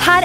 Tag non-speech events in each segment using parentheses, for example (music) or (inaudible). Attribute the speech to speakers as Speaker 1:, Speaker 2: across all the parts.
Speaker 1: her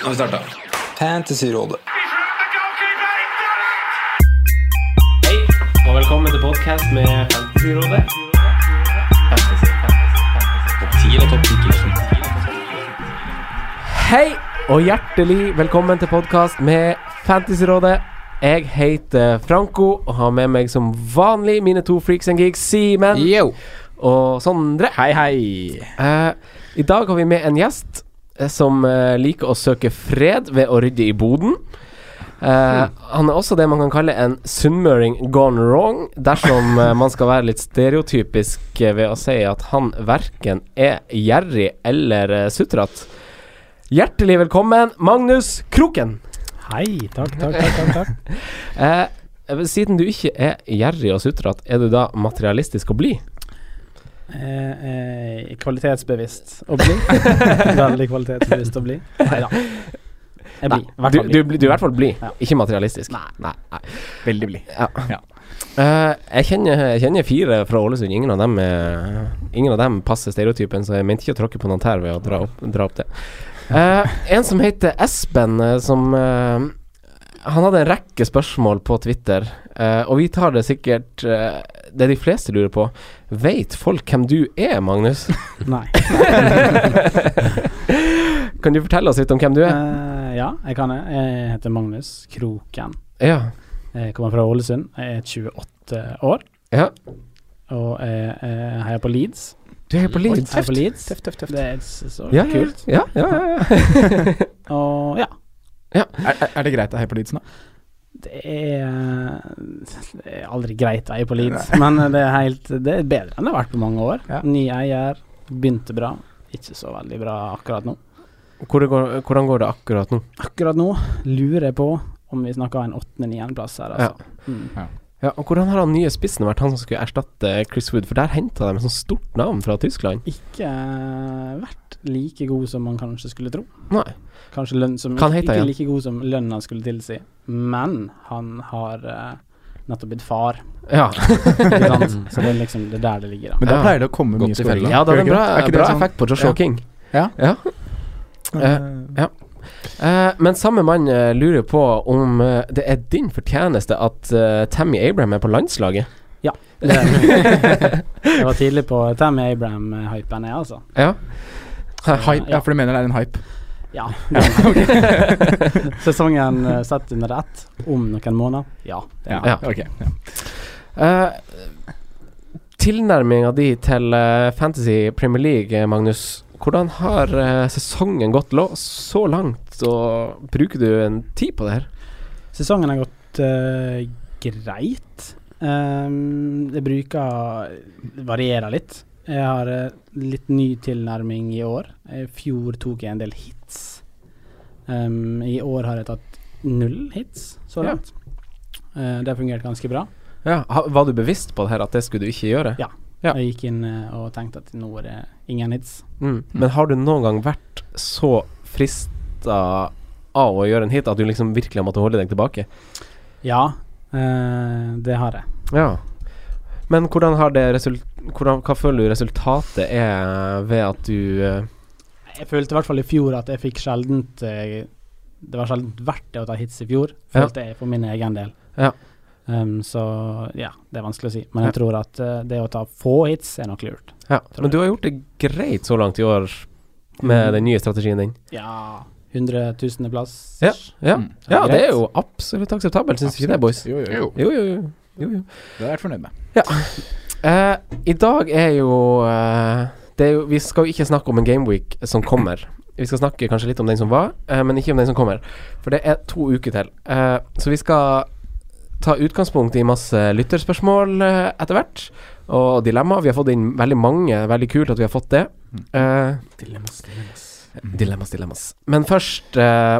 Speaker 2: Nå har vi starta. Fantasyrådet.
Speaker 3: Hei, og velkommen til podcast med Fantasyrådet. Topp 10 eller topp 10 Hei, og hjertelig velkommen til podcast med Fantasyrådet. Jeg heter Franco og har med meg som vanlig mine to freaks and geeks, Simen
Speaker 2: Yo.
Speaker 3: og Sondre.
Speaker 2: Hei, hei.
Speaker 3: Eh, I dag har vi med en gjest eh, som eh, liker å søke fred ved å rydde i boden. Eh, han er også det man kan kalle en sunnmøring gone wrong, dersom eh, man skal være litt stereotypisk eh, ved å si at han verken er gjerrig eller uh, sutrete. Hjertelig velkommen, Magnus Kroken!
Speaker 2: Hei. Takk, takk, takk. takk, takk.
Speaker 3: (laughs) Eh, siden du ikke er gjerrig og sutrete, er du da materialistisk og blid?
Speaker 2: Eh, eh, kvalitetsbevisst å bli. (laughs) Veldig kvalitetsbevisst å bli. Nei da. Jeg blir. i
Speaker 3: Nei,
Speaker 2: hvert
Speaker 3: du,
Speaker 2: fall
Speaker 3: du,
Speaker 2: blir.
Speaker 3: blir- du er i hvert fall blid,
Speaker 2: Ja.
Speaker 3: ikke materialistisk. Nei, nei.
Speaker 2: Veldig blid.
Speaker 3: Ja.
Speaker 2: Ja.
Speaker 3: Eh, jeg, kjenner, jeg kjenner fire fra Ålesund. Ingen av dem, er, ingen av dem passer stereotypen, så jeg mente ikke å tråkke på noen tær ved å dra opp, dra opp det. Eh, en som heter Espen, eh, som eh, Han hadde en rekke spørsmål på Twitter, eh, og vi tar det sikkert eh, Det de fleste lurer på. Veit folk hvem du er, Magnus? (laughs)
Speaker 2: Nei.
Speaker 3: kan du fortelle oss litt om hvem du er?
Speaker 2: Eh, ja, jeg kan det. Jeg heter Magnus Kroken.
Speaker 3: Ja.
Speaker 2: Jeg kommer fra Ålesund. Jeg er 28 år,
Speaker 3: ja.
Speaker 2: og jeg, jeg heier på Leeds.
Speaker 3: Du er jo på Leeds.
Speaker 2: Heier på Leeds.
Speaker 4: Tøft, tøft, tøft.
Speaker 2: Det er så så
Speaker 3: Ja, ja,
Speaker 2: kult.
Speaker 3: ja, ja, ja, ja.
Speaker 2: Og ja.
Speaker 4: Er, er- er det greit å heie på Leeds nå?
Speaker 2: Det er, det er aldri greit å eie på Leeds, men det er, helt, det er bedre enn det har vært på mange år.
Speaker 4: Ja.
Speaker 2: Ny eier, begynte bra, ikke så veldig bra akkurat nå.
Speaker 3: Hvor det går, hvordan går det akkurat nå?
Speaker 2: Akkurat nå lurer jeg på om vi snakker en åttende-niendeplass her, altså. Mm.
Speaker 3: Ja, og Hvordan har han nye spissen vært, han som skulle erstatte Chris Wood? For der henta de et sånt stort navn fra Tyskland.
Speaker 2: Ikke eh, vært like god som man kanskje skulle tro.
Speaker 3: Nei.
Speaker 2: Kanskje lønn som
Speaker 3: Hva han heter
Speaker 2: ikke
Speaker 3: igjen?
Speaker 2: like god som lønna skulle tilsi, men han har eh, nettopp blitt far,
Speaker 3: Ja,
Speaker 2: ikke
Speaker 4: (laughs)
Speaker 2: sant? så det er liksom det er der det ligger, da.
Speaker 4: Men da
Speaker 3: Ja.
Speaker 4: pleier det å komme mye
Speaker 3: (laughs) Godt i
Speaker 4: skåringer.
Speaker 3: fella. Ja,
Speaker 4: Gjør
Speaker 3: det hadde en
Speaker 4: ikke
Speaker 3: bra,
Speaker 4: det? Er ikke det
Speaker 3: bra
Speaker 4: sånn-
Speaker 3: effekt på Joshua
Speaker 4: Ja.
Speaker 3: King.
Speaker 4: Ja.
Speaker 3: Ja. Eh, men samme mann eh, lurer på om eh, det er din fortjeneste at eh, Tammy Abraham er på landslaget.
Speaker 2: Det (laughs) er- Jeg var tidlig på Tammy Abraham-hypen, jeg, altså.
Speaker 3: Ja.
Speaker 4: Eh, hype, ja,
Speaker 2: Ja.
Speaker 4: for du mener det er en hype.
Speaker 2: Ja. (laughs) Sesongen eh, sett under ett om noen måneder. Ja.
Speaker 3: Ja.
Speaker 4: ok. Ja.
Speaker 3: Uh, Tilnærminga di til eh, Fantasy Premier League, eh, Magnus. Hvordan har eh, sesongen gått lå- så langt, og bruker du en tid på det her?
Speaker 2: Sesongen har gått eh, greit. Um, det bruker det varierer litt. Jeg har eh, litt ny tilnærming i år. I fjor tok jeg en del hits. Um, I år har jeg tatt null hits så
Speaker 3: Ja.
Speaker 2: langt. Eh, det har fungert ganske bra.
Speaker 3: Ja, ha- Var du bevisst på det her at det skulle du ikke gjøre?
Speaker 2: Ja.
Speaker 3: Ja.
Speaker 2: Jeg gikk inn eh, og tenkte at nå er det ingen hits.
Speaker 3: Mm. Men har du noen gang vært så frista av å gjøre en hit at du liksom virkelig har måttet holde deg tilbake?
Speaker 2: Ja, eh, det har jeg.
Speaker 3: Ja. Men hvordan har det result... Hvordan, hva føler du resultatet er ved at du eh,
Speaker 2: Jeg følte i hvert fall i fjor at jeg fikk sjeldent eh, Det var sjeldent verdt det å ta hits i fjor,
Speaker 3: Ja.
Speaker 2: følte jeg for min egen del.
Speaker 3: Ja.
Speaker 2: Um, så ja, det er vanskelig å si. Men
Speaker 3: Ja.
Speaker 2: jeg tror at eh, det å ta få hits er nok lurt.
Speaker 3: Mm. Ja, men du har gjort det greit så langt i år med den nye strategien din.
Speaker 2: Ja, 100.000. plass.
Speaker 3: Ja, ja.
Speaker 4: Mm.
Speaker 3: ja
Speaker 2: Greit.
Speaker 3: det er jo absolutt akseptabelt, syns ikke det, boys?
Speaker 4: Jo, jo, jo.
Speaker 3: Jo, jo, jo. jo, jo.
Speaker 4: Det har jeg vært fornøyd med.
Speaker 3: Eh, I dag er jo, eh, det er jo Vi skal jo ikke snakke om en gameweek som kommer. Vi skal snakke kanskje litt om den som var, eh, men ikke om den som kommer. For det er to uker til. Eh, så vi skal ta utgangspunkt i masse lytterspørsmål eh, etter hvert. Og dilemmaer. Vi har fått inn veldig mange. Veldig kult at vi har fått det. Eh, dilemmas, dilemmas. Men først eh,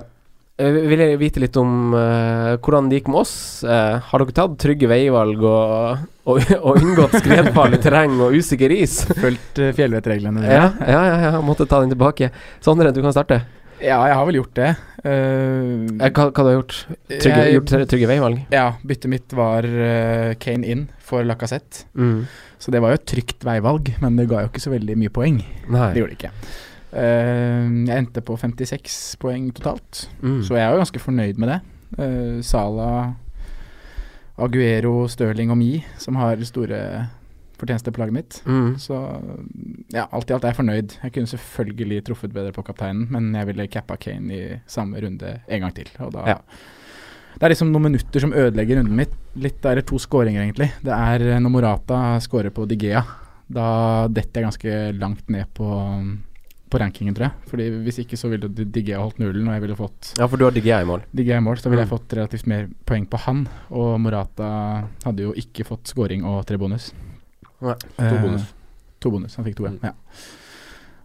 Speaker 3: eh, vil jeg vite litt om eh, hvordan det gikk med oss. Eh, har dere tatt trygge veivalg og, og, og unngått skredfarlig terreng og usikker is?
Speaker 4: Fulgt eh, fjellvettreglene. dine.
Speaker 3: Ja, ja, ja, ja. Måtte ta den tilbake. Sondre, du kan starte.
Speaker 4: ja, jeg har vel gjort det. Eh,
Speaker 3: Eh, Hva, hva du har gjort? Trygge,
Speaker 4: jeg-
Speaker 3: gjort tre- trygge veivalg?
Speaker 4: Ja, byttet mitt var eh, Kane inn for Lacassette.
Speaker 3: Mm.
Speaker 4: Så det var jo et trygt veivalg, men det ga jo ikke så veldig mye poeng.
Speaker 3: Nei.
Speaker 4: Det gjorde det ikke. Eh, jeg endte på 56 poeng totalt,
Speaker 3: Mm.
Speaker 4: så jeg er jo ganske fornøyd med det. Eh, Sala, Aguero, Stirling og Mi, som har store fortjenester på laget mitt.
Speaker 3: Mm.
Speaker 4: Så ja, alt i alt er jeg fornøyd. Jeg kunne selvfølgelig truffet bedre på kapteinen, men jeg ville cappa Kane i samme runde en gang til. Og da
Speaker 3: Ja.
Speaker 4: Det er liksom noen minutter som ødelegger runden mitt. Litt er det to skåringer, egentlig. Det er eh, når Morata skårer på Digea. Da detter jeg ganske langt ned på, på rankingen, tror jeg. Fordi hvis ikke så ville Digea holdt nullen, og jeg ville fått
Speaker 3: Ja, for du har DGA i mål.
Speaker 4: Digea i mål, så ville jeg
Speaker 3: Mm.
Speaker 4: fått relativt mer poeng på han. Og Morata hadde jo ikke fått scoring og tre bonus.
Speaker 3: Nei,
Speaker 4: Eh,
Speaker 3: bonus.
Speaker 4: To bonus, Han fikk to, ja.
Speaker 3: Mm.
Speaker 4: ja.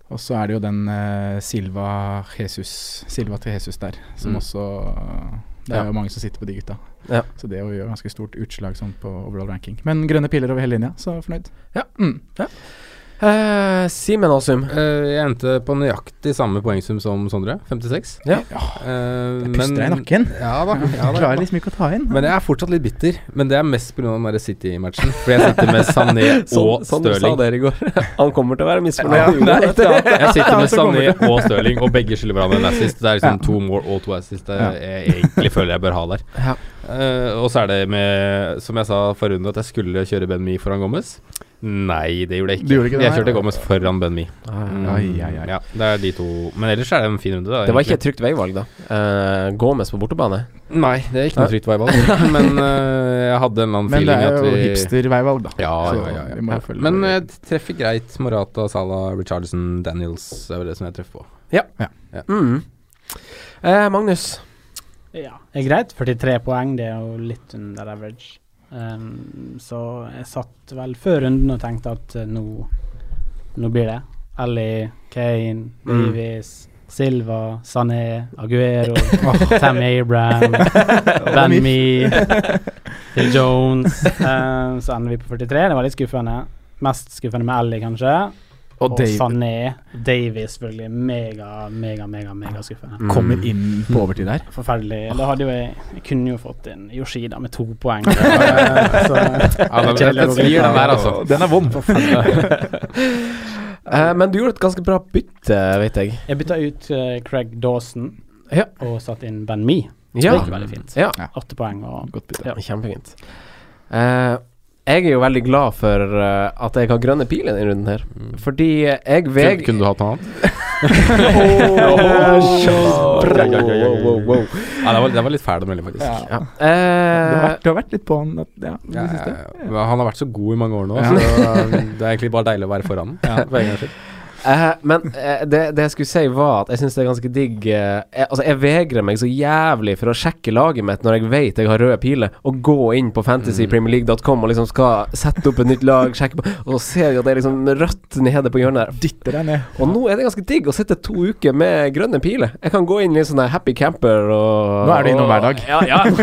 Speaker 4: Og så er det jo den eh, Silva Jesus Silva til Jesus der, som
Speaker 3: Mm.
Speaker 4: også eh, Det er
Speaker 3: Ja.
Speaker 4: jo mange som sitter på de gutta.
Speaker 3: Ja.
Speaker 4: Så det gjør ganske stort utslag sånn på overall ranking. Men grønne piler over hele linja, så fornøyd.
Speaker 3: Ja.
Speaker 4: Mm.
Speaker 3: Eh, Simen Aasum.
Speaker 5: Eh, jeg endte på nøyaktig samme poengsum som Sondre, 56.
Speaker 3: Ja.
Speaker 5: Eh,
Speaker 4: Jeg puster deg i nakken.
Speaker 5: Ja da.
Speaker 4: (laughs)
Speaker 5: Ja, da
Speaker 4: Klarer liksom ikke å ta inn.
Speaker 5: Men jeg er fortsatt litt bitter. Men det er mest pga. den der City-matchen. For jeg sitter med
Speaker 4: (laughs)
Speaker 5: Sané
Speaker 3: Sånn,
Speaker 5: og
Speaker 3: sånn du sa
Speaker 5: Stirling.
Speaker 3: dere i går. (laughs) Han kommer til å være misfornøyd.
Speaker 4: Ja,
Speaker 3: Nei,
Speaker 4: det er
Speaker 3: det-
Speaker 5: Jeg sitter med
Speaker 4: Så kommer
Speaker 5: Sané og Stirling, og begge skylder hverandre en assist. Det er liksom to mål og to assist det
Speaker 4: Ja.
Speaker 5: jeg egentlig føler jeg bør ha der.
Speaker 3: Ja.
Speaker 5: Eh, og så er det med, som jeg sa forrige runde, at jeg skulle kjøre Ben Mi foran Gomez. Nei, det gjorde jeg ikke.
Speaker 4: Du gjorde ikke det,
Speaker 5: jeg
Speaker 4: nei.
Speaker 5: kjørte Gomez foran Ben Mi.
Speaker 3: Ah,
Speaker 5: Mm,
Speaker 4: Ai, ai, ai.
Speaker 5: Ja, det er de to. Men ellers er det en fin runde, da.
Speaker 3: Det var
Speaker 5: egentlig.
Speaker 3: ikke et trygt veivalg, da. Eh, Gomez på bortebane.
Speaker 5: Nei, det er ikke
Speaker 3: Nei.
Speaker 5: noe trygt veivalg. (laughs) Men eh, jeg hadde en eller
Speaker 4: Men
Speaker 5: annen
Speaker 4: det
Speaker 5: feeling
Speaker 4: er
Speaker 5: at
Speaker 4: jo
Speaker 5: vi
Speaker 4: hipsterveivalg, da.
Speaker 5: ja,
Speaker 4: Så
Speaker 5: ja, ja,
Speaker 4: vi
Speaker 5: ja.
Speaker 4: må jo
Speaker 5: ja.
Speaker 4: følge
Speaker 5: Men
Speaker 4: med.
Speaker 5: jeg treffer greit Morata, Salah, Richardson, Daniels. Det er vel det som jeg treffer på.
Speaker 3: Mm. Eh, Magnus.
Speaker 2: Ja, det er greit. 43 poeng, det er jo litt under average. Ehm, så jeg satt vel før runden og tenkte at eh, nå, nå blir det. Ellie, Kane,
Speaker 3: Mm.
Speaker 2: Davies, Silva, Sané, Aguero, Tammy Abraham, Ben Me, Phil Jones. Ehm, så ender vi på 43. Det var litt skuffende. Mest skuffende med Ellie, kanskje. Og,
Speaker 4: Dave-
Speaker 2: Sané. Davies, selvfølgelig. Mega, mega, mega, mega skuffende.
Speaker 3: Mm.
Speaker 4: Kommer inn på overtid der.
Speaker 2: Forferdelig. Da hadde jo jeg, jeg kunne jo fått inn Yoshida med to poeng.
Speaker 4: (laughs)
Speaker 2: Så-
Speaker 5: Ja, den, den,
Speaker 2: Kjedelig å gå
Speaker 5: svir,
Speaker 2: glipp av.
Speaker 5: den der, altså.
Speaker 4: Den er
Speaker 6: (laughs)
Speaker 4: vond.
Speaker 3: Eh, men du gjorde et ganske bra bytte, vet jeg.
Speaker 2: (laughs) Jeg bytta ut eh, Craig Dawson
Speaker 3: Ja.
Speaker 2: og satte inn Ben Me.
Speaker 3: Ja.
Speaker 2: Det gikk veldig fint.
Speaker 3: ja.
Speaker 2: Åtte poeng og
Speaker 4: Godt bytte.
Speaker 2: Ja.
Speaker 3: Kjempefint. Eh, jeg er jo veldig glad for eh, at jeg har grønne piler i denne runden her.
Speaker 2: Mm.
Speaker 3: Fordi jeg
Speaker 5: Kunne,
Speaker 3: veg...
Speaker 5: kunne du hatt
Speaker 4: (laughs)
Speaker 5: noe annet? (laughs)
Speaker 3: Åh,
Speaker 5: Bra.
Speaker 3: wow, wow, wow.
Speaker 5: Ja, det var, det var litt fæl å melde, faktisk.
Speaker 4: Ja.
Speaker 3: Ja.
Speaker 4: Du, har
Speaker 3: Eh,
Speaker 4: vært, du har vært litt på han at- ja, i
Speaker 5: Ja,
Speaker 4: det siste.
Speaker 5: ja, ja. Han har vært så god i mange år nå,
Speaker 4: Ja.
Speaker 5: så um, det er egentlig bare deilig å være foran. Ja, for en gangs (laughs) skyld.
Speaker 3: Eh, men eh, det, det jeg skulle si var at jeg syns det er ganske digg eh, jeg, Altså, jeg vegrer meg så jævlig for å sjekke laget mitt når jeg vet jeg har røde piler, og gå inn på
Speaker 2: Mm.
Speaker 3: fantasypremierleague.com og liksom skal sette opp et nytt lag, sjekke på Og så ser jeg at det er liksom rødt nede på hjørnet der.
Speaker 4: Dytter deg ned.
Speaker 3: Og nå er det ganske digg å sitte to uker med grønne piler. Jeg kan gå inn i en sånn der happy camper og
Speaker 4: Nå er du innom
Speaker 3: og-
Speaker 4: hver dag.
Speaker 3: Ja, ja. (laughs)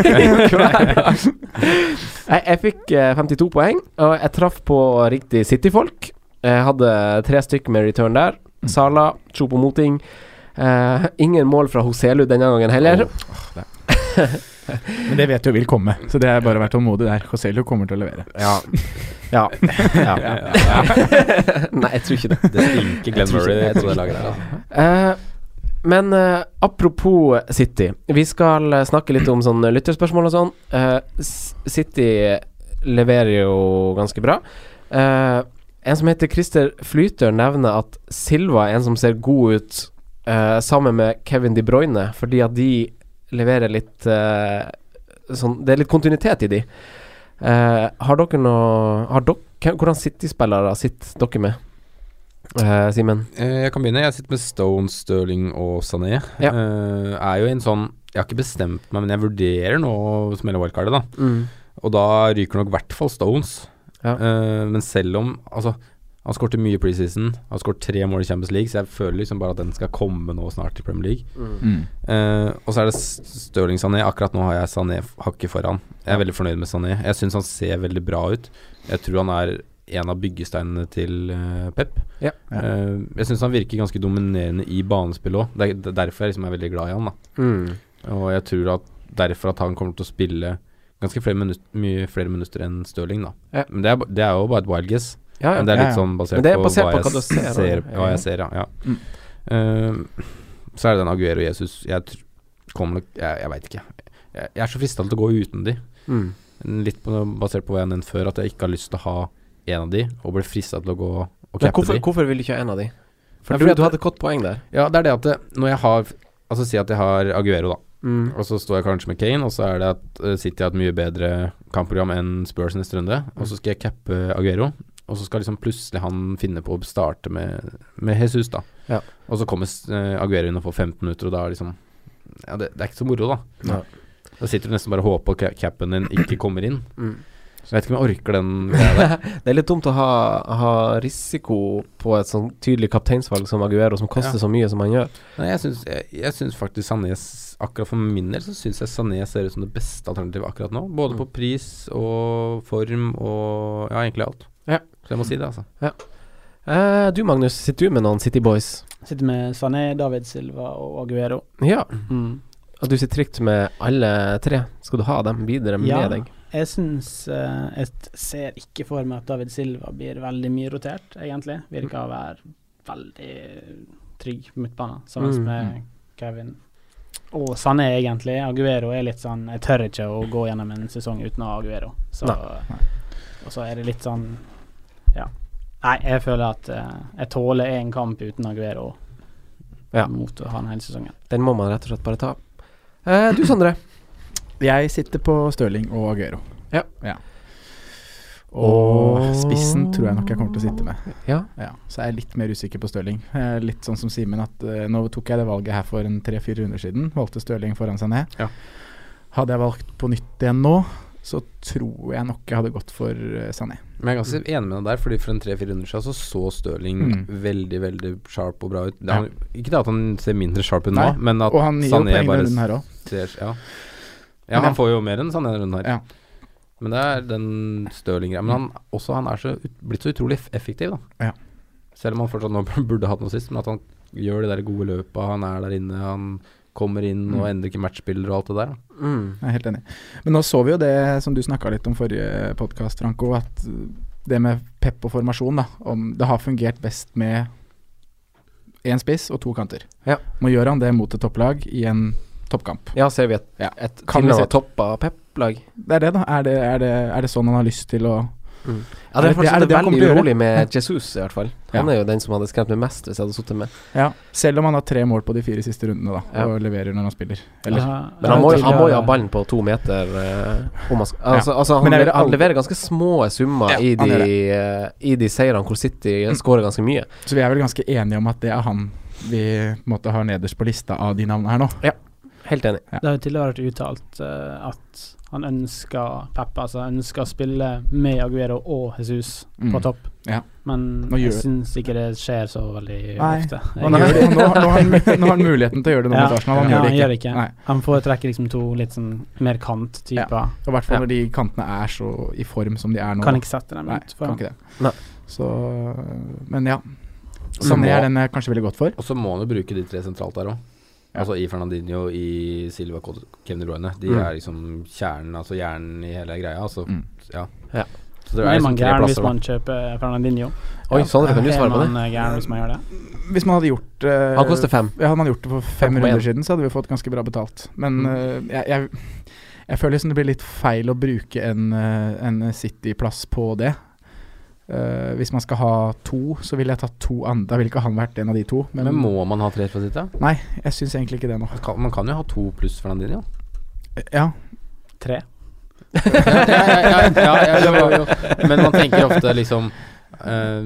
Speaker 3: Hver dag. jeg, jeg fikk eh, 52 poeng, og jeg traff på riktig City-folk. Jeg hadde tre stykker med return der. Sala, Chopo Moting. Eh, ingen mål fra Hoselu denne gangen heller.
Speaker 4: Men det vet du vil komme, så det er bare å være tålmodig der. Joselio kommer til å levere.
Speaker 3: Ja. ja. ja.
Speaker 5: (laughs)
Speaker 3: Nei, jeg tror ikke det.
Speaker 5: Det stinker Glenn
Speaker 3: tror ikke-
Speaker 5: Murray
Speaker 3: jeg
Speaker 5: på
Speaker 3: tror ikke
Speaker 5: det laget der. Altså.
Speaker 3: Eh, men eh, apropos City. Vi skal eh, snakke litt om sånn lytterspørsmål og sånn. Eh, S- City leverer jo ganske bra. Eh, en som heter Christer Flyter, nevner at Silva er en som ser god ut eh, sammen med Kevin De Bruyne, fordi at de leverer litt eh, sånn, Det er litt kontinuitet i de. Eh, har dere noe har dere, hvem- Hvordan City-spillere sitter dere med, Eh, Simen?
Speaker 5: Eh, Jeg kan begynne. Jeg sitter med Stone, Sterling og Sané.
Speaker 3: Ja.
Speaker 5: Eh, er jo en sånn Jeg har ikke bestemt meg, men jeg vurderer nå å smelle wildcardet, da.
Speaker 3: Mm.
Speaker 5: Og da ryker nok i hvert fall Stones.
Speaker 3: Ja.
Speaker 5: Eh, men selv om Altså, han skårte mye i preseason. Han skåret tre mål i Champions League, så jeg føler liksom bare at den skal komme nå snart i Premier League.
Speaker 4: Mm.
Speaker 5: Eh, og så er det Stirling Sané. Akkurat nå har jeg Sané f- hakket foran. Jeg er veldig fornøyd med Sané. Jeg syns han ser veldig bra ut. Jeg tror han er en av byggesteinene til eh, Pep.
Speaker 3: Ja.
Speaker 4: Ja.
Speaker 5: Eh, jeg syns han virker ganske dominerende i banespill òg. Det er det er derfor jeg liksom er veldig glad i han. da
Speaker 3: Mm.
Speaker 5: Og jeg tror at derfor at han kommer til å spille ganske flere minutter, mye flere minutter enn Stirling. da
Speaker 3: Ja.
Speaker 5: Men det er, ba- det er jo bare et wild guess.
Speaker 3: Ja,
Speaker 5: Men det er
Speaker 4: Ja,
Speaker 5: litt
Speaker 4: ja.
Speaker 5: sånn basert,
Speaker 3: Men det er basert på
Speaker 5: på
Speaker 3: hva du ser, da.
Speaker 5: ser hva
Speaker 3: Ja.
Speaker 5: jeg ser, ja. ja.
Speaker 4: Mm.
Speaker 5: Eh, så er det den Aguero og Jesus. Jeg tr- kommer nok Jeg, jeg veit ikke. Jeg, jeg er så frista til å gå uten de.
Speaker 3: Mm.
Speaker 5: Litt på, basert på hva jeg nevnte før, at jeg ikke har lyst til å ha en av de, og blir frista til å gå og
Speaker 3: Men
Speaker 5: cappe
Speaker 3: hvorfor,
Speaker 5: de.
Speaker 3: hvorfor vil du ikke ha en av de? For
Speaker 5: Nei,
Speaker 3: du,
Speaker 5: fordi at-
Speaker 3: du hadde et godt poeng der.
Speaker 5: Ja, det er det at det, når jeg har Altså si at jeg har Aguero, da.
Speaker 3: Mm.
Speaker 5: Og så står jeg kanskje med Kane, og så er det at eh, City har et mye bedre kampprogram enn Spurs neste runde.
Speaker 3: Mm.
Speaker 5: Og så skal jeg cappe Aguero, og så skal liksom plutselig han finne på å starte med, med Jesus, da.
Speaker 3: Ja.
Speaker 5: Og så kommer eh, Aguero inn og får 15 minutter, og da er liksom Ja, det, det er ikke så moro, da.
Speaker 3: Nei.
Speaker 5: Da sitter du nesten bare og håper ca- cappen din ikke kommer inn.
Speaker 3: Mm.
Speaker 5: Så jeg vet ikke om jeg orker den greia
Speaker 3: (laughs)
Speaker 5: der.
Speaker 3: Det er litt dumt å ha, ha risiko på et sånn tydelig kapteinsvalg som Aguero, som koster
Speaker 5: Ja.
Speaker 3: så mye som han gjør.
Speaker 5: Nei, jeg syns, jeg, jeg syns faktisk Sané s- Akkurat for min del så syns jeg Sané ser ut som det beste alternativet akkurat nå. Både
Speaker 4: Mm.
Speaker 5: på pris og form og ja, egentlig alt.
Speaker 3: Ja.
Speaker 5: Så jeg må si det, altså.
Speaker 3: Eh, du Magnus, sitter du med noen City Boys?
Speaker 2: Sitter med Sané, David Silva og Aguero.
Speaker 3: Ja.
Speaker 2: Mm.
Speaker 3: Og du sitter trygt med alle tre. Skal du ha dem videre med
Speaker 2: Ja.
Speaker 3: deg?
Speaker 2: Jeg syns eh, Jeg ser ikke for meg at David Silva blir veldig mye rotert, egentlig. Virker å være veldig trygg på midtbanen, sammen
Speaker 3: Mm.
Speaker 2: med Kevin. Og Sané, egentlig. Aguero er litt sånn Jeg tør ikke å gå gjennom en sesong uten å ha Aguero. Så, og så er det litt sånn Ja. Nei, jeg føler at eh, jeg tåler én kamp uten Aguero
Speaker 3: Ja.
Speaker 2: mot å ha den hele sesongen.
Speaker 3: Den må man rett og slett bare ta. Eh, du Sondre.
Speaker 4: Jeg sitter på Stirling og Aguero.
Speaker 3: Ja.
Speaker 4: Og
Speaker 3: Og-
Speaker 4: spissen tror jeg nok jeg kommer til å sitte med.
Speaker 3: Ja.
Speaker 4: Så er jeg litt mer usikker på Stirling. Jeg er Litt sånn som Simen, at eh, nå tok jeg det valget her for en tre-fire runder siden. Valgte Stirling foran seg ned.
Speaker 5: Ja.
Speaker 4: Hadde jeg valgt på nytt igjen nå, så tror jeg nok jeg hadde gått for eh, Sané.
Speaker 5: Men jeg er ganske enig med deg der, Fordi for en tre-fire runder siden så så Stirling
Speaker 4: Mm.
Speaker 5: veldig veldig sharp og bra ut. Det er Han, Ikke det at han ser mindre sharp ut nå,
Speaker 4: Nei,
Speaker 5: men at
Speaker 4: Og han gir jo
Speaker 5: Sané
Speaker 4: poeng denne
Speaker 5: bare
Speaker 4: runden her òg.
Speaker 5: ser Ja,
Speaker 4: Men
Speaker 5: ja han
Speaker 4: han-
Speaker 5: får jo mer enn Sané denne runden her.
Speaker 4: Ja.
Speaker 5: Men det er den Stirling-greia. Men han, også han er så ut, blitt så utrolig eff- effektiv, da.
Speaker 4: Ja.
Speaker 5: Selv om han fortsatt nå (laughs) burde hatt noe sist, men at han gjør de der gode løpa, han er der inne, han kommer inn
Speaker 4: Mm.
Speaker 5: og endrer ikke matchbilder og alt det der. da.
Speaker 3: Mm.
Speaker 4: Jeg er helt enig. Men nå så vi jo det som du snakka litt om forrige podkast, Franco, at det med pep og formasjon, da, om det har fungert best med én spiss og to kanter.
Speaker 3: Ja.
Speaker 4: Nå gjør han det mot et topplag i en toppkamp.
Speaker 3: Ja, ser vi et,
Speaker 4: Ja.
Speaker 3: et
Speaker 4: Kan vi
Speaker 3: tilnærmet
Speaker 4: se-
Speaker 3: toppa Pep-lag?
Speaker 4: Det er det, da. Er det, er det, er det sånn han har lyst til å
Speaker 3: Ja,
Speaker 4: Er
Speaker 3: det er
Speaker 4: det- er
Speaker 3: fortsatt
Speaker 4: det det han kommer
Speaker 3: veldig
Speaker 4: til å gjøre?
Speaker 3: urolig med Jesus, i hvert fall. Han
Speaker 4: Ja.
Speaker 3: er jo den som hadde skremt meg mest hvis jeg hadde sittet med.
Speaker 4: Ja. Selv om han har tre mål på de fire siste rundene, da,
Speaker 3: Ja.
Speaker 4: og leverer når han spiller. Eller
Speaker 2: Ja,
Speaker 3: Men han må, jo- han må jo ha
Speaker 2: tidligere-
Speaker 3: ballen på to meter. eh, om han, skal- altså, altså, han,
Speaker 4: Men jeg vil
Speaker 3: han
Speaker 4: aldri-
Speaker 3: leverer ganske små summer
Speaker 4: Ja,
Speaker 3: i,
Speaker 4: han gjør
Speaker 3: de, eh, i de seirene hvor City skårer ganske mye.
Speaker 4: Så vi er vel ganske enige om at det er han vi på en måte har nederst på lista av de navnene her nå.
Speaker 3: Helt enig.
Speaker 4: Ja.
Speaker 2: Det har jo tidligere vært uttalt eh, at han ønsker Pep, altså han ønsker å spille med Aguero og Jesus på
Speaker 4: Mm.
Speaker 2: topp.
Speaker 4: Ja.
Speaker 2: Men
Speaker 4: Nå
Speaker 2: jeg
Speaker 4: gjør-
Speaker 2: syns ikke det skjer så veldig
Speaker 4: Nei.
Speaker 2: ofte.
Speaker 4: Og nå, gjør det- nå, nå,
Speaker 2: (laughs)
Speaker 4: har han, nå har han muligheten til å gjøre det nå
Speaker 2: Ja.
Speaker 4: mot Arsenal, han
Speaker 2: Ja,
Speaker 4: gjør det
Speaker 2: han
Speaker 4: ikke.
Speaker 2: gjør det ikke.
Speaker 4: Nei.
Speaker 2: Han foretrekker liksom to litt sånn mer kant-typer.
Speaker 4: Og i hvert fall
Speaker 3: Ja.
Speaker 4: når de kantene er så i form som de er nå.
Speaker 2: Kan
Speaker 4: da.
Speaker 2: ikke sette dem
Speaker 4: Nei,
Speaker 2: ut for
Speaker 4: kan
Speaker 2: ham.
Speaker 4: ikke det.
Speaker 3: Nei.
Speaker 4: Så Men ja.
Speaker 5: Så
Speaker 4: Sané
Speaker 5: må-
Speaker 4: er den jeg kanskje ville gått for.
Speaker 5: Og så må han jo bruke de tre sentralt der òg.
Speaker 4: Ja.
Speaker 5: Altså i Fernandinho, i Silva, Kod- Kevin De Bruyne. De
Speaker 3: Mm.
Speaker 5: er liksom kjernen, altså hjernen i hele greia. Altså,
Speaker 4: Mm.
Speaker 5: ja.
Speaker 3: Ja.
Speaker 5: Så det
Speaker 2: Men
Speaker 5: er
Speaker 2: er
Speaker 5: liksom
Speaker 2: man
Speaker 5: tre
Speaker 2: gæren hvis
Speaker 5: plasser, da.
Speaker 2: man kjøper eh, Fernandinho?
Speaker 3: Oi,
Speaker 4: sånn.
Speaker 3: Sondre, kan du svare
Speaker 2: Er
Speaker 3: på det?
Speaker 2: man eh, gæren hvis man gjør det?
Speaker 4: Hvis man hadde gjort eh,
Speaker 3: Han koster fem.
Speaker 4: ja, Hadde man gjort det for fem
Speaker 3: 5,1.
Speaker 4: runder siden, så hadde vi fått ganske bra betalt. Men eh,
Speaker 5: Mm.
Speaker 4: jeg, jeg, jeg føler liksom det blir litt feil å bruke en, eh, en City-plass på det. Eh, hvis man skal ha to, så ville jeg tatt to andre. Da ville ikke han vært en av de to.
Speaker 5: Men, må man ha tre for sitt, da?
Speaker 4: Nei, jeg syns egentlig ikke det nå.
Speaker 5: Man kan, man kan jo ha to pluss Fernandinho.
Speaker 4: Ja.
Speaker 2: Tre.
Speaker 5: ja, ja, ja, ja, jo, jo, jo. Men man tenker ofte liksom eh,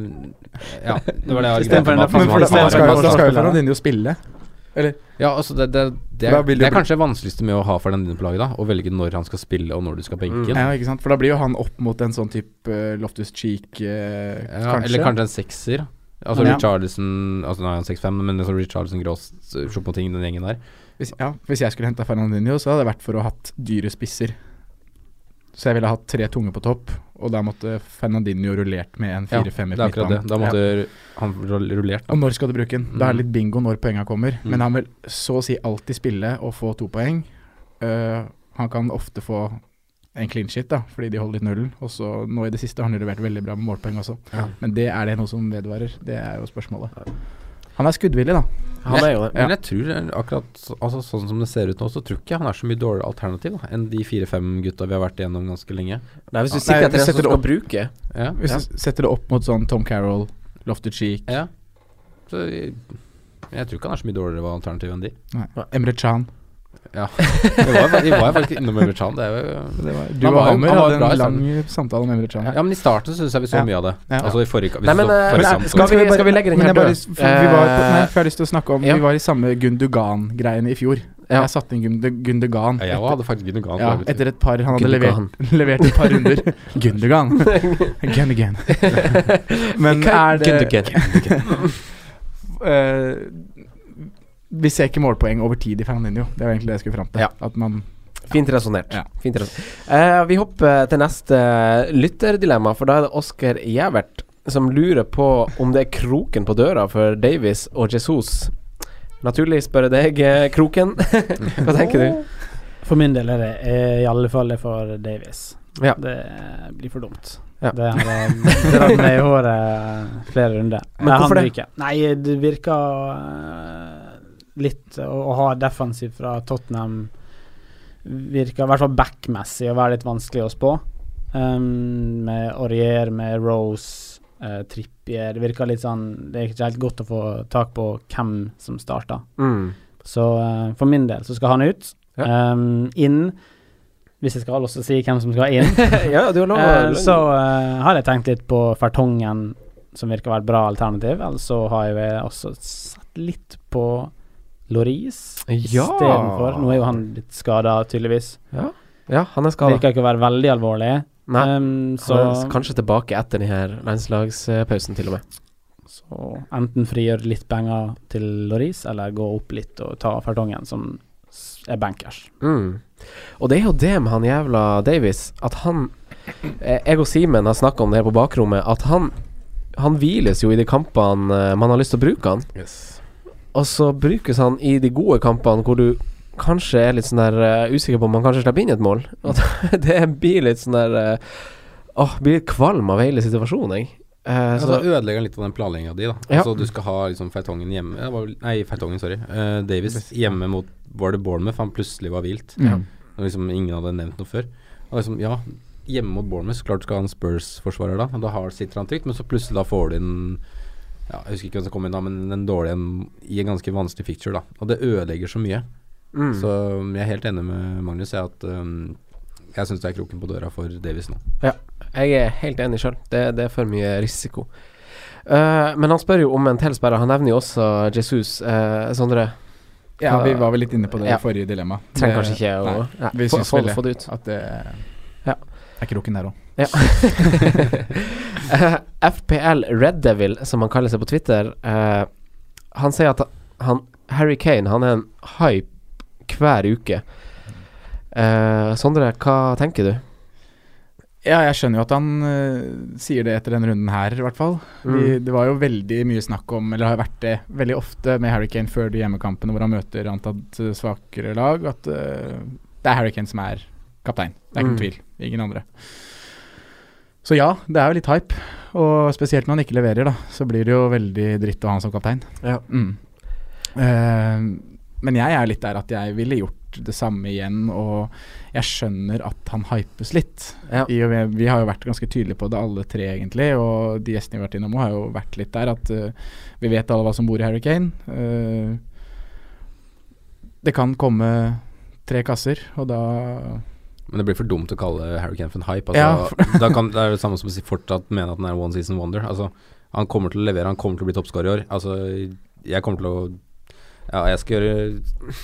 Speaker 5: Ja, det var det jeg
Speaker 4: Men for
Speaker 5: argumentet
Speaker 4: da
Speaker 5: om at man-
Speaker 4: skal
Speaker 5: man
Speaker 4: jo- da skal
Speaker 5: har en
Speaker 4: jo
Speaker 5: basketball-
Speaker 4: Fernandinho spille. Eller
Speaker 5: Ja, altså det, det, det,
Speaker 4: Da
Speaker 5: er,
Speaker 4: vil det
Speaker 5: det er
Speaker 4: bli-
Speaker 5: kanskje det vanskeligste med å ha Fernandinho på laget, da. Å velge når han skal spille og når du skal benke.
Speaker 4: Mm. Ja, ikke sant? For da blir jo han opp mot en sånn type eh, Loftus Cheek, eh,
Speaker 5: Ja,
Speaker 4: kanskje.
Speaker 5: Eller kanskje en sekser. Altså
Speaker 4: Ja.
Speaker 5: Richarlison Altså nå er han 6-5, men altså Richarlison Gross, Choupo-Ting, den gjengen der.
Speaker 4: Hvis, ja, hvis jeg skulle henta Fernandinho, så hadde det vært for å ha hatt dyre spisser. Så jeg ville hatt tre tunge på topp, og da måtte Fernandinho rullert med en
Speaker 5: Ja,
Speaker 4: 4-5
Speaker 5: det er akkurat det. Da
Speaker 4: ja.
Speaker 5: måtte han rull- rullert,
Speaker 4: Og
Speaker 5: da.
Speaker 4: når skal du bruke den? Da er det litt bingo når poenga kommer.
Speaker 5: Mm.
Speaker 4: Men han vil så å si alltid spille og få to poeng. Eh, han kan ofte få en clean shit, da, fordi de holder litt nullen. Og så nå i det siste har han jo levert veldig bra med målpoeng også.
Speaker 5: Ja.
Speaker 4: Men det er det noe som vedvarer? Det er jo spørsmålet. Han er skuddvillig, da.
Speaker 3: Han er jo det.
Speaker 5: Men jeg tror akkurat så- altså, sånn som det ser ut nå, så tror ikke jeg han er så mye dårligere alternativ da, enn de fire-fem gutta vi har vært igjennom ganske lenge.
Speaker 3: Nei, hvis du
Speaker 4: Nei,
Speaker 3: sikter etter
Speaker 4: vi
Speaker 3: en som
Speaker 4: setter det
Speaker 3: skal
Speaker 4: opp.
Speaker 3: bruke
Speaker 5: Ja.
Speaker 4: Hvis
Speaker 3: Ja.
Speaker 4: du setter det opp mot sånn Tom Carroll, Lofter Cheek,
Speaker 5: ja. Så jeg, jeg tror ikke han er så mye dårligere alternativ enn de.
Speaker 4: Emre Chan
Speaker 5: Ja. (laughs) Vi var, jo- vi var jo faktisk innom Emre Can. Det er jo
Speaker 4: Du
Speaker 5: Han
Speaker 4: og
Speaker 5: var jo-
Speaker 4: Hammer
Speaker 5: han var
Speaker 4: hadde
Speaker 5: bra i
Speaker 4: en lang samtale om Emre Chan.
Speaker 5: Ja, men i starten syns jeg vi så
Speaker 4: Ja.
Speaker 5: mye av det.
Speaker 4: Ja.
Speaker 5: Altså i forrige kamp.
Speaker 3: Nei, men, eh, men,
Speaker 5: men,
Speaker 3: skal vi- skal vi legge den
Speaker 4: men
Speaker 3: her
Speaker 4: jeg bare,
Speaker 3: død?
Speaker 4: for vi var på, nei,
Speaker 3: Eh,
Speaker 4: for jeg har lyst til å snakke om
Speaker 3: ja.
Speaker 4: Vi var i samme Gundugan-greiene i fjor.
Speaker 3: Ja.
Speaker 4: Jeg satte inn Gund- Gundugan
Speaker 5: Jeg
Speaker 4: etter,
Speaker 5: hadde faktisk Gundogan.
Speaker 4: ja,
Speaker 5: på laget.
Speaker 4: etter et par Han hadde
Speaker 3: Gundogan.
Speaker 4: levert, (laughs) levert et par runder.
Speaker 5: (laughs)
Speaker 4: Gundugan. Gundugan. Men er det (laughs) eh, Vi ser ikke målpoeng over tid i Fernandinho. Det var egentlig det jeg skulle fram til.
Speaker 3: Ja.
Speaker 4: At man
Speaker 3: Fint resonnert.
Speaker 4: Ja.
Speaker 3: Fint resonnert. Eh, vi hopper til neste eh, lytterdilemma, for da er det Oskar Gjævert som lurer på om det er kroken på døra for Davies og Jesus. Naturlig spørre deg, eh, Kroken. (laughs) Hva tenker
Speaker 2: (laughs)
Speaker 3: du?
Speaker 2: For min del er det eh, i alle fall det for Davies.
Speaker 3: Ja.
Speaker 2: Det eh, blir for dumt.
Speaker 3: Ja.
Speaker 2: Det har eh, dratt meg i håret flere runder.
Speaker 3: Men hvorfor det?
Speaker 2: ryker. Nei, det virker eh, litt å, å ha defensiv fra Tottenham Virker i hvert fall backmessig å være litt vanskelig å spå. Um, med Aurier, med Rose, eh, Trippier Det virker litt sånn Det er ikke helt godt å få tak på hvem som starter.
Speaker 3: Mm.
Speaker 2: Så eh, for min del så skal han ut.
Speaker 3: Ja.
Speaker 2: Ehm, inn Hvis jeg skal også si hvem som skal inn.
Speaker 3: ja, du har lov.
Speaker 2: Eh, så eh, har jeg tenkt litt på Fertongen, som virker å være et bra alternativ. Ellers så har jeg vel også sett litt på Loris
Speaker 3: Ja.
Speaker 2: istedenfor. Nå er jo han blitt skada, tydeligvis.
Speaker 3: ja, han er skada.
Speaker 2: Virker ikke å være veldig alvorlig.
Speaker 3: Nei,
Speaker 2: Ehm,
Speaker 3: så
Speaker 2: så,
Speaker 3: kanskje tilbake etter denne landslagspausen, til og med.
Speaker 2: så enten frigjøre litt penger til Loris, eller gå opp litt og ta Fertongen, som s- er bankers.
Speaker 3: Mm. Og det er jo det med han jævla Davies, at han eh, Jeg og Simen har snakka om det her på bakrommet, at han Han hviles jo i de kampene eh, man har lyst til å bruke han. Og så brukes han i de gode kampene hvor du kanskje er litt sånn der eh, usikker på om man kanskje slipper inn et mål. (laughs) Og det blir litt sånn der eh, Åh, blir litt kvalm av hele situasjonen, jeg. Eh,
Speaker 5: Ja,
Speaker 3: så,
Speaker 2: Altså,
Speaker 5: så ødelegger han litt av den planlegginga di, da.
Speaker 3: Ja.
Speaker 5: Altså, du skal ha liksom Feitongen hjemme det var vel- Nei, Feitongen, sorry. Eh, Davis hjemme mot Var det Bournemouth han plutselig var vilt?
Speaker 4: Ja.
Speaker 5: Og liksom Ingen hadde nevnt noe før. Og liksom, ja, hjemme mot Bournemouth, så klart skal han Spurs-forsvarer da. og Da har, sitter han trygt, men så plutselig da får du inn ja, Jeg husker ikke hvem som kom inn da, men en dårlig en i en ganske vanskelig picture, da. Og det ødelegger så mye.
Speaker 3: mm.
Speaker 5: Så um, jeg er helt enig med Magnus i at um, jeg syns det er kroken på døra for Davis nå.
Speaker 3: Jeg er helt enig sjøl. Det, det er for mye risiko. Eh, men han spør jo om en til sperre. Han nevner jo også Jesus. eh, Sondre,
Speaker 4: Ja, vi var vel litt inne på det
Speaker 3: Ja.
Speaker 4: i forrige dilemma.
Speaker 3: trenger
Speaker 4: Det-
Speaker 3: kanskje ikke å
Speaker 4: nei.
Speaker 3: Nei,
Speaker 4: Vi
Speaker 3: få,
Speaker 4: syns
Speaker 3: få,
Speaker 4: vel det.
Speaker 3: få det ut.
Speaker 4: At det
Speaker 3: Ja.
Speaker 4: er kroken der òg.
Speaker 3: Ja. Eh, FPL Red Devil, som han kaller seg på Twitter, eh, han sier at han, Harry Kane han er en hype hver uke. Eh, Sondre, hva tenker du?
Speaker 4: Ja, jeg skjønner jo at han øh, sier det etter denne runden her, i hvert fall.
Speaker 3: Mm.
Speaker 4: Vi, det var jo veldig mye snakk om, eller har vært det veldig ofte med Harry Kane før de hjemmekampene hvor han møter antatt øh, svakere lag, at øh, det er Harry Kane som er kaptein. Det er ikke
Speaker 3: Mm.
Speaker 4: noen tvil. Ingen andre. Så ja, det er jo litt hype. Og spesielt når han ikke leverer, da, så blir det jo veldig dritt å ha han som kaptein.
Speaker 3: Ja.
Speaker 4: Mm. Eh, men jeg er litt der at jeg ville gjort gjort det samme igjen, og jeg skjønner at han hypes litt. I og med, vi har jo vært ganske tydelige på det, alle tre egentlig, og de gjestene vi har vært innom har jo vært litt der, at eh, vi vet alle hva som bor i Harry Kane. Eh, det kan komme tre kasser, og da
Speaker 5: Men det blir for dumt å kalle Harry Kane for en hype.
Speaker 4: Ja,
Speaker 5: Altså,
Speaker 4: for-
Speaker 5: da kan, det er jo det samme som å si fortsatt mene at han er one season wonder. Altså, han kommer til å levere, han kommer til å bli toppskårer i år. Altså, jeg kommer til å Ja, jeg skal gjøre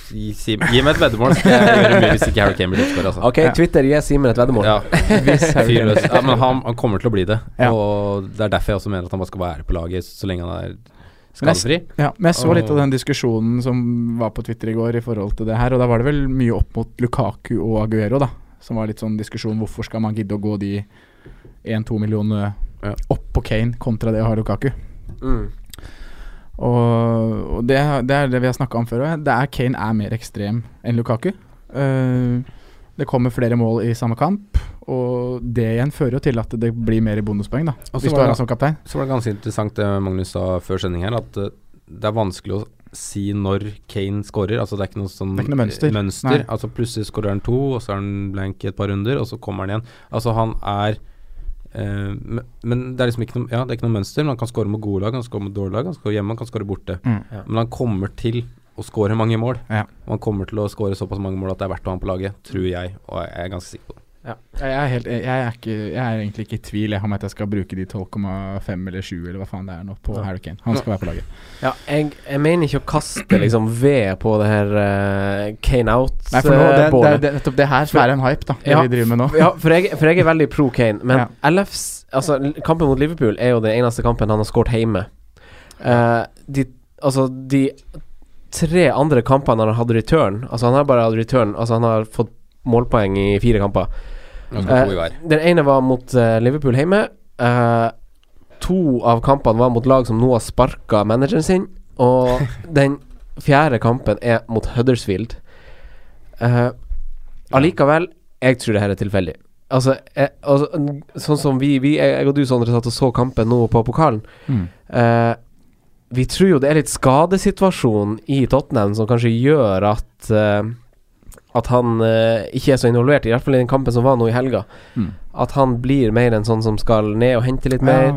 Speaker 5: Gi, si, gi meg et veddemål, så skal jeg gjøre mye hvis ikke Harry Kane blir toppskårer. Altså.
Speaker 3: Ok, Twitter gir Simen et veddemål.
Speaker 5: Ja.
Speaker 3: (laughs) Hvis Harry
Speaker 5: Fyr
Speaker 3: Kane-
Speaker 5: løs. ja, men han, han kommer til å bli det.
Speaker 4: Ja.
Speaker 5: Og det er derfor jeg også mener at han bare skal være på laget så lenge han er
Speaker 4: Men jeg,
Speaker 5: skadefri.
Speaker 4: ja, men jeg så
Speaker 5: Og-
Speaker 4: litt av den diskusjonen som var på Twitter i går i forhold til det her, og da var det vel mye opp mot Lukaku og Aguero, da. Som var litt sånn diskusjon hvorfor skal man gidde å gå de 1-2 millionene
Speaker 5: Ja.
Speaker 4: opp på Kane kontra det å ha Lukaku.
Speaker 3: Mm.
Speaker 4: Og, og det, det er det vi har snakka om før òg. Kane er mer ekstrem enn Lukaku. Eh, det kommer flere mål i samme kamp, og det igjen fører jo til at det blir mer bonuspoeng, da.
Speaker 5: Og så
Speaker 4: Hvis du
Speaker 5: var
Speaker 4: har
Speaker 5: det-
Speaker 4: han som kaptein.
Speaker 5: Så var det ganske interessant det Magnus sa før sending her, at eh, det er vanskelig å si når Kane scorer. Altså det er ikke noe sånn
Speaker 4: Det er ikke noe mønster.
Speaker 5: eh,
Speaker 4: Nei.
Speaker 5: Altså plutselig scorer han to, og så er han blank i et par runder, og så kommer han igjen. Altså han er eh, men, men det er liksom ikke noe, ja, det er ikke noe mønster, men han kan score med gode lag, han kan score med dårlige lag, han kan score hjemme, han kan score borte.
Speaker 4: Mm.
Speaker 5: Men han kommer til å score mange mål.
Speaker 4: Ja.
Speaker 5: Og han kommer til å score såpass mange mål at det er verdt å ha han på laget, tror jeg, og jeg er ganske sikker på det.
Speaker 4: Jeg er, helt, jeg, er ikke, jeg er egentlig ikke i tvil jeg, om at jeg skal bruke de 12,5 eller 7 eller hva faen det er nå på Harry Kane. Han skal være på laget.
Speaker 3: Ja, jeg, jeg mener ikke å kaste liksom ved på det her eh, Kane
Speaker 4: Nei, for nå, det, det,
Speaker 3: out-bålet.
Speaker 4: det, nettopp det her som er en hype, da. Det
Speaker 3: Ja.
Speaker 4: vi driver med nå.
Speaker 3: Ja, for jeg, for jeg er veldig pro Kane, men
Speaker 4: Ja.
Speaker 3: LFs Altså, l- kampen mot Liverpool er jo den eneste kampen han har skåret hjemme. Eh, de, altså, de tre andre kampene han har hatt return Altså, han har bare hatt return Altså, han har fått målpoeng i fire kamper.
Speaker 5: Han skal ha to
Speaker 3: Eh,
Speaker 5: i hver.
Speaker 3: Den ene var mot eh, Liverpool hjemme. Eh, to av kampene var mot lag som nå har sparka manageren sin. Og den fjerde kampen er mot Huddersfield. Eh, allikevel, jeg tror det her er tilfeldig. Altså, jeg, altså, n- sånn som vi, vi Jeg og du, Sondre, satt og så kampen nå på pokalen.
Speaker 4: Mm.
Speaker 3: Eh, vi tror jo det er litt skadesituasjonen i Tottenham som kanskje gjør at eh, At han eh, ikke er så involvert, i hvert fall i den kampen som var nå i helga.
Speaker 4: Mm.
Speaker 3: At han blir mer en sånn som skal ned og hente litt mer.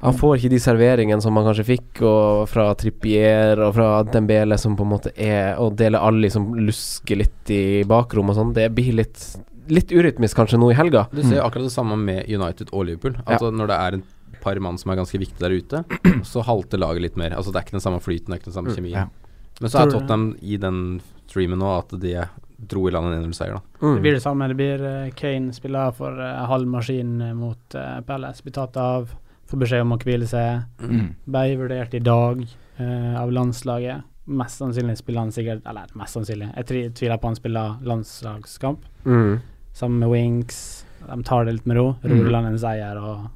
Speaker 3: Han får ikke de serveringene som han kanskje fikk og fra Trippier og fra Dembele, som på en måte er Og Dele Alli som lusker litt i bakrom og sånn. Det blir litt, litt urytmisk kanskje nå i helga.
Speaker 5: Du ser jo
Speaker 4: Mm.
Speaker 5: akkurat det samme med United og Liverpool. Altså Når det er en par mann som er ganske viktige der
Speaker 4: (clears throat)
Speaker 5: ute, så halter laget litt mer. Altså Det er ikke den samme flyten, det er ikke den samme kjemien.
Speaker 4: Mm, ja.
Speaker 5: Men så
Speaker 2: Tror
Speaker 5: er
Speaker 2: du-
Speaker 5: Tottenham i den streamen nå at de dro i land en 1-0-seier, da.
Speaker 2: Det (laughs) blir det samme. Det blir eh, Kane spiller for eh, halv maskin eh, mot eh, Palace. Blir tatt av, får beskjed om å hvile seg.
Speaker 4: Mm.
Speaker 2: Ble vurdert i dag eh, av landslaget. Mest sannsynlig spiller han sikkert Eller mest sannsynlig, jeg tri- tviler på han spiller landslagskamp.
Speaker 3: Mm.
Speaker 2: Sammen med Winks. De tar det litt med ro. Roer land en seier og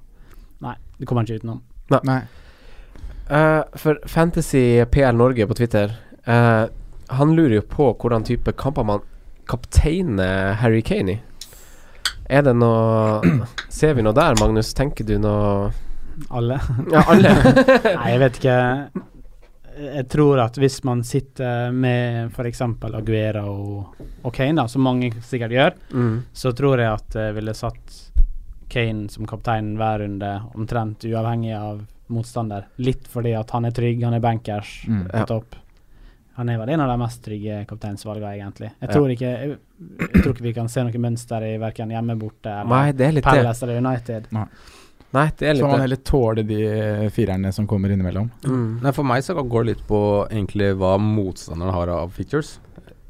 Speaker 2: Nei, det kommer han ikke utenom.
Speaker 4: Nei.
Speaker 3: Eh, for Fantasy PL Norge på Twitter eh, Han lurer jo på hvordan type kamper man kapteiner Harry Kane i. Er det noe Ser vi noe der, Magnus? Tenker du noe
Speaker 2: Alle.
Speaker 3: Ja,
Speaker 5: (laughs)
Speaker 3: alle.
Speaker 2: Nei, jeg vet ikke. Jeg tror at hvis man sitter med f.eks. Aguera og, og Kane, da, som mange sikkert gjør,
Speaker 3: mm.
Speaker 2: så tror jeg at jeg ville satt Kane som kaptein hver runde, omtrent uavhengig av motstander. Litt fordi at han er trygg, han er bankers
Speaker 4: Mm.
Speaker 2: på topp. Han er vel en av de mest trygge kapteinsvalgene, egentlig. Jeg tror, ikke, jeg, jeg tror ikke vi kan se noe mønster i verken hjemme borte
Speaker 3: Nei,
Speaker 2: eller
Speaker 3: det er litt det.
Speaker 2: Palace eller United.
Speaker 3: Nei, det er
Speaker 4: Så må man
Speaker 3: litt det.
Speaker 4: heller tåle de eh, firerne som kommer innimellom.
Speaker 3: Mm.
Speaker 5: Nei, for meg så går det litt på egentlig hva motstanderen har av features.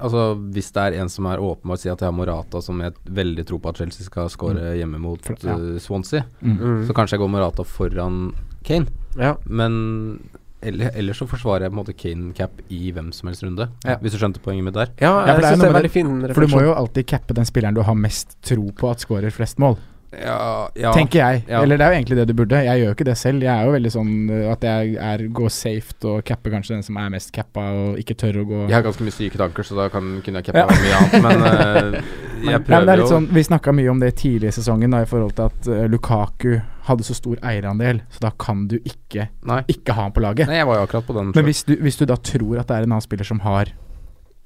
Speaker 5: Altså Hvis det er en som er åpenbart sier at jeg har Morata, som jeg veldig tror på at Chelsea skal score hjemme mot
Speaker 4: Mm. For- ja.
Speaker 5: eh, Swansea,
Speaker 3: Mm.
Speaker 5: så kanskje jeg går Morata foran Kane.
Speaker 3: Ja.
Speaker 5: Men eller, ellers så forsvarer jeg på en måte Kane Cap i hvem som helst runde.
Speaker 4: Ja.
Speaker 5: Hvis du skjønte poenget mitt der.
Speaker 3: Ja,
Speaker 4: Ja, for det er
Speaker 3: jeg syns det
Speaker 4: noe
Speaker 3: er
Speaker 4: med
Speaker 3: veldig fin
Speaker 4: For du må
Speaker 3: refleksjon.
Speaker 4: jo alltid cappe den spilleren du har mest tro på at scorer flest mål,
Speaker 5: Ja, ja.
Speaker 4: tenker jeg.
Speaker 5: Ja.
Speaker 4: Eller det er jo egentlig det du burde. Jeg gjør jo ikke det selv. Jeg er jo veldig sånn eh, at jeg er, går safe og capper kanskje den som er mest cappa og ikke tør å gå
Speaker 5: Jeg har ganske mye syke tanker, så da kan, kunne jeg cappa
Speaker 4: Ja.
Speaker 5: mye annet.
Speaker 4: (laughs)
Speaker 5: Men eh, jeg
Speaker 4: Nei, men det
Speaker 5: prøver
Speaker 4: er
Speaker 5: jo
Speaker 4: litt sånn, vi snakka mye om det tidlig i sesongen da, i forhold til at eh, Lukaku hadde så stor eierandel, så da kan du ikke
Speaker 5: nei.
Speaker 4: ikke ha han på laget.
Speaker 5: nei, jeg var jo akkurat på den.
Speaker 4: Men hvis du, hvis du da tror at det er en annen spiller som har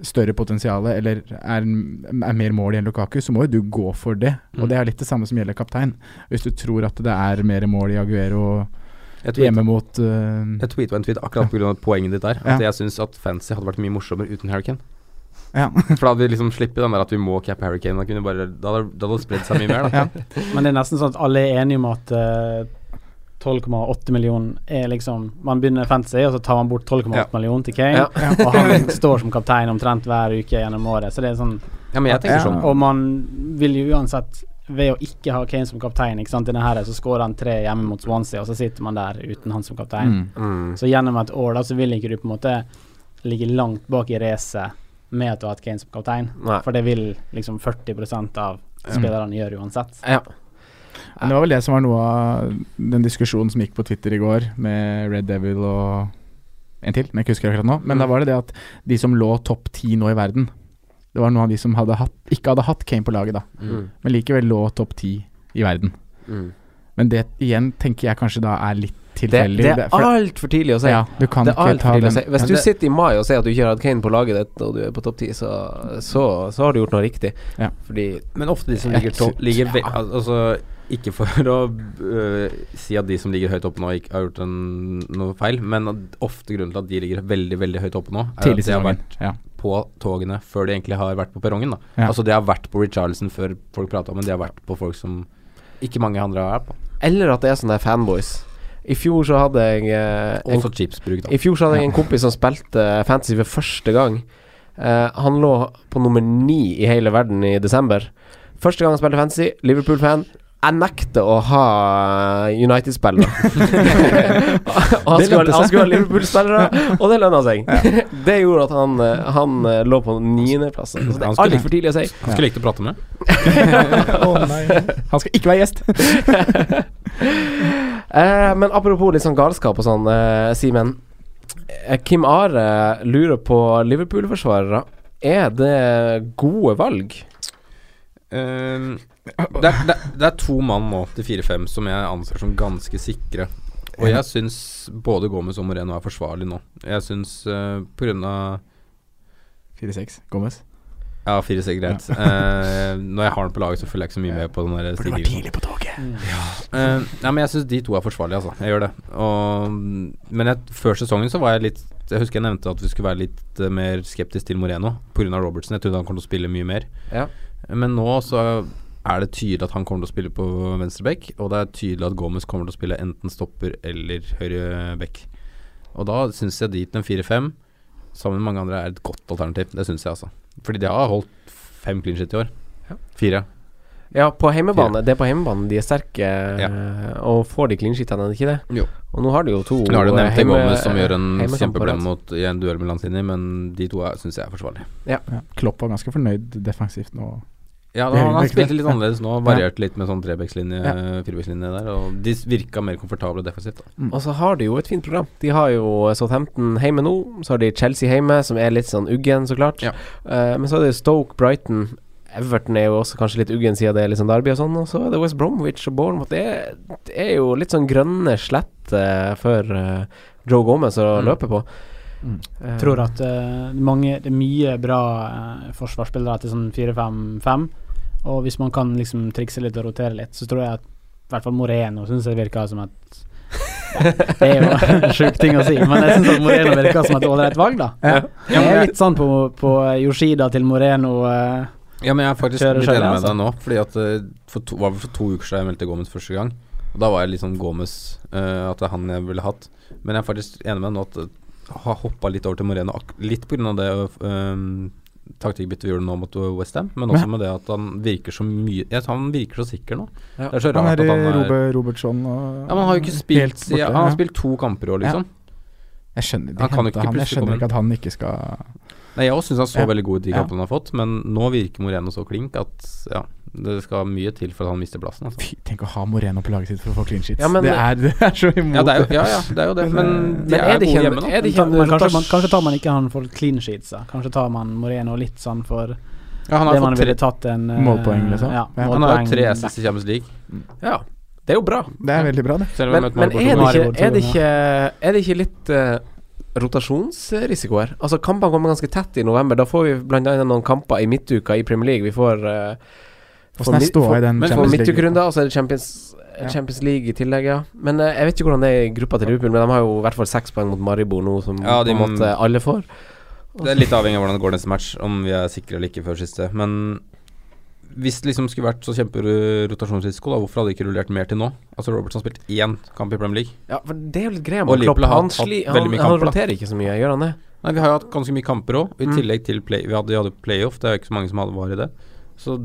Speaker 4: større potensial eller er, er mer mål i en Lukaku, så må jo du gå for det.
Speaker 5: Mm.
Speaker 4: Og det er litt det samme som gjelder kaptein. Hvis du tror at det er mer mål i Aguero
Speaker 5: Jeg tweetet-
Speaker 4: hjemme mot eh,
Speaker 5: Jeg tweeta en tweet akkurat pga. poenget ditt der. At
Speaker 4: Ja.
Speaker 5: jeg syns at fantasy hadde vært mye morsommere uten Harry Kane.
Speaker 4: Ja.
Speaker 5: For da hadde vi liksom sluppet den der at vi må cappe Harry Kane. Da, kunne vi bare, da hadde da hadde det spredd seg mye mer, da.
Speaker 4: Ja.
Speaker 2: Men det er nesten sånn at alle er enige om at eh, 12,8 millioner er liksom Man begynner fancy, og så tar man bort 12,8
Speaker 5: Ja.
Speaker 2: millioner til Kane. (laughs) Og han står som kaptein omtrent hver uke gjennom året. Så det er sånn
Speaker 5: ja, men jeg tenker sånn.
Speaker 2: Og man vil jo uansett ved å ikke ha Kane som kaptein, ikke sant, i denne her, så skårer han tre hjemme mot Swansea, og så sitter man der uten han som
Speaker 4: Mm.
Speaker 2: kaptein.
Speaker 5: Mm.
Speaker 2: Så gjennom et år da, så vil ikke du på en måte ligge langt bak i racet med at du har hatt Kane som kaptein,
Speaker 3: Nei.
Speaker 2: for det vil liksom 40 av spillerne gjøre uansett.
Speaker 3: Ja.
Speaker 4: Men det var vel det som var noe av den diskusjonen som gikk på Twitter i går, med Red Devil og en til, men jeg husker ikke akkurat nå.
Speaker 3: Mm.
Speaker 4: Men da var det det at de som lå topp ti nå i verden, det var noen av de som hadde hatt, ikke hadde hatt Kane på laget da,
Speaker 3: Mm.
Speaker 4: men likevel lå topp ti i verden.
Speaker 3: Mm.
Speaker 4: Men det igjen tenker jeg kanskje da er litt
Speaker 3: Det,
Speaker 4: tilfeldig.
Speaker 3: det er altfor tidlig å si.
Speaker 4: ja, du kan
Speaker 3: Det er
Speaker 4: ikke
Speaker 3: alt
Speaker 4: ta
Speaker 3: for tidlig å
Speaker 4: den
Speaker 3: si. Hvis
Speaker 4: Ja,
Speaker 3: du
Speaker 4: det-
Speaker 3: sitter i mai og sier at du ikke har hatt Kane på laget ditt, og du er på topp ti, så, så, så har du gjort noe riktig.
Speaker 4: Ja.
Speaker 3: Fordi
Speaker 5: Men ofte de som ligger topp ligger ve al- Altså ikke for (laughs) å øh, si at de som ligger høyt oppe nå, ikke har gjort en, noe feil, men at ofte grunnen til at de ligger veldig veldig høyt oppe nå, er at
Speaker 4: tidlig i
Speaker 5: de har
Speaker 4: sesongen.
Speaker 5: vært
Speaker 4: Ja.
Speaker 5: på togene før de egentlig har vært på perrongen. da
Speaker 4: Ja.
Speaker 5: Altså De har vært på Richarlison før folk prata om det, de har vært på folk som ikke mange andre har vært på.
Speaker 3: Eller at det er sånne der fanboys. I fjor så hadde jeg eh, en,
Speaker 5: Også chipsbruk, da.
Speaker 3: I fjor så hadde jeg en kompis som spilte eh, fantasy for første gang. Eh, han lå på nummer ni i hele verden i desember. Første gang han spilte fantasy, Liverpool-fan. Jeg nekter å ha eh,
Speaker 4: (laughs)
Speaker 3: United-spillere. og han
Speaker 4: Det
Speaker 3: skulle,
Speaker 4: lønte
Speaker 3: ha-
Speaker 4: seg.
Speaker 3: han skulle ha Liverpool-spillere, og det lønna seg. (laughs) det gjorde at han, eh, han eh, lå på niendeplass. Så det er
Speaker 5: Han skulle-
Speaker 3: altfor tidlig å si.
Speaker 5: Han skulle likt å prate med.
Speaker 4: Han skal ikke være gjest!
Speaker 3: Eh, men apropos litt sånn galskap og sånn, eh, Simen. Eh, Kim Are lurer på Liverpool-forsvarere. Er det gode valg?
Speaker 5: Ehm, det, er, det, er, det er to mann nå til 4-5 som jeg anser som ganske sikre. Og jeg syns både Gomez og Moreno er forsvarlig nå. Jeg syns uh, på grunn av
Speaker 4: 4-6, Gomez.
Speaker 5: Ja, 4-6 er greit. Eh, når jeg har den på laget, så følger jeg ikke så mye med på den der stigningen.
Speaker 4: på toget.
Speaker 5: Eh, nei, men jeg syns de to er forsvarlige, altså. Jeg gjør det. Og, men jeg, før sesongen så var jeg litt Jeg husker jeg nevnte at vi skulle være litt eh, mer skeptisk til Moreno pga. Robertson. Jeg trodde han kom til å spille mye mer.
Speaker 3: Ja.
Speaker 5: Men nå så er det tydelig at han kommer til å spille på venstreback, og det er tydelig at Gomez kommer til å spille enten stopper eller høyreback. Og da syns jeg dit en 4-5 sammen med mange andre er et godt alternativ. Det syns jeg, altså. Fordi de har holdt fem clean shit i år. Fire.
Speaker 3: Ja, på heimebane. Det er på heimebane de er sterke, eh, og får de clean sheetene, er det ikke det?
Speaker 5: Jo.
Speaker 3: Og nå har de jo to
Speaker 5: Nå har du
Speaker 3: eh,
Speaker 5: nevnt
Speaker 3: heime-
Speaker 5: Gomez som gjør en
Speaker 3: heimekamper,
Speaker 5: kjempeblem
Speaker 3: altså.
Speaker 5: mot, i en duell med Lanzini, men de to syns jeg er forsvarlig.
Speaker 4: Ja. Klopp var ganske fornøyd defensivt nå.
Speaker 5: Ja,
Speaker 4: Det er
Speaker 5: da, han
Speaker 4: virkelig
Speaker 5: spilte
Speaker 4: det.
Speaker 5: litt annerledes nå, varierte litt med sånn trebekslinje,
Speaker 4: Ja.
Speaker 5: firebekslinje der, og de virka mer komfortable defensivt. da.
Speaker 3: Og så har de jo et fint program. De har jo eh, Southampton hjemme nå. Så har de Chelsea hjemme, som er litt sånn uggen, så klart.
Speaker 5: Ja.
Speaker 3: Eh, men så er det Stoke, Brighton Everton er jo også kanskje litt uggen siden det er litt sånn Derby og sånn. Og så er det West Bromwich og Bournemouth. Det er, det er jo litt sånn grønne sletter for eh, Joe Gomez å
Speaker 5: Mm.
Speaker 3: løpe på. Eh,
Speaker 2: Jeg tror at eh, mange, det er mye bra eh, forsvarsspillere til sånn 4-5-5, og hvis man kan liksom trikse litt og rotere litt, så tror jeg at i hvert fall Moreno syns jeg virker som et
Speaker 5: (laughs)
Speaker 2: ja, Det er jo en sjuk ting å si, men jeg syns at Moreno virker som et ålreit valg, da. Jeg er litt sånn på, på Yoshida til Moreno. eh,
Speaker 5: Ja, men jeg er faktisk
Speaker 2: Kjører
Speaker 5: litt
Speaker 2: selv,
Speaker 5: enig med
Speaker 2: altså.
Speaker 5: deg nå, fordi at eh, for to, var vel for to uker siden jeg meldte Gomez første gang. Og da var jeg litt sånn Gomez, eh, at det er han jeg ville hatt. Men jeg er faktisk enig med deg nå at jeg har hoppa litt over til Moreno, ak litt pga. det um, taktikkbyttet vi gjorde nå mot Westham, men også med det at han virker så mye Jeg tror han virker så sikker nå.
Speaker 3: Ja.
Speaker 5: Det er så
Speaker 4: Han er
Speaker 5: rart at han er
Speaker 4: Robert Robertson og
Speaker 5: Ja, men han har jo ikke
Speaker 4: helt
Speaker 5: spilt
Speaker 4: borte,
Speaker 5: ja, Han har
Speaker 4: ja.
Speaker 5: spilt to kamper i år, liksom.
Speaker 4: Jeg skjønner, de
Speaker 5: Han kan jo
Speaker 4: hentet
Speaker 5: ikke
Speaker 4: han, jeg
Speaker 5: plutselig komme
Speaker 4: skjønner
Speaker 5: inn.
Speaker 4: ikke at han ikke skal
Speaker 5: Nei, Jeg òg syns han så
Speaker 4: Ja.
Speaker 5: veldig god ut i de
Speaker 4: Ja.
Speaker 5: kampene han har fått, men nå virker Moreno så klink at ja, det skal mye til for at han mister plassen. Altså.
Speaker 4: Fy, tenk å ha Moreno på laget sitt for å få clean sheets.
Speaker 3: Ja, men-
Speaker 4: det, er, det er så imot.
Speaker 5: Ja, det er jo, ja, ja, det, er jo det. Men de
Speaker 3: Men
Speaker 5: er,
Speaker 3: er det
Speaker 5: gode
Speaker 3: ikke
Speaker 5: hjemme
Speaker 3: en,
Speaker 5: nå.
Speaker 3: er det ikke
Speaker 2: ta-
Speaker 3: en
Speaker 2: men kanskje,
Speaker 3: rotas-
Speaker 2: man, kanskje tar man ikke han for clean sheets, da. Kanskje tar man Moreno litt sånn for
Speaker 5: Ja, han
Speaker 2: det
Speaker 5: har
Speaker 2: man
Speaker 5: fått tre,
Speaker 2: ville tatt en eh,
Speaker 4: Målpoeng, liksom. Ja.
Speaker 2: Ja,
Speaker 5: han har jo
Speaker 2: målpoeng
Speaker 5: tre
Speaker 2: back.
Speaker 5: assists i Champions League.
Speaker 3: Ja, det er jo bra.
Speaker 4: Det er veldig bra, det.
Speaker 5: Selv
Speaker 3: Men,
Speaker 5: om jeg møtte
Speaker 3: men
Speaker 5: Maribor
Speaker 3: er,
Speaker 5: to
Speaker 3: det ikke, er,
Speaker 5: ganger.
Speaker 3: det ikke, er det ikke litt eh, rotasjonsrisiko her. Altså Kampene kommer ganske tett i november. Da får vi blant annet noen kamper i midtuka i Premier League. Vi får eh,
Speaker 4: Hvordan er
Speaker 3: mid-
Speaker 4: ståa i
Speaker 3: får-
Speaker 4: den
Speaker 3: men
Speaker 4: Champions
Speaker 3: får
Speaker 4: League?
Speaker 3: midtukerunder, og så er det Champions, Champions League i tillegg, ja. Men eh, jeg vet ikke hvordan det er i gruppa til Liverpool, men de har jo i hvert fall seks poeng mot Maribor nå, som
Speaker 5: Ja, de-
Speaker 3: på en måte alle får.
Speaker 5: Det er litt avhengig av hvordan det går neste match, om vi er sikre eller ikke før siste. Men hvis det liksom skulle vært så kjemperotasjonsrisiko, da, hvorfor hadde de ikke rullert mer til nå? Altså Robertson har spilt én kamp i Premier League.
Speaker 3: Ja, for det er jo litt greia
Speaker 5: Og
Speaker 3: med Klopp.
Speaker 5: Liverpool har
Speaker 3: Han,
Speaker 5: hatt
Speaker 3: sli, han,
Speaker 5: veldig mye
Speaker 3: han
Speaker 5: kamper, da.
Speaker 3: roterer ikke så mye, gjør han det?
Speaker 5: Nei, vi har jo hatt ganske mye kamper òg, i
Speaker 3: Mm.
Speaker 5: tillegg til play, vi hadde, de hadde playoff. Det er jo ikke så mange som hadde var i det. Så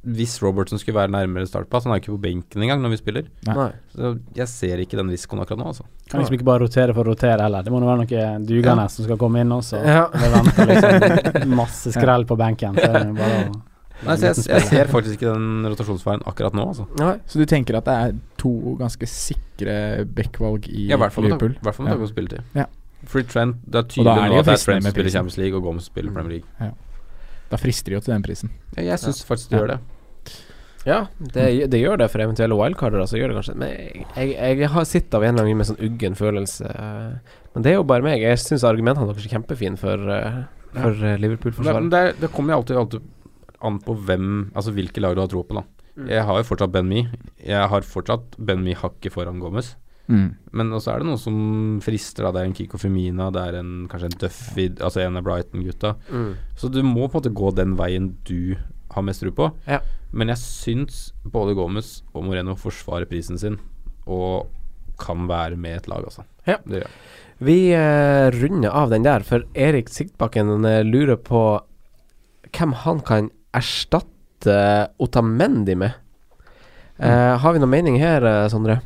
Speaker 5: hvis Robertson skulle være nærmere startpass Han er jo ikke på benken engang når vi spiller.
Speaker 4: Nei.
Speaker 3: Nei.
Speaker 5: Så jeg ser ikke den risikoen akkurat nå, altså.
Speaker 2: Kan liksom ikke bare rotere for å rotere heller. Det må nå være noen dugende
Speaker 5: Ja.
Speaker 2: som skal komme inn også.
Speaker 3: Ja.
Speaker 2: Det venter
Speaker 4: (laughs)
Speaker 2: liksom masse skrell på benken. Så er det bare å
Speaker 5: Nei, så jeg, jeg ser faktisk ikke den rotasjonsveien akkurat nå, altså.
Speaker 3: Nei.
Speaker 4: Så du tenker at det er to ganske sikre backvalg i
Speaker 5: Ja, i hvert fall med
Speaker 4: Liverpool?
Speaker 5: tanke- i hvert fall med
Speaker 4: Ja.
Speaker 5: tanke på spilletid.
Speaker 4: Ja.
Speaker 5: Free Trent Det er
Speaker 4: da
Speaker 5: tydelig
Speaker 4: er de
Speaker 5: nå
Speaker 4: jo
Speaker 5: at det er
Speaker 4: fristende
Speaker 5: Trent som
Speaker 4: med
Speaker 5: spiller
Speaker 4: prisen.
Speaker 5: Champions League, og Gomes spiller Premier League.
Speaker 4: Da frister de jo til den prisen.
Speaker 5: Ja, jeg syns faktisk du
Speaker 4: Ja.
Speaker 5: gjør det.
Speaker 3: Ja, det, det gjør det for eventuelle wildcarder. Altså, gjør det kanskje Men jeg, jeg, jeg har sittet av en eller annen grunn med sånn uggen følelse. eh, Men det er jo bare meg. Jeg syns argumentene deres er kjempefine for, eh, for eh,
Speaker 5: Det, men
Speaker 3: Liverpool-forsvaret.
Speaker 5: det, er- det kommer jo alltid, alltid an på hvem Altså hvilke lag du har tro på, da.
Speaker 3: Mm.
Speaker 5: Jeg har jo fortsatt Ben Me. Jeg har fortsatt Ben Me hakket foran Gomez.
Speaker 4: Mm.
Speaker 5: Men også er det noe som frister, da. Det er en Kiko Femina, det er en, kanskje en Duffy, altså en av Brighton-gutta.
Speaker 3: Mm.
Speaker 5: Så du må på en måte gå den veien du har mest tro på.
Speaker 3: Ja.
Speaker 5: Men jeg syns både Gomez og Moreno forsvarer prisen sin, og kan være med et lag, altså.
Speaker 3: Ja.
Speaker 5: Det gjør jeg.
Speaker 3: Vi eh, runder av den der, for Erik Siktbakken eh, lurer på hvem han kan erstatte Otamendi med. Eh, har vi noen mening her, eh, Sondre?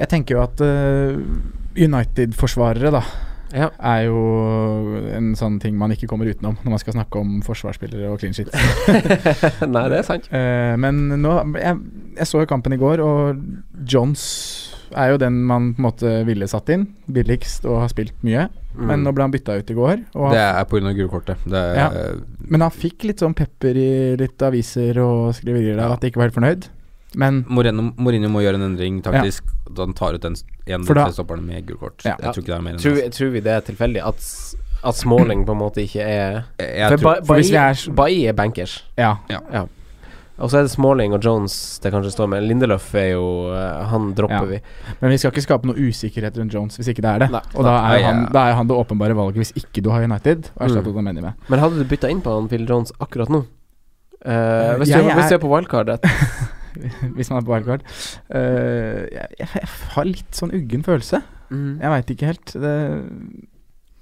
Speaker 4: Jeg tenker jo at (laughs) eh, United-forsvarere, da,
Speaker 3: Ja.
Speaker 4: er jo en sånn ting man ikke kommer utenom når man skal snakke om forsvarsspillere og clean shit.
Speaker 2: Mm.
Speaker 3: Nei, det er sant.
Speaker 4: Eh, men nå jeg, jeg så jo kampen i går, og Johns er jo den man på en måte ville satt inn. Billigst og har spilt mye. Men nå ble han bytta ut i går. Og
Speaker 5: Mm. Det er pga. gulkortet. Det er
Speaker 4: Ja. Men han fikk litt sånn pepper i litt aviser og skriverier der, at de ikke var helt fornøyd. Men
Speaker 5: Moreno, Mourinho må gjøre en endring taktisk. Da han tar ut den en
Speaker 4: For da-
Speaker 5: stopperen med gult kort.
Speaker 4: Ja.
Speaker 5: Jeg tror ikke det er mer enn
Speaker 3: Tror,
Speaker 5: det.
Speaker 3: vi- tror vi det er tilfeldig at, s- at Småling på en måte ikke er
Speaker 5: Jeg,
Speaker 3: For,
Speaker 5: jeg tror,
Speaker 3: Ba-
Speaker 4: for hvis vi
Speaker 3: Bailly-
Speaker 4: er s-
Speaker 3: Bailly er bankers.
Speaker 4: ja.
Speaker 3: Og så er det Smalling og Jones det kanskje står med. Lindeløf er jo eh, Han dropper
Speaker 4: Ja.
Speaker 3: vi.
Speaker 4: Men vi skal ikke skape noe usikkerhet rundt Jones hvis ikke det er det.
Speaker 3: Nei.
Speaker 4: og da
Speaker 5: Nei,
Speaker 4: er,
Speaker 5: ja.
Speaker 4: han, da er han det åpenbare valget hvis ikke du har United. Og erstatter
Speaker 3: Mm.
Speaker 4: Otamendi med.
Speaker 3: Men hadde du bytta inn på han Phil Jones akkurat nå? Eh, hvis,
Speaker 4: Jeg
Speaker 3: du, hvis
Speaker 4: er-
Speaker 3: du er på wildcardet
Speaker 4: (laughs) Hvis man er på wildcard. Eh, jeg, jeg, jeg har litt sånn uggen følelse.
Speaker 3: mm.
Speaker 4: Jeg veit ikke helt. Det,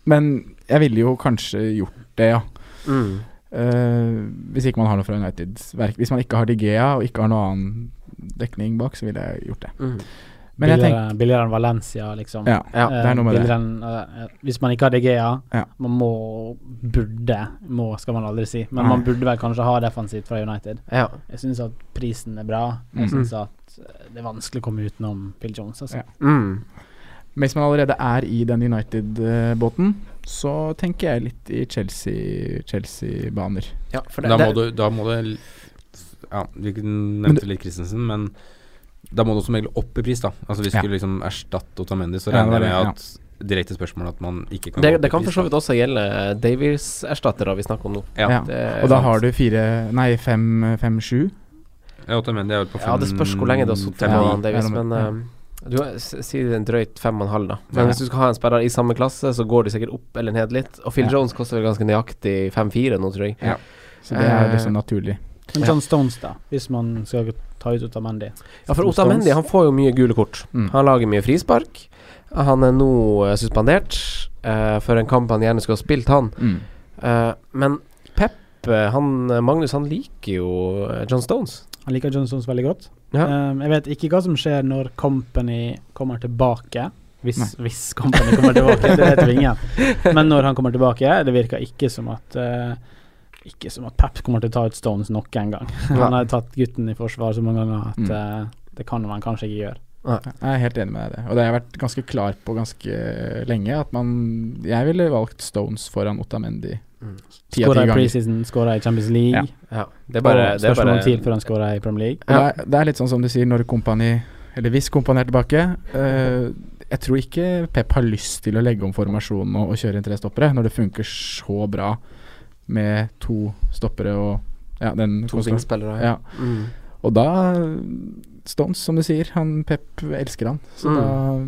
Speaker 4: men jeg ville jo kanskje gjort det, ja.
Speaker 3: Mm.
Speaker 4: Eh, hvis ikke man har noe fra United. Verk- Hvis man ikke har Digea og ikke har noe annen dekning bak, så ville jeg gjort det.
Speaker 3: Mm.
Speaker 4: Men jeg tenker
Speaker 2: billigere, billigere enn Valencia, liksom.
Speaker 4: ja,
Speaker 3: Ja,
Speaker 4: det er noe med
Speaker 2: Eh,
Speaker 4: det.
Speaker 2: billigere enn, eh, hvis man ikke har DGA,
Speaker 4: Ja.
Speaker 2: man må Burde, må skal man aldri si, men
Speaker 4: Nei.
Speaker 2: man burde vel kanskje ha defensivt fra United.
Speaker 3: Ja.
Speaker 2: Jeg syns at prisen er bra. Jeg
Speaker 3: Mm.
Speaker 2: syns at eh, det er vanskelig å komme utenom Bill Jones, altså.
Speaker 4: Ja.
Speaker 3: Mm.
Speaker 4: Men Hvis man allerede er i den United-båten, så tenker jeg litt i Chelsea- Chelsea-baner.
Speaker 3: ja for det,
Speaker 5: da, må
Speaker 3: det-
Speaker 5: du, da må du Ja, vi nevnte litt Christensen, men da må du som regel opp i pris, da. Altså Hvis du
Speaker 4: Ja.
Speaker 5: skulle liksom erstatte Otamendi, så
Speaker 4: Ja, det var
Speaker 5: regner jeg
Speaker 4: det,
Speaker 5: med at direkte spørsmål at man ikke kan
Speaker 3: det,
Speaker 5: gå
Speaker 3: det kan
Speaker 5: opp
Speaker 3: for
Speaker 5: i pris.
Speaker 3: så
Speaker 5: da.
Speaker 3: vidt også gjelde Davies-erstattere vi snakker om nå.
Speaker 4: Ja.
Speaker 5: Ja. Ja.
Speaker 3: Det er
Speaker 4: og da
Speaker 3: sant.
Speaker 4: har du fire Nei, fem, fem sju.
Speaker 5: Otamendi er vel på fem
Speaker 3: Ja, det spørs hvor lenge det har sittet
Speaker 5: fem-
Speaker 4: Ja.
Speaker 3: på
Speaker 5: ni.
Speaker 3: Davies,
Speaker 4: Ja,
Speaker 3: men
Speaker 4: ja.
Speaker 3: um, du har- s- si det er en drøyt fem og en halv, da. Men
Speaker 4: Ja.
Speaker 3: hvis du skal ha en sperrer i samme klasse, så går de sikkert opp eller ned litt. Og Phil
Speaker 4: Ja.
Speaker 3: Jones koster vel ganske nøyaktig 5-4 nå, tror jeg.
Speaker 4: Ja. Så det er
Speaker 3: Eh,
Speaker 4: liksom naturlig.
Speaker 2: Men John Stones, da, hvis man skal ta ut Otamendi.
Speaker 3: Ja, for
Speaker 2: Som
Speaker 3: Otamendi
Speaker 2: Stones.
Speaker 3: han får jo mye gule kort.
Speaker 4: Mm.
Speaker 3: Han lager mye frispark. Han er nå eh, suspendert eh, for en kamp han gjerne skulle ha spilt, han.
Speaker 4: Mm.
Speaker 3: Eh, men Pep, eh, han eh, Magnus, han liker jo eh, John Stones.
Speaker 2: Han liker John Stones veldig godt.
Speaker 3: Ja.
Speaker 2: Um, jeg vet ikke hva som skjer når Company kommer tilbake. Hvis, hvis Company kommer tilbake, det vet vi ingen. Men når han kommer tilbake, det virker ikke som at eh, Ikke som at Pep kommer til å ta ut Stones nok en gang. (laughs) Han har tatt gutten i forsvar så mange ganger
Speaker 4: Mm.
Speaker 2: at eh, det kan man kanskje ikke gjøre.
Speaker 4: Jeg er helt enig med deg i det. Og det har jeg vært ganske klar på ganske eh, lenge. At man Jeg ville valgt Stones foran Otamendi.
Speaker 3: Mm.
Speaker 4: Ti av ti
Speaker 2: Skåra i
Speaker 4: ganger.
Speaker 2: preseason, skåra i Champions League.
Speaker 4: Ja.
Speaker 3: Ja. Det er bare,
Speaker 2: og
Speaker 3: det er
Speaker 2: spørsmål om tid
Speaker 3: bare
Speaker 2: før han skåra i Premier League.
Speaker 4: Og Det, er, det er litt sånn som du sier, når kompani Eller hvis kompani er tilbake eh, Jeg tror ikke Pep har lyst til å legge om formasjonen og, og kjøre inn tre stoppere, når det funker så bra med to stoppere og ja, den
Speaker 3: To wingspillere,
Speaker 4: Ja.
Speaker 3: ja. Mm.
Speaker 4: Og da Stones, som du sier. Han mm, Pep elsker han. Så
Speaker 3: Mm.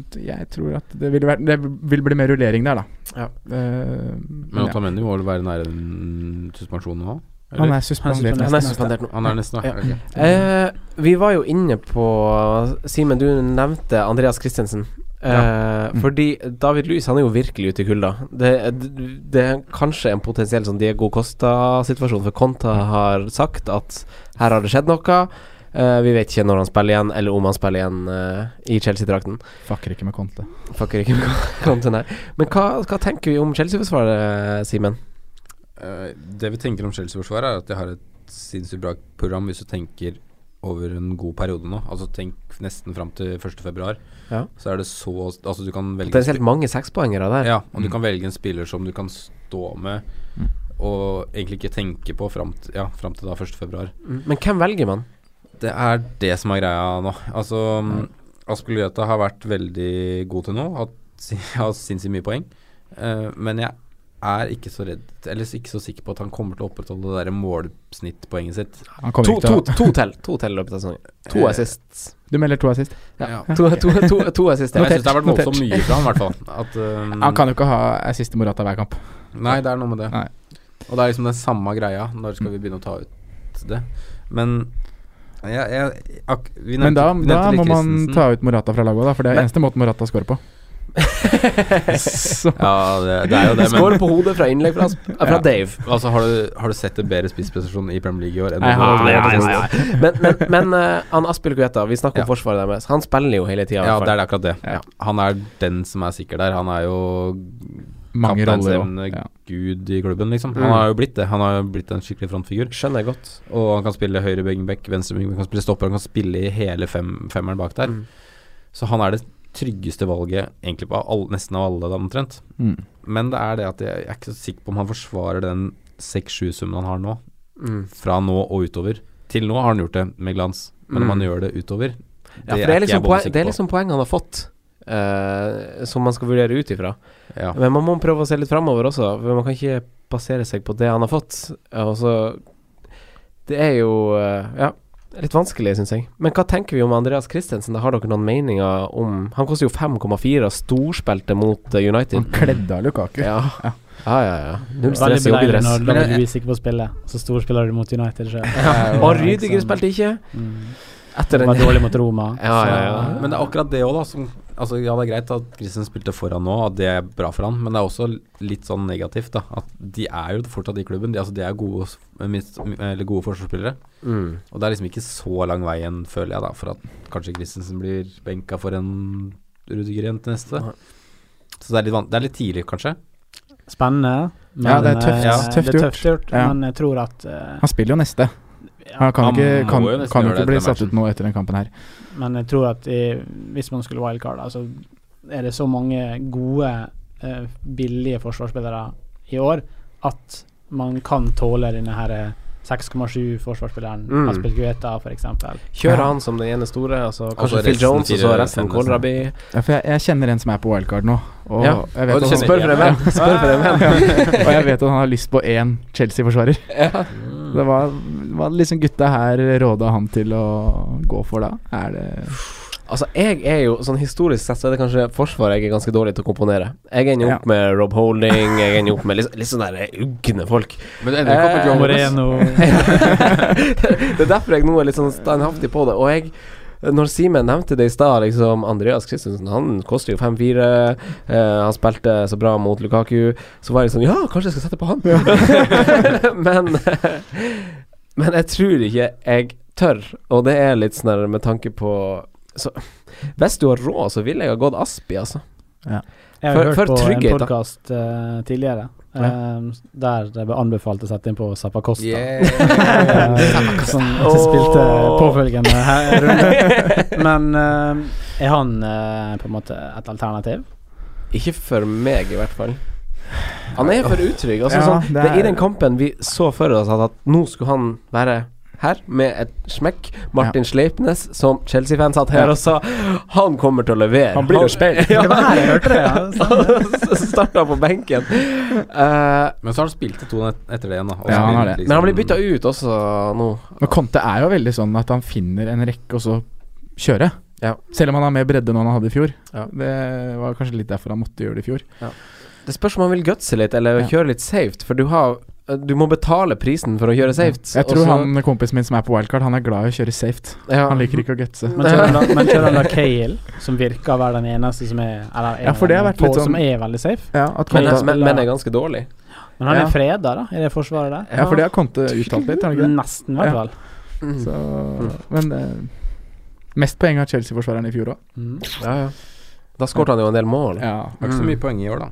Speaker 4: da Jeg tror at det vil, være, det vil bli mer rullering der, da. Eh,
Speaker 5: Men Otamendi må vel være nære en suspensjon nå? eller?
Speaker 4: Han er suspendert nesten.
Speaker 3: Han er suspendert nå.
Speaker 5: Han er nesten, ja.
Speaker 3: Ja.
Speaker 5: ok.
Speaker 4: (laughs)
Speaker 3: Eh, vi var jo inne på Simen, du nevnte Andreas Christensen. Eh, Fordi David Luiz han er jo virkelig ute i kulda. Det, det, det er kanskje en potensiell sånn Diego Costa-situasjon, for Conta har sagt at her har det skjedd noe. Eh, vi vet ikke når han spiller igjen, eller om han spiller igjen eh, i Chelsea-drakten.
Speaker 4: Fucker ikke med Conte.
Speaker 3: Fucker ikke med (laughs) Conte, nei. Men hva, hva tenker vi om Chelsea-forsvaret, Simen?
Speaker 5: Eh, det vi tenker om Chelsea-forsvaret, er at de har et sinnssykt bra program hvis du tenker over en god periode nå. Altså tenk nesten fram til 1. februar.
Speaker 3: Ja.
Speaker 5: Så er det så Altså du kan velge
Speaker 3: Potensielt mange sekspoengere der.
Speaker 5: Ja, Mm. og du kan velge en spiller som du kan stå med og egentlig ikke tenke på fram til, ja, fram til da 1. februar.
Speaker 3: Men hvem velger man?
Speaker 5: Det er det som er greia nå. Altså, Aspeløta har vært veldig god til nå, hatt sin- (laughs) har sinnssykt mye poeng. Eh, men jeg er ikke så redd Eller ikke så sikker på at han kommer til å opprettholde det der målsnittpoenget sitt.
Speaker 4: Han kommer
Speaker 3: To,
Speaker 4: ikke til
Speaker 3: to,
Speaker 4: å
Speaker 3: to til To til i løpet av sesongen. To assists.
Speaker 4: Du melder to assist?
Speaker 3: Ja. To, to, to, to assist.
Speaker 5: Men (laughs)
Speaker 4: Notert,
Speaker 5: jeg syns det har vært
Speaker 4: notert.
Speaker 5: voldsomt mye fra han, i hvert fall. At,
Speaker 4: (laughs)
Speaker 5: eh,
Speaker 4: Han kan jo ikke ha assist til Morata hver kamp.
Speaker 5: Nei, det er noe med det.
Speaker 4: Nei.
Speaker 5: Og det er liksom den samme greia. Når skal vi begynne å ta ut det? Men jeg, jeg, ak, vi nevnte,
Speaker 4: Men da,
Speaker 5: vi nevnte
Speaker 4: da
Speaker 5: litt
Speaker 4: må man
Speaker 5: Christensen.
Speaker 4: ta ut Morata fra laget òg, da. For det er eneste måten Morata scorer på.
Speaker 5: (laughs)
Speaker 4: Så
Speaker 5: Ja, det, det er jo det, men
Speaker 3: Skår på hodet fra innlegg fra,
Speaker 5: (laughs)
Speaker 3: fra Dave.
Speaker 5: Altså, har du, har du sett en bedre spissprestasjon i Premier League i år enn
Speaker 4: Nei,
Speaker 5: det var
Speaker 4: nei,
Speaker 5: i år?
Speaker 4: nei, nei,
Speaker 3: Men, men, men eh, han Aspil Guetta, vi snakker om forsvaret deres. Han spiller jo hele tida.
Speaker 5: Ja, det er akkurat det.
Speaker 4: Ja.
Speaker 5: Han er den som er sikker der. Han er jo
Speaker 4: mange roller
Speaker 5: kapteinsevne
Speaker 4: òg. Ja.
Speaker 5: gud i klubben, liksom.
Speaker 3: Mm.
Speaker 5: Han har jo blitt det. Han har jo blitt en skikkelig frontfigur.
Speaker 3: Skjønner jeg godt.
Speaker 5: Og han kan spille høyre wingback, venstre wingback, han kan spille stopper, han kan spille i hele fem, femmeren bak der.
Speaker 3: Mm.
Speaker 5: Så han er det tryggeste valget egentlig på all, nesten av alle, da, omtrent.
Speaker 4: Mm.
Speaker 5: Men det er det at jeg, jeg er ikke så sikker på om han forsvarer den 6-7-summen han har nå.
Speaker 3: Mm.
Speaker 5: Fra nå og utover. Til nå har han gjort det med glans, men
Speaker 3: Mm.
Speaker 5: om han gjør det utover
Speaker 3: Ja, for det er
Speaker 5: er ikke jeg
Speaker 3: liksom,
Speaker 5: både
Speaker 3: poeng,
Speaker 5: sikker
Speaker 3: det er
Speaker 5: på.
Speaker 3: liksom poeng han har fått, eh, som man skal vurdere ut ifra.
Speaker 5: ja.
Speaker 3: Men man må prøve å se litt framover også, for man kan ikke basere seg på det han har fått. Og så Det er jo eh, ja, litt vanskelig, syns jeg. Men hva tenker vi om Andreas Christensen? Da har dere noen meninger om Han koster jo 5,4 og storspilte mot eh,
Speaker 4: Han
Speaker 3: United.
Speaker 4: kledde av Lukaku.
Speaker 3: Ja. ja, ja. ja. Null
Speaker 2: Veldig
Speaker 3: stress i
Speaker 2: beleilig
Speaker 3: joggedress.
Speaker 2: når
Speaker 5: Men
Speaker 2: David
Speaker 5: jeg-
Speaker 2: Luiz ikke får spille. Så storspiller du mot United sjøl.
Speaker 4: (laughs)
Speaker 3: Og Rydiger spilte ikke. Etter
Speaker 2: Mm. Var
Speaker 3: den
Speaker 2: dårlig mot Roma.
Speaker 3: Ja, ja, ja.
Speaker 5: Men det er akkurat det òg, da. Som, altså, ja, det er greit at Christian spilte foran nå, at det er bra for han, men det er også litt sånn negativt, da. At de er jo fortsatt i klubben. De, altså, de er gode, s- mis- eller gode forsvarsspillere.
Speaker 3: Mm.
Speaker 5: Og det er liksom ikke så lang vei igjen, føler jeg, da, for at kanskje Christensen blir benka for en Rudiger igjen til neste.
Speaker 3: Nei.
Speaker 5: Så det er litt, van det er litt tidlig, kanskje.
Speaker 2: Spennende. Men,
Speaker 4: Ja, det er tøft-
Speaker 2: eh,
Speaker 4: tøft
Speaker 2: det er tøft gjort.
Speaker 4: Ja.
Speaker 2: Men jeg tror at eh,
Speaker 4: Han spiller jo neste. Han kan
Speaker 5: han
Speaker 4: ikke,
Speaker 5: må
Speaker 4: kan,
Speaker 5: jo nesten
Speaker 4: kan jo
Speaker 5: gjøre
Speaker 4: ikke
Speaker 5: det
Speaker 4: bli
Speaker 5: etter
Speaker 4: satt ut
Speaker 5: matchen.
Speaker 4: nå etter den kampen her.
Speaker 2: Men jeg tror at i, hvis man skulle wildcard, så er det så mange gode, eh, billige forsvarsspillere i år at man kan tåle denne her eh, 6,7 forsvarsspilleren
Speaker 3: Mm.
Speaker 2: Aspil Gueta, f.eks.
Speaker 3: Kjører han som den ene store, altså
Speaker 5: Og så
Speaker 3: kanskje Phil
Speaker 5: resten
Speaker 3: Jones, og så
Speaker 5: fire-
Speaker 3: resten
Speaker 5: fem, liksom.
Speaker 3: Kålrabi.
Speaker 4: Ja, for jeg, jeg kjenner en som er på wildcard nå. Og,
Speaker 3: Ja.
Speaker 4: jeg vet
Speaker 5: Og du
Speaker 4: at han,
Speaker 5: kjenner-
Speaker 3: Spør for en venn! Spør for en venn.
Speaker 4: og jeg vet at han har lyst på én Chelsea-forsvarer. Det var, var liksom gutta her råda han til å gå for da. Er det
Speaker 3: Altså, jeg er jo sånn historisk sett så er det kanskje Forsvaret jeg er ganske dårlig til å komponere. Jeg ender jo opp med Rob Holding, jeg ender jo opp med litt, litt sånne der ugne folk.
Speaker 5: Men det
Speaker 3: ender ikke opp med John
Speaker 5: Eh,
Speaker 2: Moreno
Speaker 3: (laughs) det er derfor jeg nå er litt sånn standhaftig på det. Og jeg når Simen nevnte det i stad, liksom Andreas Christensen, han koster jo 5-4. eh, han spilte så bra mot Lukaku. Så var jeg sånn Ja, kanskje jeg skal sette på han? (laughs) men Men jeg tror ikke jeg tør, og det er litt sånn der med tanke på så, Hvis du har råd, så ville jeg ha gått Aspi, altså.
Speaker 2: Jeg har
Speaker 3: For-
Speaker 2: hørt
Speaker 3: for
Speaker 2: på
Speaker 3: trygghet, da.
Speaker 2: en podkast tidligere eh, der det ble anbefalt å sette inn på Zappa Costa. (laughs) Eh, som spilte påfølgende
Speaker 4: (laughs)
Speaker 2: her runde. Men eh, er han eh, på en måte et alternativ?
Speaker 3: Ikke for meg, i hvert fall. Han er for utrygg. Altså,
Speaker 4: Ja,
Speaker 3: sånn,
Speaker 4: det
Speaker 3: det
Speaker 4: er-
Speaker 3: I den kampen vi så for oss at, at nå skulle han være her med et smekk. Martin Sleipnes, som Chelsea-fan, satt her
Speaker 4: Ja.
Speaker 3: og sa han kommer til å levere.
Speaker 4: Han blir å
Speaker 3: (laughs)
Speaker 4: spille.
Speaker 3: Ja.
Speaker 4: Det var her jeg hørte det,
Speaker 3: Så Starta på benken. Eh,
Speaker 5: Men så har han spilt i to net etter det Liksom- igjen, da. og
Speaker 4: Ja, han har
Speaker 5: spilt
Speaker 4: det.
Speaker 3: men han blir bytta ut også nå.
Speaker 4: Men Conte er jo veldig sånn at han finner en rekke, og så kjøre.
Speaker 3: Ja.
Speaker 4: Selv om han har mer bredde nå enn han hadde i fjor.
Speaker 3: Ja.
Speaker 4: Det var kanskje litt derfor han måtte gjøre det i fjor.
Speaker 3: Det spørs om han vil gutse litt eller
Speaker 4: Ja.
Speaker 3: kjøre litt safe, for du har eh, Du må betale prisen for å kjøre safe.
Speaker 4: Jeg tror
Speaker 3: og så-
Speaker 4: han kompisen min som er på wildcard, han er glad i å kjøre safe.
Speaker 3: ja.
Speaker 4: Han liker ikke å gutse.
Speaker 2: Men kjører han da- men kjører han da Cale, som virker å være den eneste som er eller en
Speaker 4: Ja, for det har
Speaker 2: av
Speaker 4: vært
Speaker 2: de
Speaker 4: litt
Speaker 2: få Som
Speaker 4: sånn-
Speaker 2: er veldig safe.
Speaker 4: Ja, at
Speaker 3: men,
Speaker 4: Conte,
Speaker 2: han-
Speaker 3: men, men er ganske dårlig.
Speaker 2: Men han
Speaker 4: Ja.
Speaker 2: er freda, da, i det forsvaret der.
Speaker 4: ja, for det har Conte uttalt litt, har han ikke det?
Speaker 2: Nesten, i hvert
Speaker 4: Ja.
Speaker 2: fall.
Speaker 3: Mm.
Speaker 4: Så, men eh, mest poeng har Chelsea-forsvareren i fjor òg.
Speaker 3: Ja, ja. Da skåret han jo en del mål.
Speaker 4: Ja.
Speaker 5: Det er ikke så mye poeng i år, da.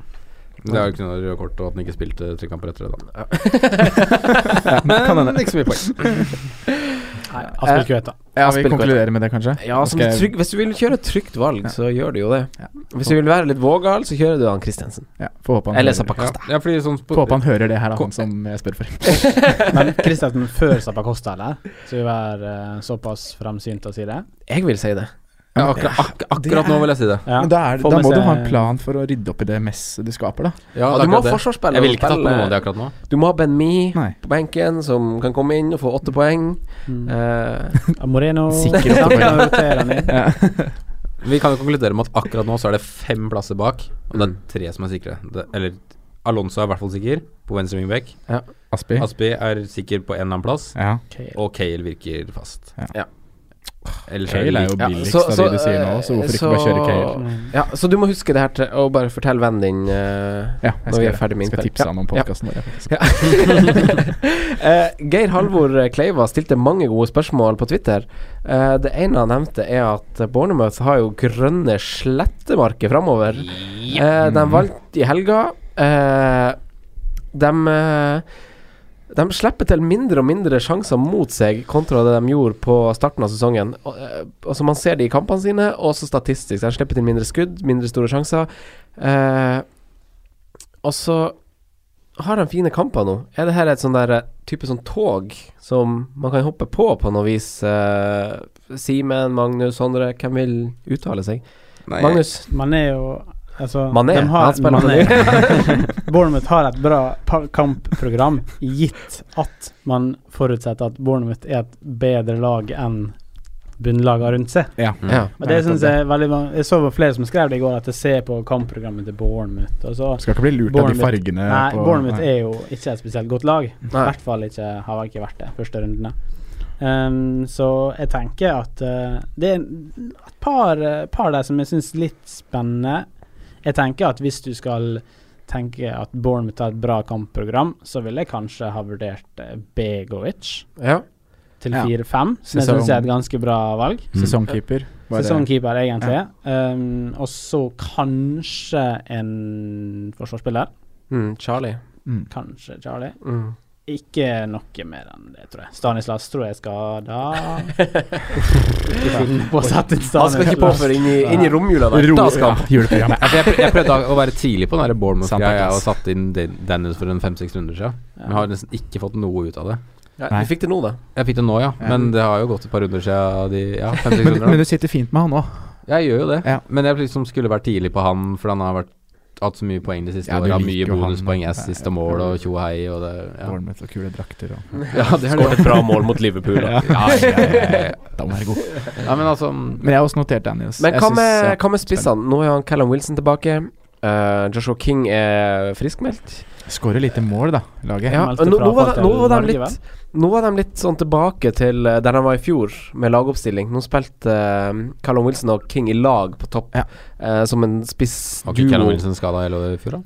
Speaker 5: Men Det er jo ikke noe røde kort, og at han ikke spilte tre kamper etter det, da.
Speaker 4: (laughs)
Speaker 5: Men ikke så mye poeng.
Speaker 2: Nei, han
Speaker 4: Eh.
Speaker 2: spiller ikke vet, da.
Speaker 4: ja, vi
Speaker 3: spiller godt.
Speaker 4: konkluderer med det, kanskje?
Speaker 3: Ja, som
Speaker 4: Skal jeg-
Speaker 3: trygg, Hvis du vil kjøre et trygt valg,
Speaker 4: Ja.
Speaker 3: så gjør du jo det.
Speaker 4: Ja.
Speaker 3: Hvis du vil være litt vågal, så kjører du han Christensen.
Speaker 4: Ja, Får håpe han,
Speaker 3: Eller
Speaker 4: hører-
Speaker 3: Zappacosta.
Speaker 5: Ja, fordi sånn
Speaker 4: får håpe han hører det her, da, han som jeg spør for.
Speaker 2: Men Kristiansen før Zappa Costa, eller? Så vi er eh, såpass fremsynt å si det?
Speaker 3: Jeg vil si det.
Speaker 5: ja, akkurat, ak akkurat nå vil jeg si det.
Speaker 2: Ja.
Speaker 4: Men da, er,
Speaker 2: Får
Speaker 4: da
Speaker 2: med
Speaker 4: må du
Speaker 2: seg-
Speaker 4: ha en plan for å rydde opp i det messet du skaper, da.
Speaker 5: Ja,
Speaker 3: Ja,
Speaker 5: det er
Speaker 3: du må ha
Speaker 5: akkurat det.
Speaker 3: forsvarsspillere
Speaker 5: Jeg vil ikke
Speaker 3: som
Speaker 5: tatt på noen av
Speaker 3: spiller-
Speaker 5: de akkurat nå.
Speaker 3: Du må ha Ben Mi
Speaker 4: Nei.
Speaker 3: på benken, som kan komme inn og få åtte poeng.
Speaker 2: Mm.
Speaker 3: Eh,
Speaker 2: Ja, (laughs) Moreno
Speaker 4: Sikkert
Speaker 2: Ja,
Speaker 4: åtte poeng.
Speaker 2: kan rotere han inn.
Speaker 5: Vi kan jo konkludere med at akkurat nå så er det fem plasser bak, og det
Speaker 4: Mm.
Speaker 5: er tre som er sikre. Det, eller Alonso er i hvert fall sikker på venstre wingback.
Speaker 4: Aspi.
Speaker 5: Aspi er sikker på en eller annen plass,
Speaker 4: Ja.
Speaker 5: og Cale virker fast.
Speaker 4: Ja.
Speaker 3: Ja.
Speaker 5: Ellers er det
Speaker 4: Kale er jo
Speaker 5: lite-
Speaker 4: billigst
Speaker 3: så-
Speaker 4: av
Speaker 3: så, eh,
Speaker 4: de du sier nå, så hvorfor
Speaker 3: så-
Speaker 4: ikke bare kjøre Kale?
Speaker 3: Ja, så du må huske det her til å bare fortelle vennen din eh,
Speaker 4: Ja, jeg skal,
Speaker 3: når vi
Speaker 4: gjøre
Speaker 3: er
Speaker 4: det.
Speaker 3: ferdig med
Speaker 4: skal
Speaker 3: innspill.
Speaker 4: tipse han om
Speaker 3: Ja.
Speaker 4: podkasten vår. jeg, faktisk.
Speaker 3: Eh, Geir Halvor Kleiva stilte mange gode spørsmål på Twitter. Eh, det ene han nevnte, er at Bornermouth har jo grønne slettemarker framover. Eh, de valgte i helga. Eh, de eh, de slipper til mindre og mindre sjanser mot seg kontra det de gjorde på starten av sesongen. Og, eh, Altså Man ser det i kampene sine, og også statistisk. De slipper til mindre skudd, mindre store sjanser. Eh, og så har de fine kamper nå. Er det her et sånn der eh, type sånn tog som man kan hoppe på på noe vis? Eh, Simen, Magnus, Sondre, hvem vil uttale seg?
Speaker 5: Nei,
Speaker 3: Magnus?
Speaker 2: Man er jo Altså,
Speaker 3: Mané,
Speaker 2: de har,
Speaker 3: han spiller
Speaker 2: Mané. (laughs) Bournemouth har et bra pa- kampprogram, gitt at man forutsetter at Bournemouth er et bedre lag enn bunnlagene rundt seg.
Speaker 4: Ja.
Speaker 5: Mm.
Speaker 3: Ja.
Speaker 2: Og det synes jeg er veldig man- Jeg så på flere som skrev det i går, at jeg ser på kampprogrammet til Bournemouth. Og så,
Speaker 4: Skal ikke bli lurt av de
Speaker 2: Bournemouth-
Speaker 4: fargene
Speaker 2: nei,
Speaker 4: Eh, på
Speaker 2: Bournemouth
Speaker 4: Nei.
Speaker 2: er jo ikke et spesielt godt lag. I
Speaker 3: Nei.
Speaker 2: hvert fall ikke, har ikke vært det første rundene. Ehm, så jeg tenker at eh, det er et par, eh, par der som jeg syns er litt spennende. Jeg tenker at hvis du skal tenke at Bournemouth har et bra kampprogram, så ville jeg kanskje ha vurdert eh, Begovic
Speaker 3: Ja.
Speaker 2: til
Speaker 4: Ja.
Speaker 2: 4-5. Det
Speaker 4: Sesong-
Speaker 2: syns jeg er et ganske bra valg.
Speaker 4: Mm. Sesongkeeper. Bare-
Speaker 2: Sesongkeeper, egentlig. Um, og så kanskje en forsvarsspiller.
Speaker 3: Mm, Charlie.
Speaker 4: Mm.
Speaker 2: Kanskje Charlie.
Speaker 3: Mm.
Speaker 2: Ikke noe mer enn det, tror jeg. Stanislas tror jeg skal da (laughs) Ikke finne på å sette inn
Speaker 3: Han skal ikke på
Speaker 2: Stanislas.
Speaker 3: før inn i, inn i romjula. der.
Speaker 4: Ro-
Speaker 3: Da skal
Speaker 4: ja,
Speaker 3: han på.
Speaker 4: juleprogram.
Speaker 5: Ja, for jeg, prø- jeg prøvde å være tidlig på den der Bournemouth-greia
Speaker 4: Sant,
Speaker 5: og satte inn Dan- Daniels for en fem-seks runder siden. Men har nesten ikke fått noe ut av det.
Speaker 3: Ja, du fikk det nå, da.
Speaker 5: Jeg fikk det nå, ja. Men det har jo gått et par runder siden de Ja, fem-seks
Speaker 4: Men,
Speaker 5: runder.
Speaker 4: men
Speaker 5: da.
Speaker 4: du sitter fint med han òg.
Speaker 5: Jeg gjør jo det.
Speaker 4: Ja.
Speaker 5: Men jeg liksom skulle vært tidlig på han, for han har vært hatt så mye poeng de siste
Speaker 4: Ja, du
Speaker 5: åra. Mye
Speaker 4: liker jo han.
Speaker 5: bonuspoeng, assist og mål og tjo og hei og det Ja,
Speaker 4: Bournemouth og kule drakter og
Speaker 5: ja det er det.
Speaker 3: Skåret et bra mål mot Liverpool. Da.
Speaker 5: Ja, ja, ja, ja.
Speaker 4: Da må være god.
Speaker 5: ja, men altså
Speaker 4: Men jeg har også notert Daniels.
Speaker 3: Men
Speaker 4: Jeg
Speaker 3: hva
Speaker 4: synes,
Speaker 3: med,
Speaker 4: ja,
Speaker 3: hva med spissene? Nå er han Callum Wilson tilbake. Eh, Joshua King er friskmeldt.
Speaker 4: Skårer lite mål, da, laget.
Speaker 3: Ja,
Speaker 2: meldte
Speaker 3: og nå, nå,
Speaker 2: fra
Speaker 3: var,
Speaker 2: til
Speaker 3: nå, var de
Speaker 2: Norge,
Speaker 3: litt, nå var de litt sånn tilbake til eh, der de var i fjor, med lagoppstilling. Nå spilte eh, Callum Wilson og King i lag på topp,
Speaker 4: Ja.
Speaker 3: eh, som en
Speaker 5: Var ikke Callum
Speaker 3: spissduo.
Speaker 5: Wilson skada hele fjor, da?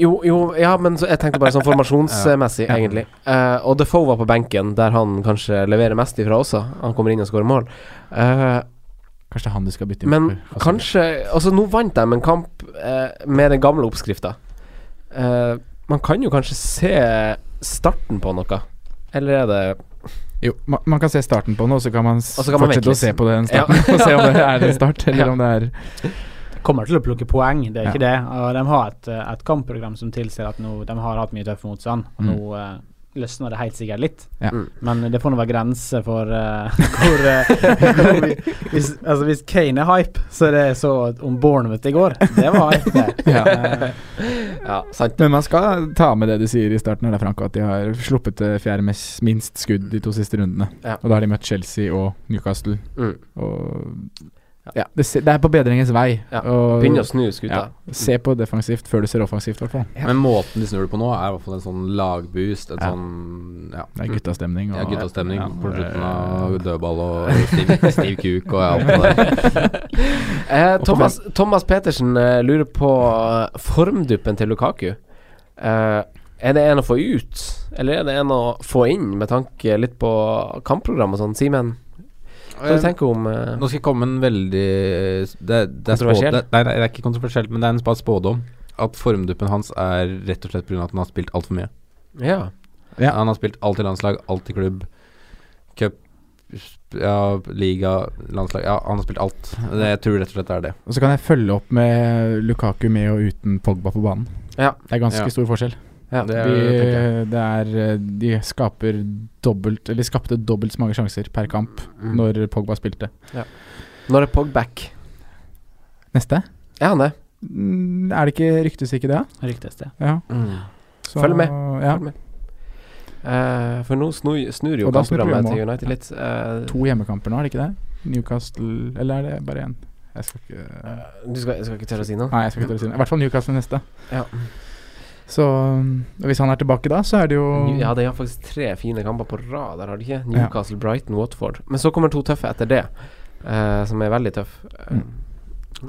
Speaker 3: Jo, jo, ja, men så, jeg tenkte
Speaker 5: (laughs)
Speaker 3: bare sånn formasjonsmessig,
Speaker 4: Ja.
Speaker 3: egentlig. Eh, og Defoe var på benken, der han kanskje leverer mest ifra også. Han kommer inn og skårer mål. Eh,
Speaker 4: Kanskje det er han du skal bytte
Speaker 3: Men
Speaker 4: ut for.
Speaker 3: kanskje Altså, nå vant de en kamp eh, med den gamle oppskrifta. Eh, man kan jo kanskje se starten på noe. Eller er det
Speaker 4: Jo, man, man kan se starten på den, og så kan man, s-
Speaker 3: Og så kan man vente
Speaker 4: fortsette å
Speaker 3: litt.
Speaker 4: se på den starten. (laughs) og se om det er
Speaker 3: (laughs)
Speaker 4: en start, eller
Speaker 3: Ja.
Speaker 4: om det er
Speaker 2: Kommer til å plukke poeng, det er ikke det. Og de har et, eh, et kampprogram som tilsier at nå, de har hatt mye tøff motstand. Og nå eh, løsner det helt sikkert litt.
Speaker 4: Ja.
Speaker 2: Men eh, det får nå være grenser for eh, (laughs) hvor, eh, hvor vi, hvis, altså hvis Kane er hype, så er det så om Bournemouth i går. Det var hype, det.
Speaker 4: (laughs) Ja.
Speaker 2: Eh,
Speaker 3: Ja, sant.
Speaker 4: Men man skal ta med det du sier i starten, her, da, Franco, at de har sluppet det fjerde mest, minst skudd de to siste rundene.
Speaker 3: Ja.
Speaker 4: Og da har de møtt Chelsea og Newcastle.
Speaker 3: Mm.
Speaker 4: Og ja, det, se- det er på bedringens vei.
Speaker 3: Ja.
Speaker 4: Og-
Speaker 3: Begynn å snu skuta.
Speaker 4: ja, se på defensivt før du ser offensivt, i hvert fall.
Speaker 5: Men måten de snur det på nå, er i hvert fall en sånn lagboost. En
Speaker 4: Ja.
Speaker 5: sånn ja,
Speaker 4: Det er guttastemning.
Speaker 5: ja, guttastemning
Speaker 4: ja,
Speaker 5: på
Speaker 4: det-
Speaker 5: slutten av dødball og stiv, stiv kuk og alt det der.
Speaker 3: Eh, Thomas, Thomas Petersen eh, lurer på eh, formduppen til Lukaku. Eh, er det en å få ut, eller er det en å få inn, med tanke litt på kampprogram og sånn? Simen, hva
Speaker 5: Eh,
Speaker 3: du tenker du om eh,
Speaker 5: Nå skal jeg komme med en veldig eh, det, det er spå-
Speaker 3: Kontroversiell?
Speaker 5: Det, nei, nei, det er ikke kontroversielt, men det er en spa- spådom. At formduppen hans er rett og slett pga. at han har spilt altfor mye.
Speaker 3: eh, Ja.
Speaker 4: Ja.
Speaker 5: Han har spilt alt i landslag, alt i klubb, cup, sp- ja, liga, landslag Ja, han har spilt alt. Det, jeg tror rett og slett det er det.
Speaker 4: Og så kan jeg følge opp med Lukaku med og uten Pogba på banen.
Speaker 3: Ja.
Speaker 4: Det er ganske
Speaker 5: Ja.
Speaker 4: stor forskjell.
Speaker 3: Ja.
Speaker 5: Det er-
Speaker 4: De, det er, de skaper dobbelt Eller skapte dobbelt så mange sjanser per kamp
Speaker 5: Mm.
Speaker 4: når Pogba spilte.
Speaker 3: Når er Pogback?
Speaker 4: Neste?
Speaker 3: Er han det?
Speaker 4: Mm, Er det ikke ryktesikker, det? da?
Speaker 2: Ryktes det.
Speaker 4: Ja.
Speaker 5: Mm.
Speaker 4: Så-
Speaker 3: Følg med.
Speaker 4: Ja.
Speaker 3: Følg med. Eh, for nå snur, snur jo
Speaker 4: Og da snur
Speaker 3: kampprogrammet
Speaker 4: programmet
Speaker 3: til United litt. Eh,
Speaker 4: To hjemmekamper nå, er det ikke det? Newcastle Eller er det bare én? Jeg skal ikke
Speaker 3: du skal, jeg skal ikke tørre å si noe?
Speaker 4: Nei, jeg skal ikke tørre å si det. I hvert fall Newcastle neste.
Speaker 3: Ja.
Speaker 4: Så um, og hvis han er tilbake da, så er det jo
Speaker 3: New- Ja, de har faktisk tre fine kamper på rad, der har de ikke? Newcastle, Brighton, Watford. Men så kommer to tøffe etter det, eh, som er veldig tøff. Eh,
Speaker 4: Mm.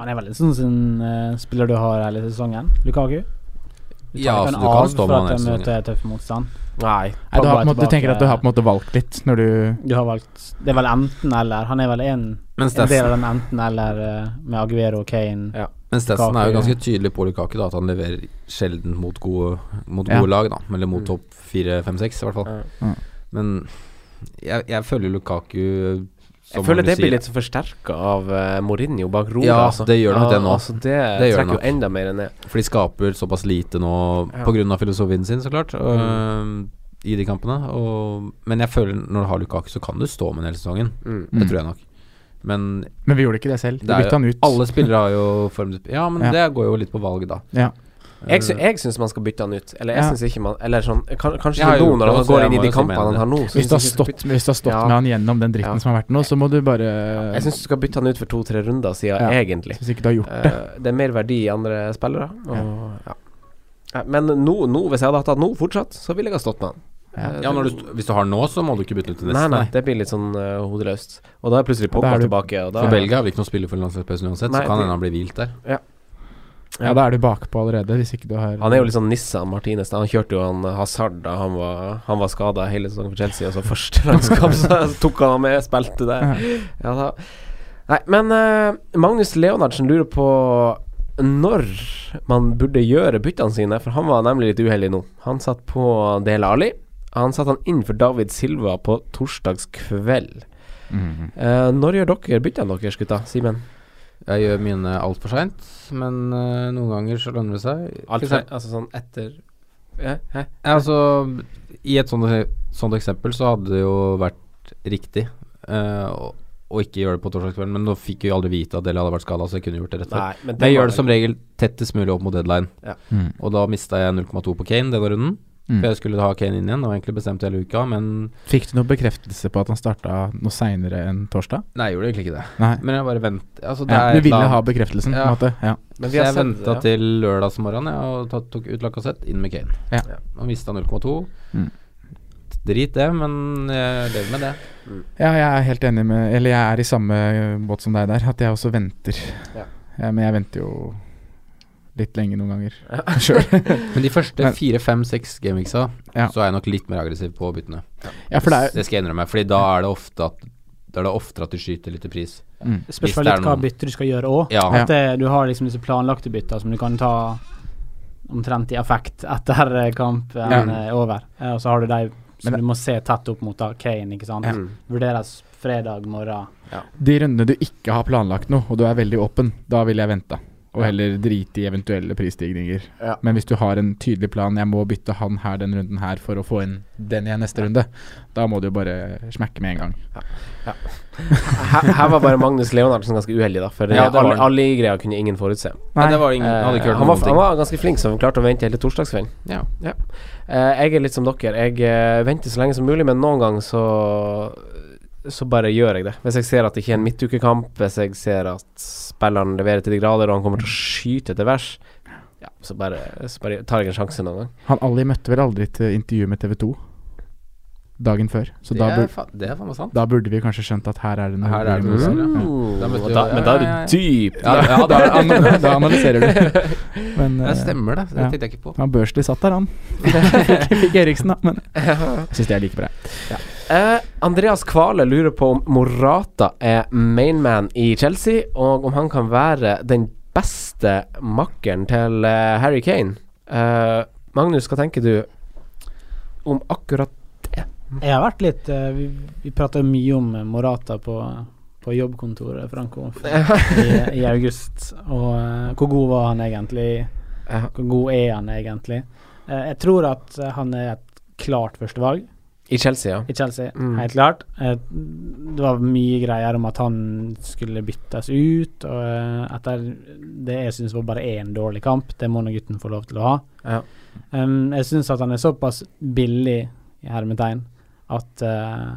Speaker 2: Han er vel en sånn som, eh, spiller du har hele sesongen, Lukaku. Du tar
Speaker 5: Ja,
Speaker 2: ikke
Speaker 5: så
Speaker 2: han
Speaker 5: du kan
Speaker 2: av
Speaker 5: stå
Speaker 2: for
Speaker 5: med han
Speaker 2: at
Speaker 5: hele
Speaker 2: de
Speaker 5: sesongen.
Speaker 2: møter tøff motstand.
Speaker 3: Nei.
Speaker 4: Nei, du, har, på en måte,
Speaker 2: Pogba
Speaker 4: du
Speaker 2: tilbake.
Speaker 4: tenker at du har på en måte valgt litt når du
Speaker 2: Du har valgt Det er vel enten eller. Han er vel en,
Speaker 5: Men
Speaker 2: en del
Speaker 5: Stetson,
Speaker 2: av den enten eller eh, med Aguero og Kane.
Speaker 3: Ja.
Speaker 5: men Stetson er jo
Speaker 2: Lukaku-
Speaker 5: ganske tydelig på Lukaku, da, at han leverer sjelden mot gode, mot
Speaker 4: Ja.
Speaker 5: gode lag, da. Eller mot
Speaker 3: Mm.
Speaker 5: topp fire, fem, seks, i hvert fall.
Speaker 4: Ja.
Speaker 5: Men jeg, jeg føler Lukaku som
Speaker 3: Jeg føler
Speaker 5: Magnus
Speaker 3: det blir litt
Speaker 5: sier,
Speaker 3: forsterka av eh, Mourinho bak roret.
Speaker 5: Ja,
Speaker 3: altså.
Speaker 5: det gjør nok det nå.
Speaker 3: Altså, det,
Speaker 5: Det gjør det
Speaker 3: trekker
Speaker 5: nok.
Speaker 3: jo enda mer ned.
Speaker 5: For de skaper såpass lite nå
Speaker 3: Ja. Mm.
Speaker 5: På grunn av filosofien sin, så klart. og, øhm, I de kampene. Og, men jeg føler når du har Lukaku, så kan du stå med den hele sesongen.
Speaker 3: Mm.
Speaker 4: Mm.
Speaker 5: Det tror jeg nok. Men
Speaker 4: Men vi gjorde ikke det selv. Vi
Speaker 5: det er
Speaker 4: bytta han
Speaker 5: jo,
Speaker 4: ut.
Speaker 5: alle spillere har jo formdupp. Ja, men
Speaker 4: Ja.
Speaker 5: det går jo litt på valget, da.
Speaker 4: Ja.
Speaker 3: Jeg, sy jeg syns man skal bytte han ut. Eller jeg
Speaker 4: Ja.
Speaker 3: synes ikke man Eller sånn kan, Kanskje
Speaker 5: Jeg har
Speaker 3: ikke nå,
Speaker 5: gjort
Speaker 3: når
Speaker 5: det,
Speaker 3: han
Speaker 5: så
Speaker 3: går
Speaker 5: jeg
Speaker 3: inn i
Speaker 5: må
Speaker 3: de
Speaker 5: jo si
Speaker 3: kampene
Speaker 5: meg
Speaker 3: han
Speaker 5: enig.
Speaker 3: har nå.
Speaker 4: Hvis
Speaker 3: synes
Speaker 4: du har
Speaker 3: jeg ikke
Speaker 4: stått, hvis du har stått
Speaker 3: Ja.
Speaker 4: med han gjennom den dritten
Speaker 3: Ja.
Speaker 4: som har vært nå, så må du bare
Speaker 3: bytte- Jeg syns du skal bytte han ut for to-tre runder siden,
Speaker 4: Ja.
Speaker 3: egentlig.
Speaker 4: Hvis ikke du har gjort det.
Speaker 3: Eh, det er mer verdi i andre spillere. Og, ja. Eh, Men nå, nå, hvis jeg hadde hatt han nå fortsatt, så ville jeg ha stått med han. Eh,
Speaker 5: Ja, når
Speaker 3: det-
Speaker 5: du, hvis du har nå, så må du ikke bytte ut til
Speaker 3: Nei,
Speaker 5: neste.
Speaker 3: nei, det blir litt sånn eh, hodeløst. Og da er plutselig
Speaker 4: Ja, da
Speaker 3: Pogba
Speaker 4: er du-
Speaker 3: tilbake. Og da,
Speaker 5: For Belgia har vel ikke noen spiller for landslagspausen uansett,
Speaker 3: Nei,
Speaker 5: så kan
Speaker 3: det-
Speaker 5: hende han blir hvilt der.
Speaker 4: Ja, da er du bakpå allerede, hvis ikke du har
Speaker 3: han er jo litt sånn nisse, han Martinez. da. Han kjørte jo han eh, Hazard da han var, han var skada hele sesongen for Chelsea, og så første (laughs) landskamp så tok han han med, spilte der. Ja, da. Nei, men eh, Magnus Leonardsen lurer på når man burde gjøre byttene sine, for han var nemlig litt uheldig nå. Han satt på Dele Alli. Han satt han inn for David Silva på torsdagskveld. Eh, når gjør dere byttene deres, gutta? Simen?
Speaker 5: Jeg gjør mine altfor seint, men øh, noen ganger så lønner det seg. For
Speaker 3: Alt
Speaker 5: eksempel-
Speaker 3: fra- altså sånn etter ja, hæ?
Speaker 5: Ja, altså, I et sånt, sånt eksempel så hadde det jo vært riktig eh, å, å ikke gjøre det på torsdagskvelden, men nå fikk vi jo aldri vite at Deli hadde vært skada, så jeg kunne gjort det rett før.
Speaker 3: Nei, men
Speaker 5: Men jeg
Speaker 3: var
Speaker 5: gjør det som regel tettest mulig opp mot deadline,
Speaker 3: Ja.
Speaker 4: Mm.
Speaker 5: og da mista jeg 0,2 på Kane denne runden.
Speaker 4: Mm.
Speaker 5: For jeg skulle ha Kane inn igjen, det var egentlig bestemt hele uka, men
Speaker 4: Fikk du noen bekreftelse på at han starta noe seinere enn torsdag?
Speaker 5: Nei, jeg gjorde egentlig ikke det.
Speaker 4: Nei.
Speaker 5: Men jeg bare vent altså, det
Speaker 4: Ja,
Speaker 5: er
Speaker 4: du
Speaker 5: et
Speaker 4: ville
Speaker 5: eller
Speaker 4: ha
Speaker 5: annet.
Speaker 4: bekreftelsen, på
Speaker 5: Ja.
Speaker 4: en måte? Ja.
Speaker 3: Men
Speaker 5: Så
Speaker 3: vi har
Speaker 5: jeg
Speaker 3: sett
Speaker 5: venta
Speaker 3: det, ja.
Speaker 5: til lørdagsmorgen ja, og tatt, tok ut Lacassette, inn med Kane.
Speaker 4: Ja.
Speaker 5: Og mista 0,2.
Speaker 4: Mm.
Speaker 5: Drit det, men jeg lever med det.
Speaker 2: Mm.
Speaker 4: ja, jeg er helt enig med Eller jeg er i samme eh, båt som deg der, at jeg også venter.
Speaker 3: Ja.
Speaker 4: Ja, men jeg venter jo litt lenge noen ganger (laughs) sjøl.
Speaker 5: (laughs) Men de første
Speaker 4: Men-
Speaker 5: fire, fem, seks gameweeksa,
Speaker 4: Ja.
Speaker 5: så er jeg nok litt mer aggressiv på byttene.
Speaker 4: Ja, for det er jo
Speaker 5: Det skal jeg innrømme, Fordi da er det ofte at Da er det oftere at de skyter litt i pris.
Speaker 4: mm.
Speaker 2: Det
Speaker 5: Hvis
Speaker 2: spørs vel
Speaker 5: det er
Speaker 2: litt hva
Speaker 5: noen-
Speaker 2: bytter du skal gjøre òg.
Speaker 5: Ja,
Speaker 4: Ja.
Speaker 5: ja.
Speaker 2: At det, du har liksom disse planlagte bytter som du kan ta omtrent i affekt etter eh, kampen
Speaker 4: Ja.
Speaker 2: er over. Eh, Og så har du de som
Speaker 4: Men-
Speaker 2: du må se tett opp mot da, Kane, ikke sant.
Speaker 4: Ja.
Speaker 2: Vurderes fredag morgen.
Speaker 4: De rundene du ikke har planlagt noe, og du er veldig åpen, da ville jeg venta. og heller drite i eventuelle prisstigninger.
Speaker 7: Ja.
Speaker 4: Men hvis du har en tydelig plan Jeg må bytte han her den runden her for å få inn den igjen neste runde, da må du jo bare smekke med en gang.
Speaker 3: Her, her var bare Magnus Leonardsen ganske uheldig, da. For
Speaker 4: Ja, det var
Speaker 3: alle,
Speaker 4: han.
Speaker 3: alle greia kunne ingen forutse. Eh,
Speaker 5: Nei, det var ingen-
Speaker 2: Eh,
Speaker 5: han hadde ikke hørt
Speaker 3: han, var,
Speaker 5: noen ting.
Speaker 3: han var ganske flink, så han klarte å vente hele torsdagskvelden.
Speaker 5: Ja.
Speaker 3: Eh, jeg er litt som dere. Jeg eh, venter så lenge som mulig, men noen ganger så så bare gjør jeg det. Hvis jeg ser at det ikke er en midtukekamp, hvis jeg ser at spilleren leverer til de grader og han kommer til å skyte etter vers, ja, så bare, så bare tar jeg en sjanse noen gang.
Speaker 4: Han Ali møtte vel aldri til intervju med TV 2 dagen før, så
Speaker 3: Det
Speaker 4: da,
Speaker 3: er
Speaker 4: bur
Speaker 3: fa- det er faen meg sant.
Speaker 4: da burde vi kanskje skjønt at her er det noe
Speaker 5: Her er det noe
Speaker 4: mulig
Speaker 5: som-
Speaker 4: med å
Speaker 5: ja.
Speaker 4: se.
Speaker 5: Da møtte
Speaker 3: Mm. Og
Speaker 5: vi-
Speaker 3: da- men da er du dyp.
Speaker 5: Ja, ja, ja, da,
Speaker 4: Da an- da analyserer du. (laughs) Men, eh,
Speaker 5: det stemmer, det. Det
Speaker 4: ja.
Speaker 5: tenkte jeg ikke på.
Speaker 4: Han Børsli satt der,
Speaker 5: (laughs)
Speaker 4: han. fikk, fikk Eriksen, da. Men jeg syns det er like bra.
Speaker 3: Eh, Andreas Kvale lurer på om Morata er mainman i Chelsea, og om han kan være den beste makkeren til eh, Harry Kane. Eh, Magnus, hva tenker du om akkurat
Speaker 2: Jeg har vært litt eh, Vi, vi prata mye om eh, Morata på, på jobbkontoret, Franco, f- i, i august. Og eh, hvor god var han egentlig? Hvor god er han egentlig? Eh, jeg tror at eh, han er et klart førstevalg.
Speaker 3: i Chelsea? Ja.
Speaker 2: I Chelsea,
Speaker 3: Mm.
Speaker 2: helt klart. Eh, Det var mye greier om at han skulle byttes ut, og eh, etter det jeg syns var bare én dårlig kamp, det må nå gutten få lov til å ha.
Speaker 3: Ja.
Speaker 2: Um, jeg syns at han er såpass billig, i hermetegn, at eh,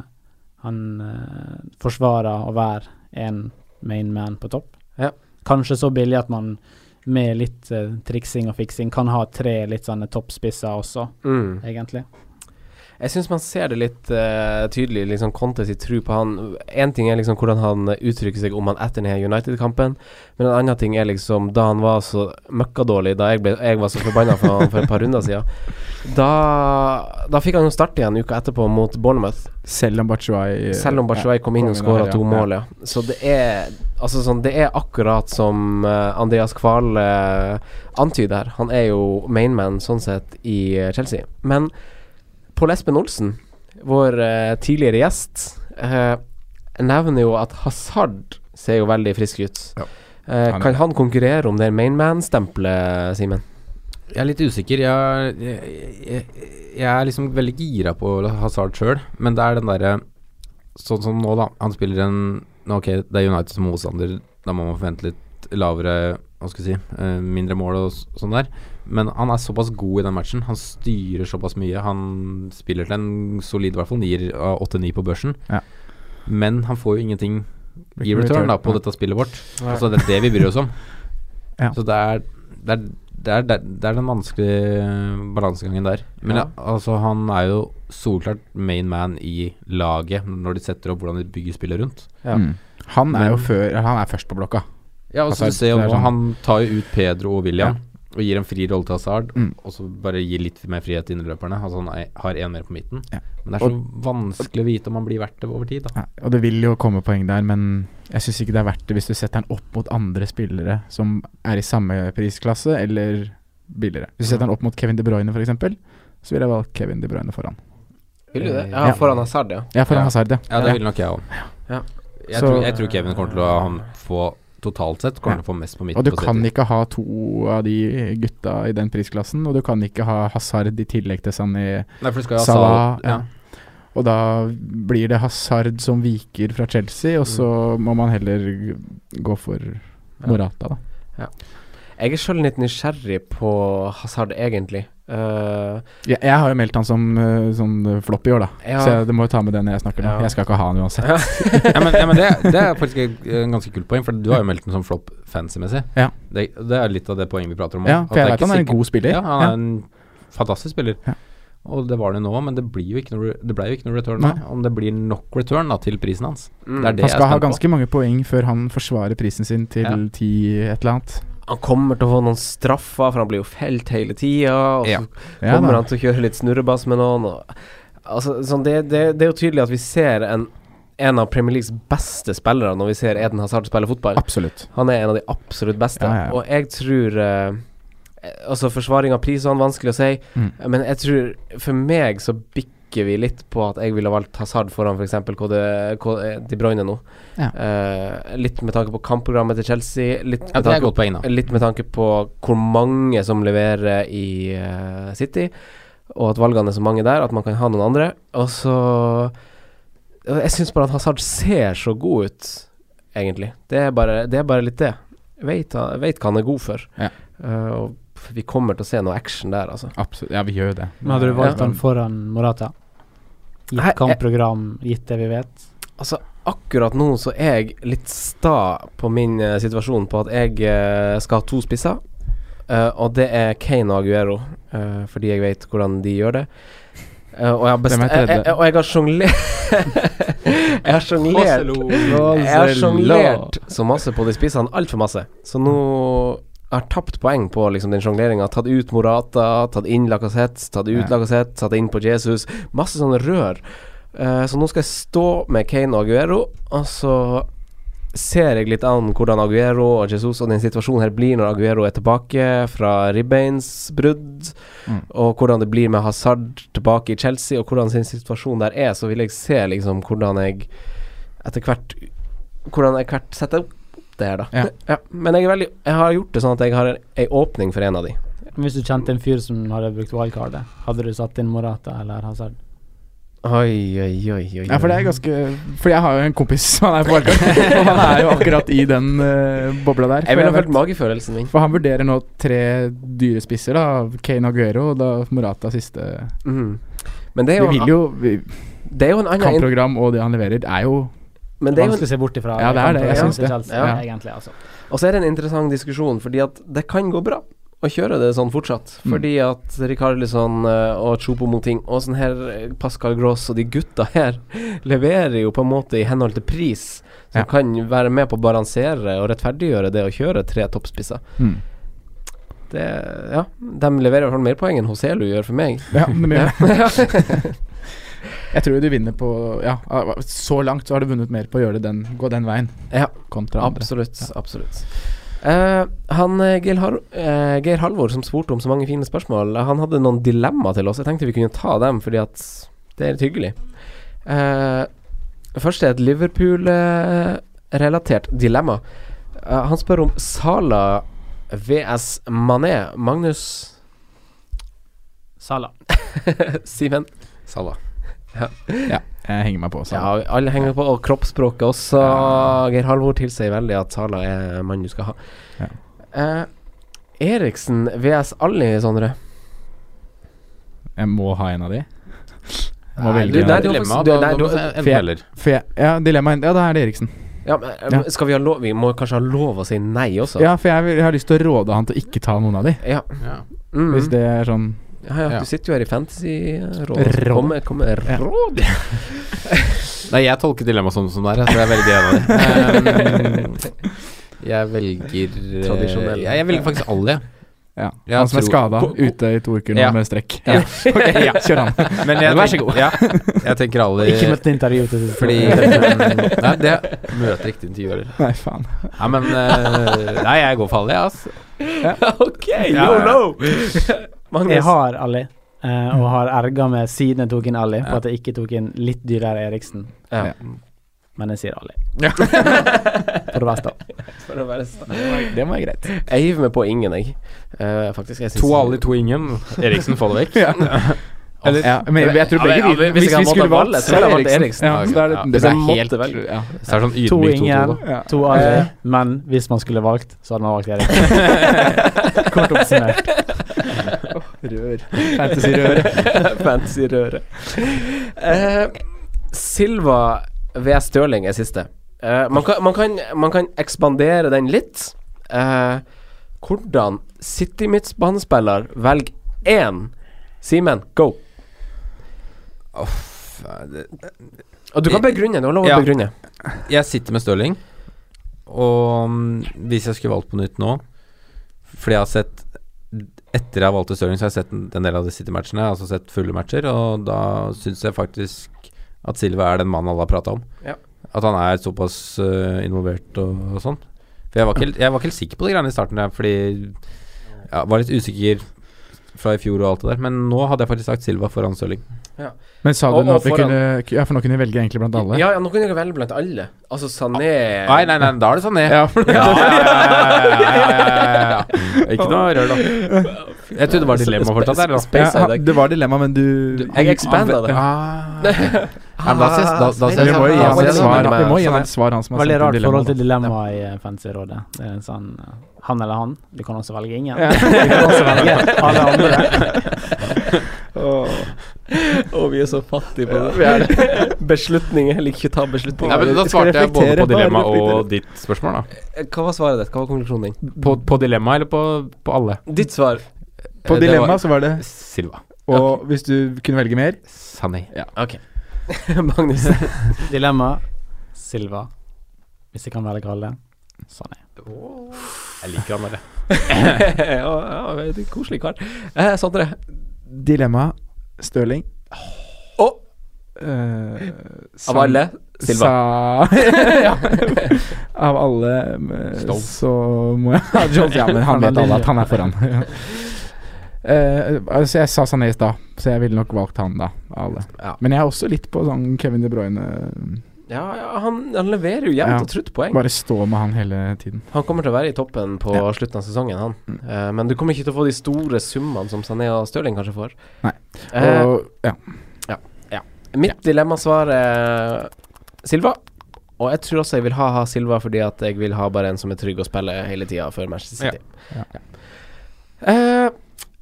Speaker 2: han eh, forsvarer å være en main man på topp.
Speaker 3: Ja.
Speaker 2: Kanskje så billig at man med litt eh, triksing og fiksing kan ha tre litt sånne toppspisser også,
Speaker 3: Mm.
Speaker 2: egentlig.
Speaker 3: Jeg syns man ser det litt eh, tydelig, liksom Conte sitt tro på han. Én ting er liksom hvordan han uttrykker seg om han etter denne United-kampen, men en annen ting er liksom da han var så møkkadårlig, da jeg, ble, jeg var så forbanna for han for et par runder siden. Da, da fikk han jo starte igjen uka etterpå mot Bournemouth,
Speaker 4: Selv om
Speaker 5: Eh,
Speaker 4: Bachuay
Speaker 3: selv om Bachuay kom inn og skåra to mål, ja. Så det er Altså sånn, det er akkurat som eh, Andreas Kvahl eh, antyder her. Han er jo mainman sånn sett i eh, Chelsea. Men Pål Espen Olsen, vår eh, tidligere gjest, eh, nevner jo at Hazard ser jo veldig frisk ut. Eh,
Speaker 5: Han er
Speaker 3: kan han konkurrere om det mainman-stempelet, Simen?
Speaker 5: Jeg er litt usikker. Jeg, jeg, jeg, jeg er liksom veldig gira på Hazard sjøl, men det er den derre Sånn som nå, da. Han spiller en nå, Ok, det er United som motstander, da må man forvente litt lavere Hva skal jeg si eh, Mindre mål og s- sånn der. Men han er såpass god i den matchen. Han styrer såpass mye. Han spiller til en solid, i hvert fall nier av åtte-ni på børsen.
Speaker 4: Ja.
Speaker 5: Men han får jo ingenting i
Speaker 4: Ikke return,
Speaker 5: return da på
Speaker 4: nei.
Speaker 5: dette spillet vårt.
Speaker 3: Nei.
Speaker 5: Altså, det er det vi bryr oss om.
Speaker 4: Ja.
Speaker 5: Så det er, det, er, det, er, det er den vanskelige balansegangen der. Men
Speaker 3: Ja.
Speaker 5: ja. altså, han er jo solklart main man i laget når de setter opp hvordan de bygger spillet rundt.
Speaker 3: Ja.
Speaker 4: Mm. Han er jo
Speaker 5: Men-
Speaker 4: før eller Han er først på blokka.
Speaker 5: Ja, og så
Speaker 4: Hazard,
Speaker 5: du ser jo
Speaker 4: det er
Speaker 5: nå,
Speaker 4: sånn.
Speaker 5: Han tar jo ut Pedro og William og gir en fri rolle til Hazard.
Speaker 4: Mm.
Speaker 5: Og så bare gir litt mer frihet til innløperne. Altså, han er, har én mer på midten.
Speaker 4: Ja.
Speaker 5: Men det er så vanskelig å vite om han blir verdt det over tid.
Speaker 4: Ja,
Speaker 5: Da.
Speaker 4: og det vil jo komme poeng der, men jeg syns ikke det er verdt det hvis du setter den opp mot andre spillere som er i samme prisklasse eller billigere. Hvis du setter den opp mot Kevin De Bruyne f.eks., så ville jeg valgt Kevin De Bruyne foran.
Speaker 3: Vil du det?
Speaker 4: Eh,
Speaker 3: Ja,
Speaker 4: ja.
Speaker 3: foran Hazard, ja.
Speaker 4: Ja, foran
Speaker 5: Ja.
Speaker 4: Hazard, ja.
Speaker 5: Ja,
Speaker 3: Ja.
Speaker 5: det vil nok jeg òg.
Speaker 3: Ja.
Speaker 5: Jeg,
Speaker 4: Så-
Speaker 5: tror- jeg tror Kevin kommer til å han få totalt sett kommer til å få mest på midten.
Speaker 4: Og du
Speaker 5: på
Speaker 4: kan
Speaker 5: City.
Speaker 4: ikke ha to av de gutta i den prisklassen, og du kan ikke ha Hazard i tillegg til Sané,
Speaker 5: Nei, for du skal jo ha
Speaker 4: Salah
Speaker 5: Sal-
Speaker 4: ja. Og da blir det Hazard som viker fra Chelsea, og så må man heller gå for Morata, da.
Speaker 3: Jeg er sjøl litt nysgjerrig på Hazard, egentlig. Eh,
Speaker 4: Jeg, jeg har jo meldt han som eh, sånn eh, flopp i år, da.
Speaker 3: Ja.
Speaker 4: Så jeg, det må jo ta med det når jeg snakker nå.
Speaker 3: Ja.
Speaker 4: Jeg skal ikke ha han uansett.
Speaker 5: ja, men, ja, men det,
Speaker 4: (laughs)
Speaker 5: det er faktisk et eh, ganske kult poeng, for du har jo meldt den som flopp fancy-messig.
Speaker 4: Ja.
Speaker 5: Det, det er litt av det poenget vi prater om.
Speaker 4: Ja,
Speaker 5: at
Speaker 4: for jeg
Speaker 5: det
Speaker 4: vet
Speaker 5: ikke
Speaker 4: han er en
Speaker 5: sikkert-
Speaker 4: god spiller.
Speaker 5: Ja, han er en fantastisk spiller.
Speaker 4: Ja.
Speaker 5: Og det var det nå, men det, blir jo ikke noe, re- det ble jo ikke noe return.
Speaker 4: Nei.
Speaker 5: Da. Om det blir nok return da, til prisen hans.
Speaker 3: Mm.
Speaker 5: Det er det
Speaker 4: Han
Speaker 5: jeg
Speaker 4: skal
Speaker 5: er
Speaker 4: ha
Speaker 5: spent på.
Speaker 4: ganske mange poeng før han forsvarer prisen sin til
Speaker 5: Ja.
Speaker 4: ti et eller annet.
Speaker 3: Han kommer til å få noen straffer, for han blir jo felt hele tida. Og så
Speaker 5: Ja.
Speaker 4: Ja,
Speaker 3: kommer
Speaker 4: da.
Speaker 3: han til å kjøre litt snurrebass med noen. Og, altså, sånn, det, det, det er jo tydelig at vi ser en, en av Premier Leagues beste spillere når vi ser Eden Hazard spille fotball.
Speaker 4: Absolutt.
Speaker 3: Han er en av de absolutt beste,
Speaker 4: Ja, ja, ja.
Speaker 3: og jeg tror eh, Altså, forsvaring av pris er vanskelig å si,
Speaker 4: Mm.
Speaker 3: men jeg tror for meg så bikker trykker vi litt på at jeg ville valgt Hazard foran f.eks. De Bruyne nå.
Speaker 4: Ja.
Speaker 3: Eh, litt med tanke på kampprogrammet til Chelsea. Litt med,
Speaker 5: Ja, det er
Speaker 3: tanke,
Speaker 5: et godt poeng, da.
Speaker 3: litt med tanke på hvor mange som leverer i eh, City, og at valgene er så mange der, at man kan ha noen andre. Og så Jeg syns bare at Hazard ser så god ut, egentlig. Det er bare, det er bare litt det. Vet, han- vet hva han er god for.
Speaker 4: Ja.
Speaker 3: Eh, og vi kommer til å se noe action der, altså.
Speaker 4: Absolutt. Ja, vi gjør jo det.
Speaker 2: Men hadde du valgt
Speaker 3: Ja.
Speaker 2: han Eh, foran Morata?
Speaker 3: Nei, Eh,
Speaker 2: Gitt kampprogram, gitt det vi vet?
Speaker 3: Altså, akkurat nå så er jeg litt sta på min eh, situasjon på at jeg eh, skal ha to spisser. Eh, og det er Kane og Aguero, eh, fordi jeg vet hvordan de gjør det. Eh, og jeg har best-
Speaker 4: Hvem er
Speaker 3: jeg,
Speaker 4: tredje?
Speaker 3: jeg, og (laughs) jeg har sjonglert Jeg har sjonglert Jeg har sjonglert så masse på de spissene, altfor masse. Så nå jeg har tapt poeng på liksom, den sjongleringa. Tatt ut Morata, tatt inn Lacassette, tatt ut
Speaker 4: Ja.
Speaker 3: Lacassette, tatt inn på Jesus. Masse sånne rør. Eh, så nå skal jeg stå med Kane og Aguero, og så ser jeg litt an hvordan Aguero og Jesus og den situasjonen her blir når Aguero er tilbake fra ribbeinsbrudd,
Speaker 4: Mm.
Speaker 3: og hvordan det blir med Hazard tilbake i Chelsea, og hvordan sin situasjon der er, så vil jeg se liksom hvordan jeg etter hvert Hvordan jeg hvert setter opp det her, da. (laughs)
Speaker 4: Ja.
Speaker 3: Men jeg, er veldig, jeg har gjort det sånn at jeg har en- ei åpning for en av de.
Speaker 2: Hvis du kjente en fyr som hadde brukt wildcardet, hadde du satt inn Morata eller Hazard?
Speaker 3: Oi, oi, oi, oi.
Speaker 4: Ja, for det er ganske For jeg har jo en kompis som er på
Speaker 5: (laughs)
Speaker 4: valgkamp, og han er jo akkurat i den eh, bobla der.
Speaker 3: Jeg
Speaker 4: For
Speaker 3: ville ha
Speaker 4: jeg
Speaker 3: følt magefølelsen min.
Speaker 4: vet- For han vurderer nå tre dyre spisser, da. Kane Aguero og da Morata siste.
Speaker 3: Mhm. Men det er
Speaker 4: Vi
Speaker 3: jo,
Speaker 4: vil jo vi,
Speaker 3: det er jo en annen in-
Speaker 4: Kampprogram og det han leverer, er jo
Speaker 3: Men det er jo en
Speaker 2: Vanskelig å se bort ifra.
Speaker 4: Ja, det er det, jeg
Speaker 2: kampprogrammet
Speaker 4: syns det.
Speaker 2: til Chelsea,
Speaker 3: Ja.
Speaker 2: Egentlig, altså.
Speaker 3: Og så er det en interessant diskusjon, fordi at det kan gå bra å kjøre det sånn fortsatt.
Speaker 4: Mm.
Speaker 3: Fordi at Rikarlisson eh, og Chopo Moting og sånn her eh, Pascal Gross og de gutta her (laughs) leverer jo på en måte i henhold til pris, som
Speaker 4: Ja.
Speaker 3: kan være med på å balansere og rettferdiggjøre det å kjøre tre toppspisser.
Speaker 4: Mm.
Speaker 3: Det, ja, de leverer i hvert fall mer poeng enn Hoselu gjør for meg.
Speaker 4: Ja, men det-
Speaker 3: Ja.
Speaker 4: (laughs) Jeg tror du vinner på Ja, så langt så har du vunnet mer på å gjøre det den, gå den veien
Speaker 3: Ja,
Speaker 4: kontra andre.
Speaker 3: Absolutt. absolutt Eh, han eh, Geir, Har eh, Geir Halvor, som spurte om så mange fine spørsmål, eh, han hadde noen dilemma til oss. Jeg tenkte vi kunne ta dem, fordi at det er litt hyggelig. Eh, først er et Liverpool-relatert dilemma. Eh, han spør om Sala VS Mané. Magnus
Speaker 2: Salah.
Speaker 3: (laughs) Simen?
Speaker 5: Salah.
Speaker 4: Jeg henger meg på. Så.
Speaker 3: Ja, alle henger på. Og kroppsspråket også. Geir Halvor tilsier veldig at Sala er mannen du skal ha.
Speaker 4: Ja.
Speaker 3: Eh, Eriksen VS Alli, Sondre.
Speaker 4: Jeg må ha en av de. Jeg må
Speaker 5: Nei,
Speaker 4: velge
Speaker 3: du-
Speaker 4: en av
Speaker 3: der-
Speaker 4: de.
Speaker 3: du-
Speaker 5: dilemma,
Speaker 3: du-
Speaker 5: da-
Speaker 3: nei,
Speaker 5: da
Speaker 3: du-
Speaker 5: må
Speaker 4: for
Speaker 5: jeg- enten
Speaker 4: jeg-
Speaker 5: eller.
Speaker 4: For jeg, ja, dilemmaet Ja, da er det Eriksen.
Speaker 3: Ja, men, eh,
Speaker 4: Ja.
Speaker 3: Skal vi ha lov Vi må kanskje ha lov å si nei også?
Speaker 4: Ja, for jeg, vil, jeg har lyst til å råde han til å ikke ta noen av de.
Speaker 3: ja.
Speaker 5: Ja.
Speaker 3: Mm.
Speaker 4: Hvis det er sånn
Speaker 3: ja, ja,
Speaker 5: Ja.
Speaker 3: Du sitter jo her i Fantasy-rådet.
Speaker 4: Råd.
Speaker 3: Kommer kom, med
Speaker 4: (laughs)
Speaker 3: råd?
Speaker 5: Nei, jeg tolker dilemmaet sånn som det
Speaker 7: altså.
Speaker 5: er, så jeg velger en (laughs) av dem.
Speaker 4: eh,
Speaker 5: Jeg velger eh,
Speaker 3: Tradisjonell.
Speaker 5: Ja, jeg velger faktisk alle, jeg.
Speaker 4: ja.
Speaker 5: Jeg
Speaker 4: Han som er
Speaker 5: tror-
Speaker 4: skada
Speaker 5: Ko- ko-
Speaker 4: ute i to uker nå
Speaker 5: Ja.
Speaker 4: med strekk.
Speaker 5: (laughs) Ja.
Speaker 4: ok, ja, kjør han.
Speaker 5: Men jeg
Speaker 4: Vær så
Speaker 5: tenker-
Speaker 4: god.
Speaker 5: Ja, jeg tenker alle
Speaker 2: Ikke møtt intervju til siste.
Speaker 5: Fordi Nei, det møter riktig intervjuer.
Speaker 4: (laughs) Nei, faen.
Speaker 5: Nei, men eh, Nei, jeg går for alle, jeg, ass.
Speaker 3: ok,
Speaker 5: Ja,
Speaker 3: yo,
Speaker 5: ja.
Speaker 3: no! Magnus.
Speaker 2: (laughs) Jeg har Ali, eh, og har erga meg siden jeg tok inn Ali, på at jeg ikke tok inn litt dyrere Eriksen.
Speaker 3: ja.
Speaker 2: Men jeg sier Ali.
Speaker 5: Ja.
Speaker 2: (laughs) For det beste.
Speaker 3: For å være sta-
Speaker 4: Det må være greit.
Speaker 3: Jeg hiver meg på ingen, jeg. Eh, faktisk. Jeg synes-
Speaker 5: To alle, to ingen. Eriksen, få (laughs) det vekk. Eller-
Speaker 4: ja, men jeg, jeg tror
Speaker 3: Ja, men-
Speaker 4: begge
Speaker 3: ja,
Speaker 4: de
Speaker 3: men hvis jeg hadde måttet valgt, så ville jeg valgt Eriksen.
Speaker 4: Ja,
Speaker 5: Ja,
Speaker 4: så da er det,
Speaker 5: ja.
Speaker 4: det,
Speaker 5: Hvis jeg
Speaker 4: er
Speaker 5: måtte
Speaker 4: helt
Speaker 3: velge.
Speaker 4: ja.
Speaker 5: Så er det sånn
Speaker 2: To
Speaker 5: ydmyk 2-2,
Speaker 2: ingen,
Speaker 5: da.
Speaker 4: Ja.
Speaker 2: to Ali. Men hvis man skulle valgt, så hadde man valgt
Speaker 5: (laughs)
Speaker 2: Eriksen. Kort oppsummert.
Speaker 4: Rør.
Speaker 5: (laughs)
Speaker 4: Fantasy-rør.
Speaker 3: Fancy-røret. Eh, Silva ved Stirling er siste. Eh, man, kan, man, kan, man kan ekspandere den litt. Eh, hvordan City midtbanespiller velger én Simen, go!
Speaker 5: Uff, det-
Speaker 3: Og du kan begrunne. Du har lov å
Speaker 5: Ja.
Speaker 3: begrunne.
Speaker 5: Jeg sitter med Stirling, og mm, hvis jeg skulle valgt på nytt nå Fordi jeg har sett Etter jeg valgte Stirling, så har jeg sett en en del av de City-matchene. Jeg har også sett fulle matcher, og da syns jeg faktisk at Silva er den mannen alle har prata om.
Speaker 3: Ja.
Speaker 5: At han er såpass øh, involvert og, og sånn. For jeg var, ikke, helt- jeg var ikke helt sikker på de greiene i starten, der, fordi jeg var litt usikker fra i fjor og alt det der, men nå hadde jeg faktisk sagt Silva foran Stirling.
Speaker 3: Ja.
Speaker 5: Men sa du
Speaker 3: Og-
Speaker 5: nå
Speaker 3: og
Speaker 5: at vi
Speaker 3: foran-
Speaker 5: kunne Ja, for nå kunne vi velge egentlig blant alle?
Speaker 3: Ja, ja, nå kan dere velge blant alle. Altså Sané
Speaker 5: Ah,
Speaker 6: Nei, nei, nei, da er det sånn ned.
Speaker 5: Ja, for det-
Speaker 6: ja, ja, ja, ja, ja, ja. Ikke noe rør, da. Jeg trodde det var dilemma fortsatt her, da.
Speaker 3: Space
Speaker 5: Ja,
Speaker 3: Idol.
Speaker 5: det var dilemma, men du
Speaker 3: Jeg expanda det.
Speaker 6: Ah.
Speaker 5: Ja. Altså,
Speaker 6: Ja, men da ses- da- da ses-
Speaker 5: Vi må jo gi
Speaker 6: Ja,
Speaker 5: ham
Speaker 6: men
Speaker 5: et
Speaker 6: det er
Speaker 5: svar,
Speaker 6: sånn-
Speaker 5: vi må gi ham
Speaker 6: sånn
Speaker 5: et svar han som har
Speaker 2: Veldig
Speaker 5: sendt
Speaker 2: rart
Speaker 5: inn
Speaker 2: forhold til
Speaker 5: dilemmaet.
Speaker 2: dilemma i eh, Fancyrådet. Det er en sånn eh, han eller han. Du kan også velge ingen.
Speaker 5: (laughs) Ja.
Speaker 2: Du kan også velge alle andre.
Speaker 3: Å, vi er så fattige på det.
Speaker 5: Vi er (laughs)
Speaker 3: beslutninger. Jeg liker ikke å ta beslutninger.
Speaker 6: Nei, men da
Speaker 5: Skal
Speaker 6: svarte jeg både
Speaker 5: reflektere,
Speaker 6: på dilemma
Speaker 5: bare reflektere.
Speaker 6: og ditt spørsmål, da.
Speaker 3: Hva var svaret ditt? Hva var konklusjonen din?
Speaker 6: På, på dilemma eller på, på alle?
Speaker 3: Ditt svar.
Speaker 5: På
Speaker 6: Eh, Det
Speaker 5: dilemma
Speaker 6: var-
Speaker 5: så var det
Speaker 6: Silva.
Speaker 5: Og hvis du kunne velge mer
Speaker 6: Sané. Ja.
Speaker 3: Ok. (laughs) Magnus.
Speaker 2: Dilemma Silva. Hvis jeg kan velge alle. Sånn er
Speaker 6: Jeg liker han der.
Speaker 3: (laughs) ja, ja, det er koselig kar. Eh, Sondre.
Speaker 5: Dilemma Stirling.
Speaker 3: Å!
Speaker 5: Eh,
Speaker 3: Av alle? Silva.
Speaker 5: Sa, (laughs) ja. Av alle eh,
Speaker 6: Stones.
Speaker 5: så må jeg ha Jones. Ja, men han vet alle at han er foran. (laughs) Ja. Eh, altså jeg sa Sané i stad, så jeg ville nok valgt han, da. Av alle.
Speaker 6: Ja.
Speaker 5: Men jeg er også litt på sånn Kevin De Bruyne.
Speaker 3: Ja, ja han, han leverer jo jevnt
Speaker 5: Ja.
Speaker 3: og trutt poeng.
Speaker 5: Bare stå med han hele tiden.
Speaker 3: Han kommer til å være i toppen på slutten av sesongen, han.
Speaker 5: Mm.
Speaker 3: Eh, men du kommer ikke til å få de store summene som Sané og Stirling kanskje får.
Speaker 5: Nei.
Speaker 3: Eh,
Speaker 5: Og, ja.
Speaker 3: mitt dilemmasvar er Silva. Og jeg tror også jeg vil ha, ha Silva fordi at jeg vil ha bare en som er trygg å spille hele tida for Manchester City.
Speaker 5: Ja.
Speaker 3: Eh,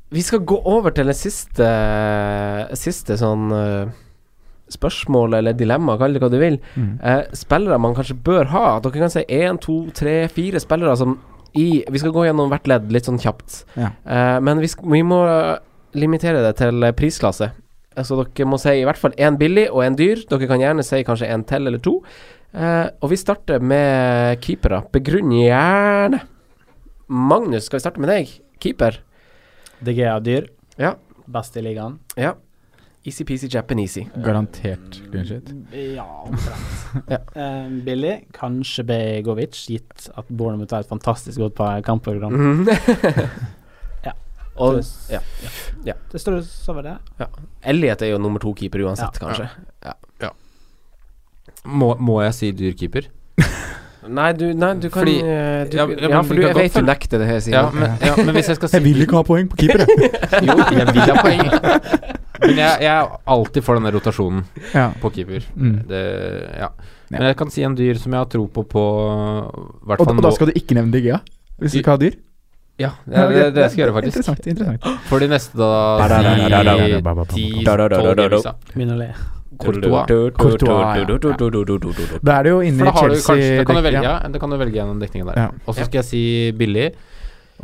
Speaker 3: vi skal gå over til det siste Siste sånn eh, spørsmål eller dilemma, kall det hva du vil.
Speaker 5: Mhm.
Speaker 3: Eh, spillere man kanskje bør ha. Dere kan si én, to, tre, fire spillere som i Vi skal gå gjennom hvert ledd litt sånn kjapt.
Speaker 5: Ja.
Speaker 3: Eh, men vi, sk vi må eh, limitere det til eh, prisklasse. Eh, Så dere må si i hvert fall én billig og én dyr. Dere kan gjerne si kanskje én til eller to. Eh, og vi starter med keepere. Begrunn gjerne. Magnus, skal vi starte med deg? Keeper.
Speaker 2: DG er dyr.
Speaker 3: Ja.
Speaker 2: Best i ligaen.
Speaker 3: Ja. Easy-peasy Japanesey.
Speaker 5: Garantert clean shit.
Speaker 2: Ja, omtrent. Eh, billig. Kanskje Begovic, gitt at Bournemouth er et fantastisk godt par- kampprogram. Ja.
Speaker 3: Og, ja.
Speaker 2: Det står så var det.
Speaker 3: Elliot er jo nummer to-keeper uansett,
Speaker 2: Ja.
Speaker 3: kanskje.
Speaker 6: Må, må jeg si dyr keeper?
Speaker 3: Nei, du, nei, du kan
Speaker 6: Fordi-
Speaker 3: eh, du,
Speaker 6: ja,
Speaker 3: ja,
Speaker 6: ja, men
Speaker 3: for
Speaker 6: vi
Speaker 3: du,
Speaker 6: kan
Speaker 3: jeg
Speaker 6: godt
Speaker 3: vet du
Speaker 6: følge-
Speaker 3: nekter det her,
Speaker 6: Ja,
Speaker 3: Simen.
Speaker 6: men, ja, men hvis jeg skal si
Speaker 5: (laughs) Jeg vil ikke ha poeng på keeper, jeg.
Speaker 6: Jo, jeg vil ha poeng. Men jeg, jeg er alltid for denne rotasjonen
Speaker 5: (laughs) ja.
Speaker 6: på keeper.
Speaker 5: Mm.
Speaker 6: Det, ja. Men jeg kan si en dyr som jeg har tro på på hvert
Speaker 5: Og, da-
Speaker 6: fall
Speaker 5: og da
Speaker 6: nå.
Speaker 5: skal du ikke nevne Digea? Hvis du
Speaker 6: I-
Speaker 5: ikke har dyr?
Speaker 6: Ja, det, det, det skal jeg gjøre, faktisk.
Speaker 5: (laughs) Interessant. interessant
Speaker 6: For de neste, da ti-tolv gamesa.
Speaker 2: Begynner å le.
Speaker 6: Courtois.
Speaker 5: Da er det jo inne
Speaker 6: For
Speaker 5: i
Speaker 6: da har du
Speaker 5: Chelsea
Speaker 6: kanskje Da kan du
Speaker 5: dek-
Speaker 6: velge,
Speaker 5: ja.
Speaker 6: ja. Da kan du velge gjennom dekningen der.
Speaker 5: Ja.
Speaker 6: Og så skal jeg si billig.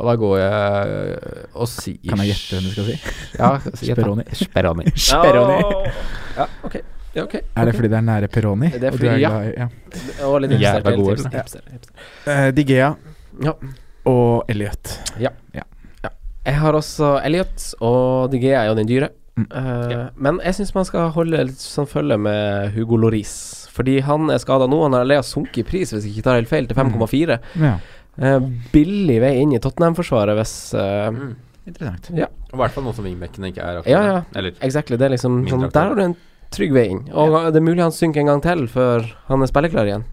Speaker 6: Og da går jeg og sier
Speaker 5: Kan jeg gjette hvem du skal si?
Speaker 6: Ja,
Speaker 5: (laughs)
Speaker 6: si gjett da.
Speaker 5: Speroni. (laughs)
Speaker 6: Speroni.
Speaker 3: Speroni. Ja, ok. Ja, ok.
Speaker 5: Er det fordi det er nære Peroni?
Speaker 3: Det er
Speaker 5: og du
Speaker 3: fordi- ja.
Speaker 5: glad i- ja.
Speaker 3: Og litt
Speaker 6: Jævla
Speaker 3: hipster,
Speaker 6: gode.
Speaker 3: hipster, hipster, hipster.
Speaker 5: Eh, Digea
Speaker 3: Ja.
Speaker 5: og Elliot.
Speaker 3: Jeg har også Elliot, og DG er jo den dyre.
Speaker 5: Mm.
Speaker 3: Eh, Men jeg syns man skal holde litt sånn følge med Hugo Loris. Fordi han er skada nå. Han har allerede sunket i pris, hvis jeg ikke tar helt
Speaker 5: Mm.
Speaker 3: feil, til 5,4.
Speaker 5: Ja.
Speaker 3: Eh, billig vei inn i Tottenham-forsvaret hvis eh,
Speaker 6: Mm.
Speaker 5: Interessant.
Speaker 6: I hvert fall nå som wingbackene ikke er
Speaker 3: Ja, ja.
Speaker 6: Eller
Speaker 3: Exactly, det er liksom
Speaker 6: Mindre
Speaker 3: sånn,
Speaker 6: aktuelt.
Speaker 3: Der har du en trygg vei inn. Og det er mulig han synker en gang til før han er spilleklar igjen.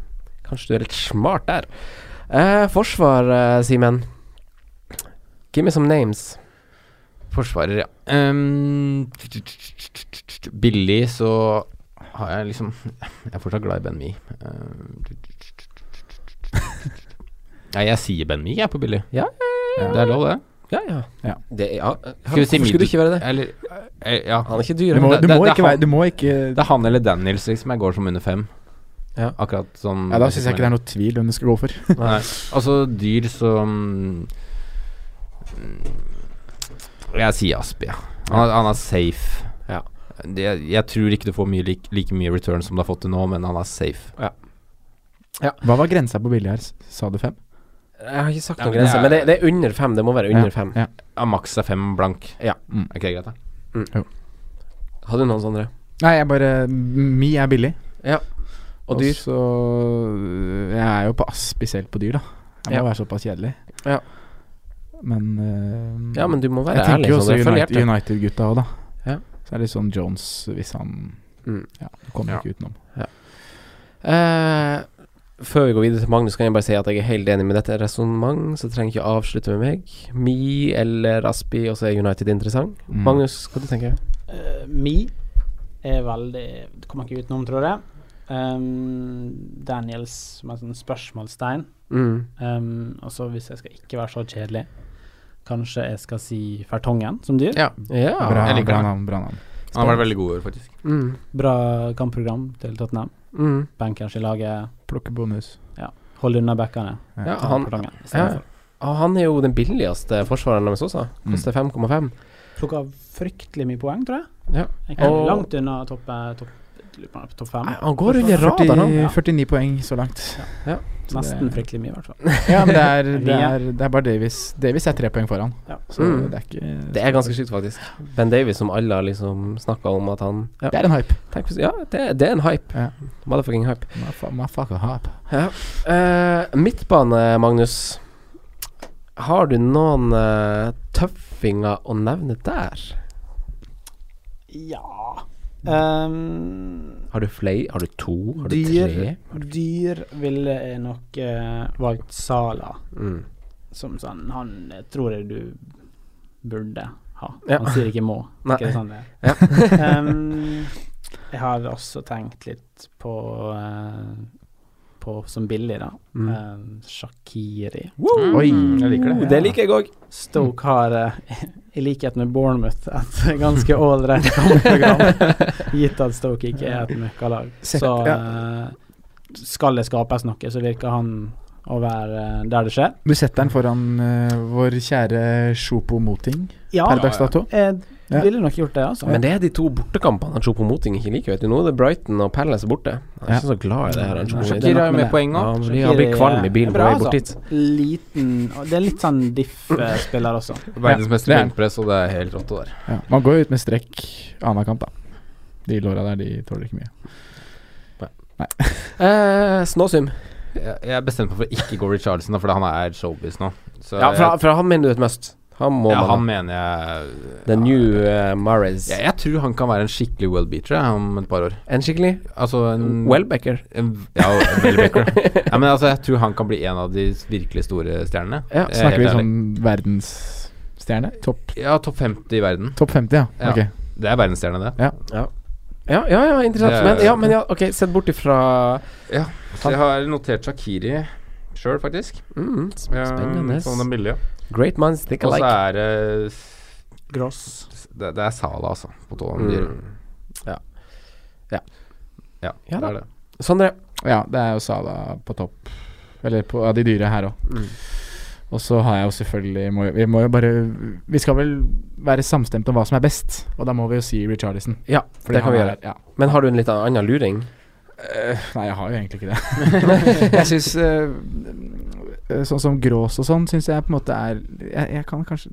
Speaker 3: Kanskje du er litt smart der. Eh, forsvar, eh, Simen. Give me some names.
Speaker 6: forsvarer, ja. Ehm, billig så har jeg liksom Jeg er fortsatt glad i Ben Mi. Ehm, Nei, jeg sier Ben Mi, jeg, på billig.
Speaker 3: Ja,
Speaker 6: Det er lov, det.
Speaker 3: Ja, ja.
Speaker 5: Ja.
Speaker 3: Det, ja. eh,
Speaker 6: Skal vi si
Speaker 3: Hvorfor skulle
Speaker 6: middel-
Speaker 3: du ikke være det?
Speaker 6: Eller eh, Ja.
Speaker 3: Han er ikke
Speaker 5: Du
Speaker 3: dyr.
Speaker 5: må,
Speaker 6: det-
Speaker 5: du
Speaker 6: det-
Speaker 5: må
Speaker 6: det er
Speaker 5: ikke være
Speaker 6: han.
Speaker 5: Du må ikke
Speaker 6: Det er han eller Daniels liksom jeg går som under fem.
Speaker 3: Ja.
Speaker 6: Akkurat sånn
Speaker 5: Ja, Da syns jeg ikke det er noe tvil hvem du skal gå for.
Speaker 6: (laughs) Nei. Altså dyr som Mm. Jeg sier Aspi, ja. Han, er- han er safe.
Speaker 3: Ja.
Speaker 6: Det, jeg tror ikke du får mye, lik, like mye return som du har fått til nå, men han er safe.
Speaker 5: Hva var grensa på billig her? S- Sa du fem?
Speaker 3: Jeg har ikke sagt
Speaker 6: Ja,
Speaker 3: noen
Speaker 6: men det
Speaker 3: grense,
Speaker 6: er-
Speaker 3: men det, det er under fem. Det må være under
Speaker 5: Ja,
Speaker 3: fem.
Speaker 5: ja.
Speaker 6: Ja, maks er fem blank.
Speaker 3: Ja.
Speaker 5: Mm.
Speaker 6: Ok, greit, da.
Speaker 3: Har du noen sånne?
Speaker 5: Nei, jeg bare Mi er billig.
Speaker 3: Og dyr?
Speaker 5: så øh, Jeg er jo på Aspi selv på dyr, da. Jeg
Speaker 3: Ja.
Speaker 5: må være såpass kjedelig.
Speaker 3: Ja.
Speaker 5: Men eh,
Speaker 3: Ja, men du må være
Speaker 5: Jeg tenker
Speaker 3: ærlig.
Speaker 5: jo
Speaker 3: Sondre.
Speaker 5: også
Speaker 3: Følg
Speaker 5: United-
Speaker 3: hjertet.
Speaker 5: United-gutta òg, da.
Speaker 3: Ja.
Speaker 5: Så det er litt sånn Jones hvis han
Speaker 3: Mm.
Speaker 5: Ja, du kommer ikke utenom.
Speaker 3: Eh, før vi går videre til Magnus, kan jeg bare si at jeg er helt enig med dette resonnement, så trenger ikke å avslutte med meg. Me eller Aspi, og så er United interessant.
Speaker 5: Mm.
Speaker 3: Magnus, hva du tenker du?
Speaker 2: Eh, Mi er veldig Det kommer jeg ikke utenom, tror jeg. Ehm, Daniels som er sånn spørsmålstegn.
Speaker 3: Mm.
Speaker 2: Ehm, og så, hvis jeg skal ikke være så kjedelig, kanskje jeg skal si Fertongen som dyr.
Speaker 7: Ja.
Speaker 3: Ja.
Speaker 5: bra,
Speaker 7: jeg liker
Speaker 5: bra
Speaker 7: det.
Speaker 5: navn, bra navn.
Speaker 7: Han har vært veldig god i år, faktisk.
Speaker 3: Mm.
Speaker 2: Bra kampprogram til Tottenham.
Speaker 3: Mm.
Speaker 2: Bankers i laget.
Speaker 5: Plukke bonus.
Speaker 2: Hold unna backene.
Speaker 3: Ja,
Speaker 2: Ta
Speaker 3: han,
Speaker 2: Fertongen i
Speaker 3: ja.
Speaker 2: stedet for.
Speaker 3: Og han er jo den billigste forsvareren deres også.
Speaker 5: Mm.
Speaker 3: Koster 5,5.
Speaker 2: Plukka fryktelig mye poeng, tror jeg.
Speaker 3: Ja.
Speaker 2: Jeg er
Speaker 3: Og-
Speaker 2: langt unna topp eh, topp- lurer på om det er topp fem.
Speaker 3: Nei, Han går under radaren, han.
Speaker 5: 40, 49 poeng så langt.
Speaker 3: altså,
Speaker 5: så
Speaker 2: Nesten
Speaker 5: det-
Speaker 2: fryktelig mye, i hvert fall.
Speaker 5: Ja, men det er, det
Speaker 2: Mye.
Speaker 5: er, det er bare Davies. Davies er tre poeng foran,
Speaker 2: Ja.
Speaker 5: så
Speaker 3: Mm.
Speaker 5: det er ikke
Speaker 3: Det er ganske sykt, faktisk. Ben Davies, som alle har liksom snakka om at han Ja,
Speaker 5: Det er en hype.
Speaker 3: tenk, hvis- ja det, det er en hype.
Speaker 5: Ja.
Speaker 3: Motherfucking hype.
Speaker 5: Motherfu- motherfucker hype.
Speaker 3: Eh, midtbane, Magnus. Har du noen eh, tøffinger å nevne der?
Speaker 2: ja. Ehm,
Speaker 3: Har du flere? Har du to? Mm. Har du
Speaker 2: Dyr,
Speaker 3: tre?
Speaker 2: dyr ville jeg nok eh, valgt Sala
Speaker 3: Mm.
Speaker 2: som sånn Han eh, tror jeg du burde ha.
Speaker 3: Ja.
Speaker 2: Han sier ikke må.
Speaker 3: (laughs) Nei.
Speaker 2: Ikke det sånn det er. (laughs)
Speaker 3: Ja. (laughs)
Speaker 2: Em, jeg har også tenkt litt på eh, på som billig, da.
Speaker 3: Mm.
Speaker 2: Ehm, Em, Shaqiri.
Speaker 5: Oi!
Speaker 7: Jeg liker det.
Speaker 3: Oh, det liker jeg òg.
Speaker 2: Stoke har, eh, i likhet med Bournemouth, et ganske ålreit kampprogram, gitt at Stoke ikke er et møkkalag.
Speaker 5: Sett,
Speaker 2: Så eh, skal det skapes noe, så virker han å være eh, der det skjer.
Speaker 5: Du setter den foran eh, vår kjære Sjopo Moting
Speaker 2: Ah, Ja,
Speaker 5: per dags dato.
Speaker 2: jeg
Speaker 5: Ja.
Speaker 2: ville nok gjort det, altså.
Speaker 3: Men det er de to bortekampene han Chopo Moting ikke liker. Vet du. Nå er det Brighton og Palace borte. Han er
Speaker 5: Ja.
Speaker 3: ikke så glad i det her. Han, Choupo-Moting.
Speaker 2: Det er
Speaker 7: Shakir
Speaker 2: nok
Speaker 7: har jo
Speaker 2: med
Speaker 7: med
Speaker 2: det.
Speaker 7: poeng
Speaker 3: ja,
Speaker 7: òg.
Speaker 3: han blir, han blir kvalm i bilen på
Speaker 2: Bra,
Speaker 3: vei bort dit.
Speaker 2: altså. Liten og Det er litt sånn diff-spiller også.
Speaker 7: Verdensmester i
Speaker 5: Ja, det er han.
Speaker 7: benkpress, og det er helt rått. det der.
Speaker 5: Ja. Man går jo ut med strekk annenhver kamp, da. De låra der, de tåler ikke mye.
Speaker 3: Eh, Snåsum.
Speaker 7: Jeg, jeg bestemte meg for å ikke gå Richarlison, da, fordi han er showbiz nå. Så
Speaker 3: Ja, fra,
Speaker 7: jeg,
Speaker 3: fra han mener du et must. Han må
Speaker 7: ja,
Speaker 3: man ha.
Speaker 7: han mener jeg
Speaker 3: The new uh, Mares.
Speaker 7: ja, Jeg tror han kan være en skikkelig well-beater jeg, om et par år.
Speaker 3: En skikkelig
Speaker 7: Altså en
Speaker 3: Welbecker.
Speaker 7: en- Ja, well-beater. ja, men altså, jeg tror han kan bli en av de virkelig store stjernene.
Speaker 3: Ja,
Speaker 7: Jeg er
Speaker 5: Snakker vi
Speaker 7: helt
Speaker 5: sånn verdensstjerne? Topp
Speaker 7: ærlig. Ja, topp 50 i verden.
Speaker 5: topp 50, ja.
Speaker 7: Ja.
Speaker 5: Ok.
Speaker 7: Det er verdensstjerne, det.
Speaker 3: Ja, ja, ja, interessant.
Speaker 7: Det-
Speaker 3: Men ja, men ja, ok, sett bort ifra
Speaker 7: Så jeg har notert Shakiri sjøl, faktisk.
Speaker 3: mm, sp-
Speaker 7: Ja,
Speaker 3: Spennende.
Speaker 7: Som den billige.
Speaker 3: Great minds think
Speaker 7: Og så
Speaker 3: alike.
Speaker 7: er det
Speaker 2: Gross.
Speaker 7: Det, det er Sala, altså. På tolv.
Speaker 3: Mm.
Speaker 7: Ja,
Speaker 3: Ja
Speaker 7: det
Speaker 3: da.
Speaker 7: er det.
Speaker 3: Sondre.
Speaker 5: Ja, det er jo Sala på topp. Eller på av de dyre her òg.
Speaker 3: Mm.
Speaker 5: Og så har jeg jo selvfølgelig må, jo- Vi må jo bare Vi skal vel være samstemte om hva som er best, og da må vi jo si Richarlison.
Speaker 3: Ja,
Speaker 5: fordi
Speaker 3: det kan
Speaker 5: han
Speaker 3: vi
Speaker 5: er
Speaker 3: gjøre.
Speaker 5: her, Ja.
Speaker 3: Men har du en litt annen luring?
Speaker 5: Nei, jeg har jo (laughs) egentlig ikke det. jeg syns Sånn som Grås og sånn, syns jeg på en måte er jeg, jeg kan kanskje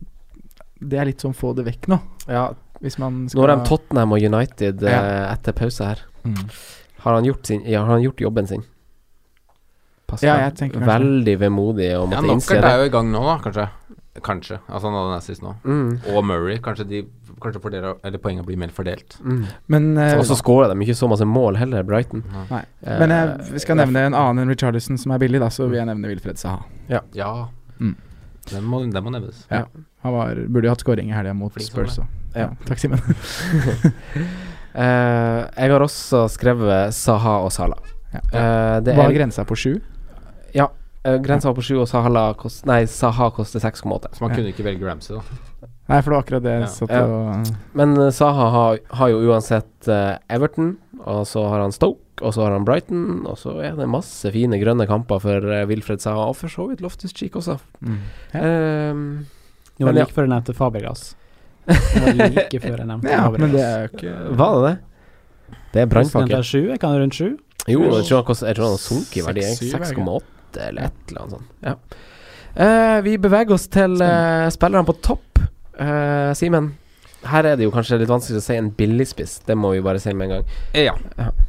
Speaker 5: Det er litt sånn få det vekk nå,
Speaker 3: Ja,
Speaker 5: hvis man skal
Speaker 3: Nå har de Tottenham og United eh,
Speaker 5: Ja.
Speaker 3: etter pause her.
Speaker 5: Mm.
Speaker 3: Har han gjort, sin, ja, har han gjort jobben sin? Passer
Speaker 5: Ja, jeg tenker kanskje
Speaker 3: Veldig vemodig å
Speaker 7: Ja,
Speaker 3: måtte innse
Speaker 7: Knockert
Speaker 3: det.
Speaker 7: er jo i gang nå, da, kanskje. Kanskje. Altså, han hadde en assist nå.
Speaker 3: Mm,
Speaker 7: Og Murray. Kanskje, de, kanskje fordeler, eller poengene blir mer fordelt.
Speaker 3: mm.
Speaker 5: Men, eh,
Speaker 3: Og så skårer de ikke så masse mål heller, Brighton.
Speaker 5: nei.
Speaker 3: Eh,
Speaker 5: Men jeg skal nevne en annen enn Richarlison som er billig, da, så vil jeg nevne Wilfred Saha.
Speaker 7: Ja.
Speaker 5: Mm.
Speaker 7: Den, må, den må nevnes.
Speaker 5: Ja. Han var, burde jo hatt skåring i helga mot
Speaker 7: Flink som
Speaker 5: Spurs.
Speaker 3: sånn,
Speaker 7: det.
Speaker 5: så. Ja. Takk, Simen.
Speaker 3: eh, jeg har også skrevet Saha og Sala.
Speaker 5: Ja.
Speaker 3: Eh, det
Speaker 5: Var
Speaker 3: er,
Speaker 5: grensa på sju?
Speaker 3: eh, grensa på sju, og Sahala kost, nei, Saha koster 6,8.
Speaker 7: Så man
Speaker 5: Ja.
Speaker 7: kunne ikke velge Ramsey, da.
Speaker 5: Nei, for det var akkurat det jeg
Speaker 7: Ja.
Speaker 5: satt
Speaker 3: Ja.
Speaker 5: og
Speaker 3: Men eh, Saha har, har jo uansett eh, Everton, og så har han Stoke, og så har han Brighton, og så er det masse fine grønne kamper for eh, Wilfred Saha, og for så vidt Loftus Cheek også.
Speaker 5: Mm. Ja.
Speaker 3: Ehm,
Speaker 2: Det var
Speaker 3: Men ja.
Speaker 2: like før jeg nevnte Fabergas. Det var like før jeg nevnte
Speaker 5: Ja, men det
Speaker 2: Fabergas.
Speaker 5: er jo ikke
Speaker 3: var det det? Det er brannpakke.
Speaker 2: er sju, jeg kan rundt sju.
Speaker 3: Jo, jeg tror han kost- jeg tror han har sunket i verdi.
Speaker 5: Seks, syv, er det ikke?
Speaker 3: 6,8 eller et eller annet sånt. Ja. Eh, vi beveger oss til eh, spillerne på topp. Eh, Simen, her er det jo kanskje litt vanskelig å si en billigspiss. Det må vi bare si med en gang.
Speaker 7: Eh, Ja.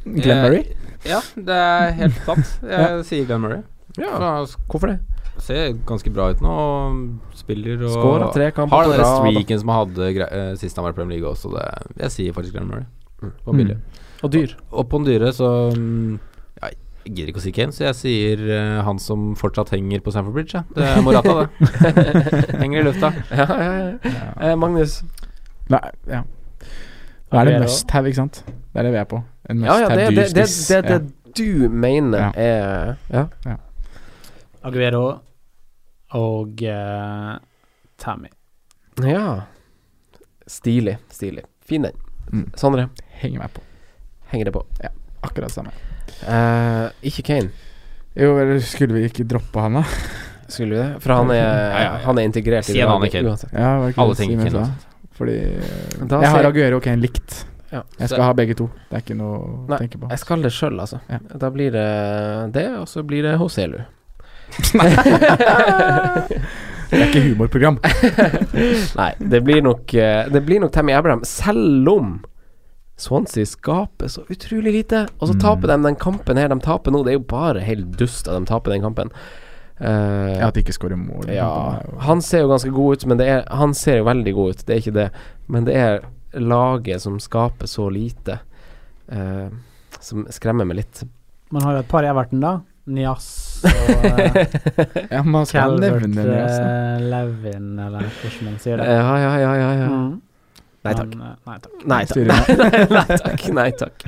Speaker 5: Glenn Murray?
Speaker 7: Eh, Ja, det er helt sant. Jeg sier Glenn Murray.
Speaker 3: (laughs) Ja,
Speaker 7: For han har sk-
Speaker 3: Hvorfor det?
Speaker 7: Ser ganske bra ut nå. Og spiller og
Speaker 3: Skåret tre kamper
Speaker 7: Har den
Speaker 3: på
Speaker 7: der
Speaker 3: rad.
Speaker 7: streaken som han hadde grei- eh, sist han var i Premier League også. Det, jeg sier faktisk Glenn Murray. På
Speaker 5: Mm.
Speaker 7: billig.
Speaker 2: Og dyr.
Speaker 7: Og på den dyre så mm, ja, Jeg gidder ikke å si Kane, så jeg sier eh, han som fortsatt henger på Stamford Bridge. Ja. Det er Morata, det.
Speaker 3: (laughs)
Speaker 7: henger i lufta.
Speaker 3: (laughs) Ja, ja, ja. Eh, Magnus.
Speaker 5: Nei, ja. Da er det
Speaker 2: Aguero.
Speaker 5: must have, ikke sant? Det er det vi er på. En must
Speaker 3: Ja, ja, det er
Speaker 5: have
Speaker 3: det, det,
Speaker 5: dyr-spiss.
Speaker 3: det, det du mener
Speaker 5: Ja.
Speaker 3: er Ja.
Speaker 2: Aguero og eh, Tammy.
Speaker 3: ja. Stilig. Stilig. Fin den.
Speaker 5: Mm.
Speaker 3: Sondre,
Speaker 5: Ja. Henger meg på.
Speaker 3: henger det på?
Speaker 5: Akkurat samme.
Speaker 3: Eh, ikke Kane,
Speaker 5: Jo, eller skulle vi ikke droppe han, da?
Speaker 3: skulle vi det? For han er,
Speaker 7: ja, ja.
Speaker 3: Han er integrert
Speaker 7: Si en annen
Speaker 3: laget
Speaker 7: Kane.
Speaker 3: uansett.
Speaker 5: Ja, hva er det
Speaker 7: Alle
Speaker 5: jeg sier
Speaker 7: tenker
Speaker 5: med
Speaker 7: Kane,
Speaker 5: det? Fordi eh,
Speaker 3: Da
Speaker 5: Jeg
Speaker 3: sier-
Speaker 5: har Aguero og Kane likt.
Speaker 3: Ja.
Speaker 5: Jeg
Speaker 7: Så-
Speaker 5: skal ha begge to. Det er ikke noe
Speaker 3: Nei,
Speaker 5: å tenke på.
Speaker 3: Jeg skal det sjøl, altså.
Speaker 5: Ja.
Speaker 3: Da blir det det, og så blir det Hoselu.
Speaker 5: Det er ikke
Speaker 3: (laughs)
Speaker 5: humorprogram.
Speaker 3: Nei, det blir nok eh, Det blir nok Tammy Abraham, selv om Swansea skaper så utrolig lite. Og
Speaker 7: Mm.
Speaker 3: så taper de den kampen her de taper nå. Det er jo bare helt dust at de taper den kampen. Eh,
Speaker 5: Ja, At de ikke skårer mål. i
Speaker 3: ja,
Speaker 5: kampen er jo-
Speaker 3: han ser jo ganske god ut, men det er Han ser jo veldig god ut, det er ikke det. Men det er laget som skaper så lite, eh, som skremmer meg litt.
Speaker 2: Man har jo et par i Everton, da.
Speaker 7: (laughs)
Speaker 2: Nias og eh,
Speaker 5: ja, man skal
Speaker 2: Calvert
Speaker 5: nevne det. Altså.
Speaker 2: eh, Levin, eller hvordan man sier
Speaker 7: Eh,
Speaker 2: det.
Speaker 3: Eh, Ja, ja, ja, ja. ja.
Speaker 2: Mm.
Speaker 3: Nei takk.
Speaker 2: Men, eh, nei takk.
Speaker 3: Nei takk. (laughs)
Speaker 5: Styrer
Speaker 3: Nei, nei (laughs) takk. Nei, takk.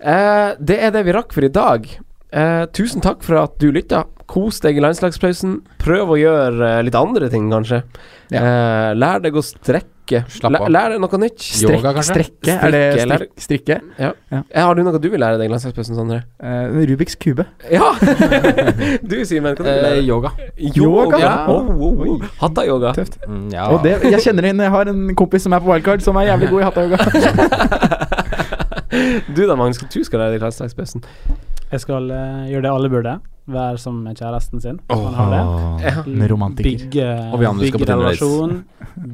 Speaker 3: Eh, det er det vi rakk for i dag. Eh, tusen takk for at du lytta. Kos deg i landslagspausen. Prøv å gjøre eh, litt andre ting, kanskje. Eh, lær deg å strekke.
Speaker 7: Slapp
Speaker 3: Lær,
Speaker 7: av.
Speaker 3: lær deg noe nytt. Strekk,
Speaker 7: Yoga, kanskje?
Speaker 3: Strekke.
Speaker 5: Er det
Speaker 3: Strikke, lær-
Speaker 5: strik strikke?
Speaker 3: Eh, har du noe du vil lære deg i landslagspausen, Sondre?
Speaker 5: Eh, Rubiks kube.
Speaker 3: Ja! (laughs) du, Simen. Hva du vil
Speaker 7: Eh,
Speaker 3: lære?
Speaker 7: yoga.
Speaker 5: Yoga?
Speaker 3: Ja.
Speaker 5: Oh, oh, oh.
Speaker 3: Hatta-yoga.
Speaker 5: Tøft.
Speaker 7: Mm, ja.
Speaker 5: Og det, jeg kjenner henne. Jeg har en kompis som er på wildcard, som er jævlig god i hattayoga.
Speaker 3: Du da, Magnus. Du skal lære deg landslagspausen.
Speaker 2: Jeg skal eh, gjøre det alle burde. Være som kjæresten sin. hvis man har det.
Speaker 5: En romantiker.
Speaker 2: Bygge,
Speaker 7: Og vi andre skal
Speaker 2: bygge
Speaker 7: på Tinder dates.
Speaker 2: relasjon,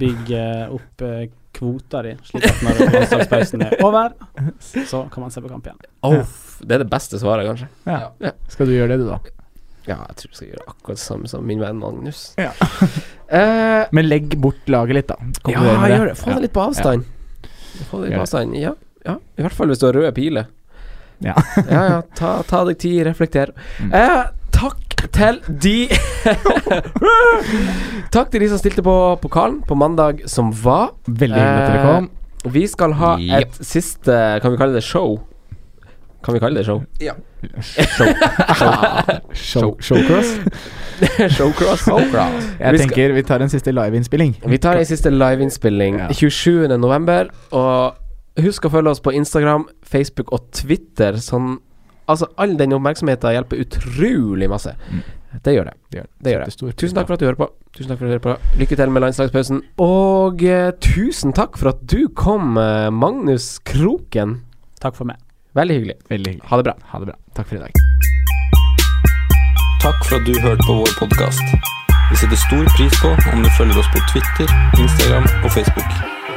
Speaker 2: bygge opp eh, kvota di, slik at når landslagspausen
Speaker 7: (laughs)
Speaker 2: er over, så kan man se på kamp igjen.
Speaker 3: Off. Det er det beste svaret, kanskje.
Speaker 5: Ja. Skal du gjøre det, du, da?
Speaker 3: Ja, jeg tror jeg skal gjøre akkurat det samme som min venn Magnus.
Speaker 5: Ja.
Speaker 3: eh,
Speaker 5: Men legg bort laget litt, da.
Speaker 3: ja,
Speaker 5: Konkluder med
Speaker 3: gjør det. Få det litt på avstand. Få det litt på
Speaker 5: Gjør det.
Speaker 3: avstand. Ja, ja. I hvert fall hvis du har røde piler.
Speaker 5: Ja. (laughs)
Speaker 3: ja, ja. Ta, ta deg tid, reflekter.
Speaker 5: Mm.
Speaker 3: Eh, takk til de (laughs) Takk til de som stilte på pokalen på mandag som var.
Speaker 5: Veldig hyggelig at dere
Speaker 3: Eh,
Speaker 5: kom.
Speaker 3: Vi skal ha
Speaker 7: Ja.
Speaker 3: et siste Kan vi kalle det show? Kan vi kalle det show?
Speaker 5: Show,
Speaker 3: (laughs)
Speaker 5: showcross.
Speaker 3: Showcross.
Speaker 5: Jeg
Speaker 3: Vi skal-
Speaker 5: tenker vi tar en siste liveinnspilling.
Speaker 3: Vi tar en siste liveinnspilling
Speaker 5: Ja.
Speaker 3: 27. november. Og husk å følge oss på Instagram, Facebook og Twitter. Sånn Altså, all den oppmerksomheten hjelper utrolig masse. Det gjør det.
Speaker 5: Mm. Det gjør det.
Speaker 3: Det gjør det.
Speaker 5: Setter stor pris
Speaker 3: Tusen takk
Speaker 5: på.
Speaker 3: for at du hører på. Tusen takk for at du hører på. Lykke til med landslagspausen. Og eh, tusen takk for at du kom, eh, Magnus Kroken.
Speaker 2: Takk for meg.
Speaker 3: Veldig hyggelig.
Speaker 5: Veldig hyggelig.
Speaker 3: Ha det bra.
Speaker 5: Ha det bra. Takk for i dag.
Speaker 8: Takk for at du hørte på vår podkast. Vi setter stor pris på om du følger oss på Twitter, Instagram og Facebook.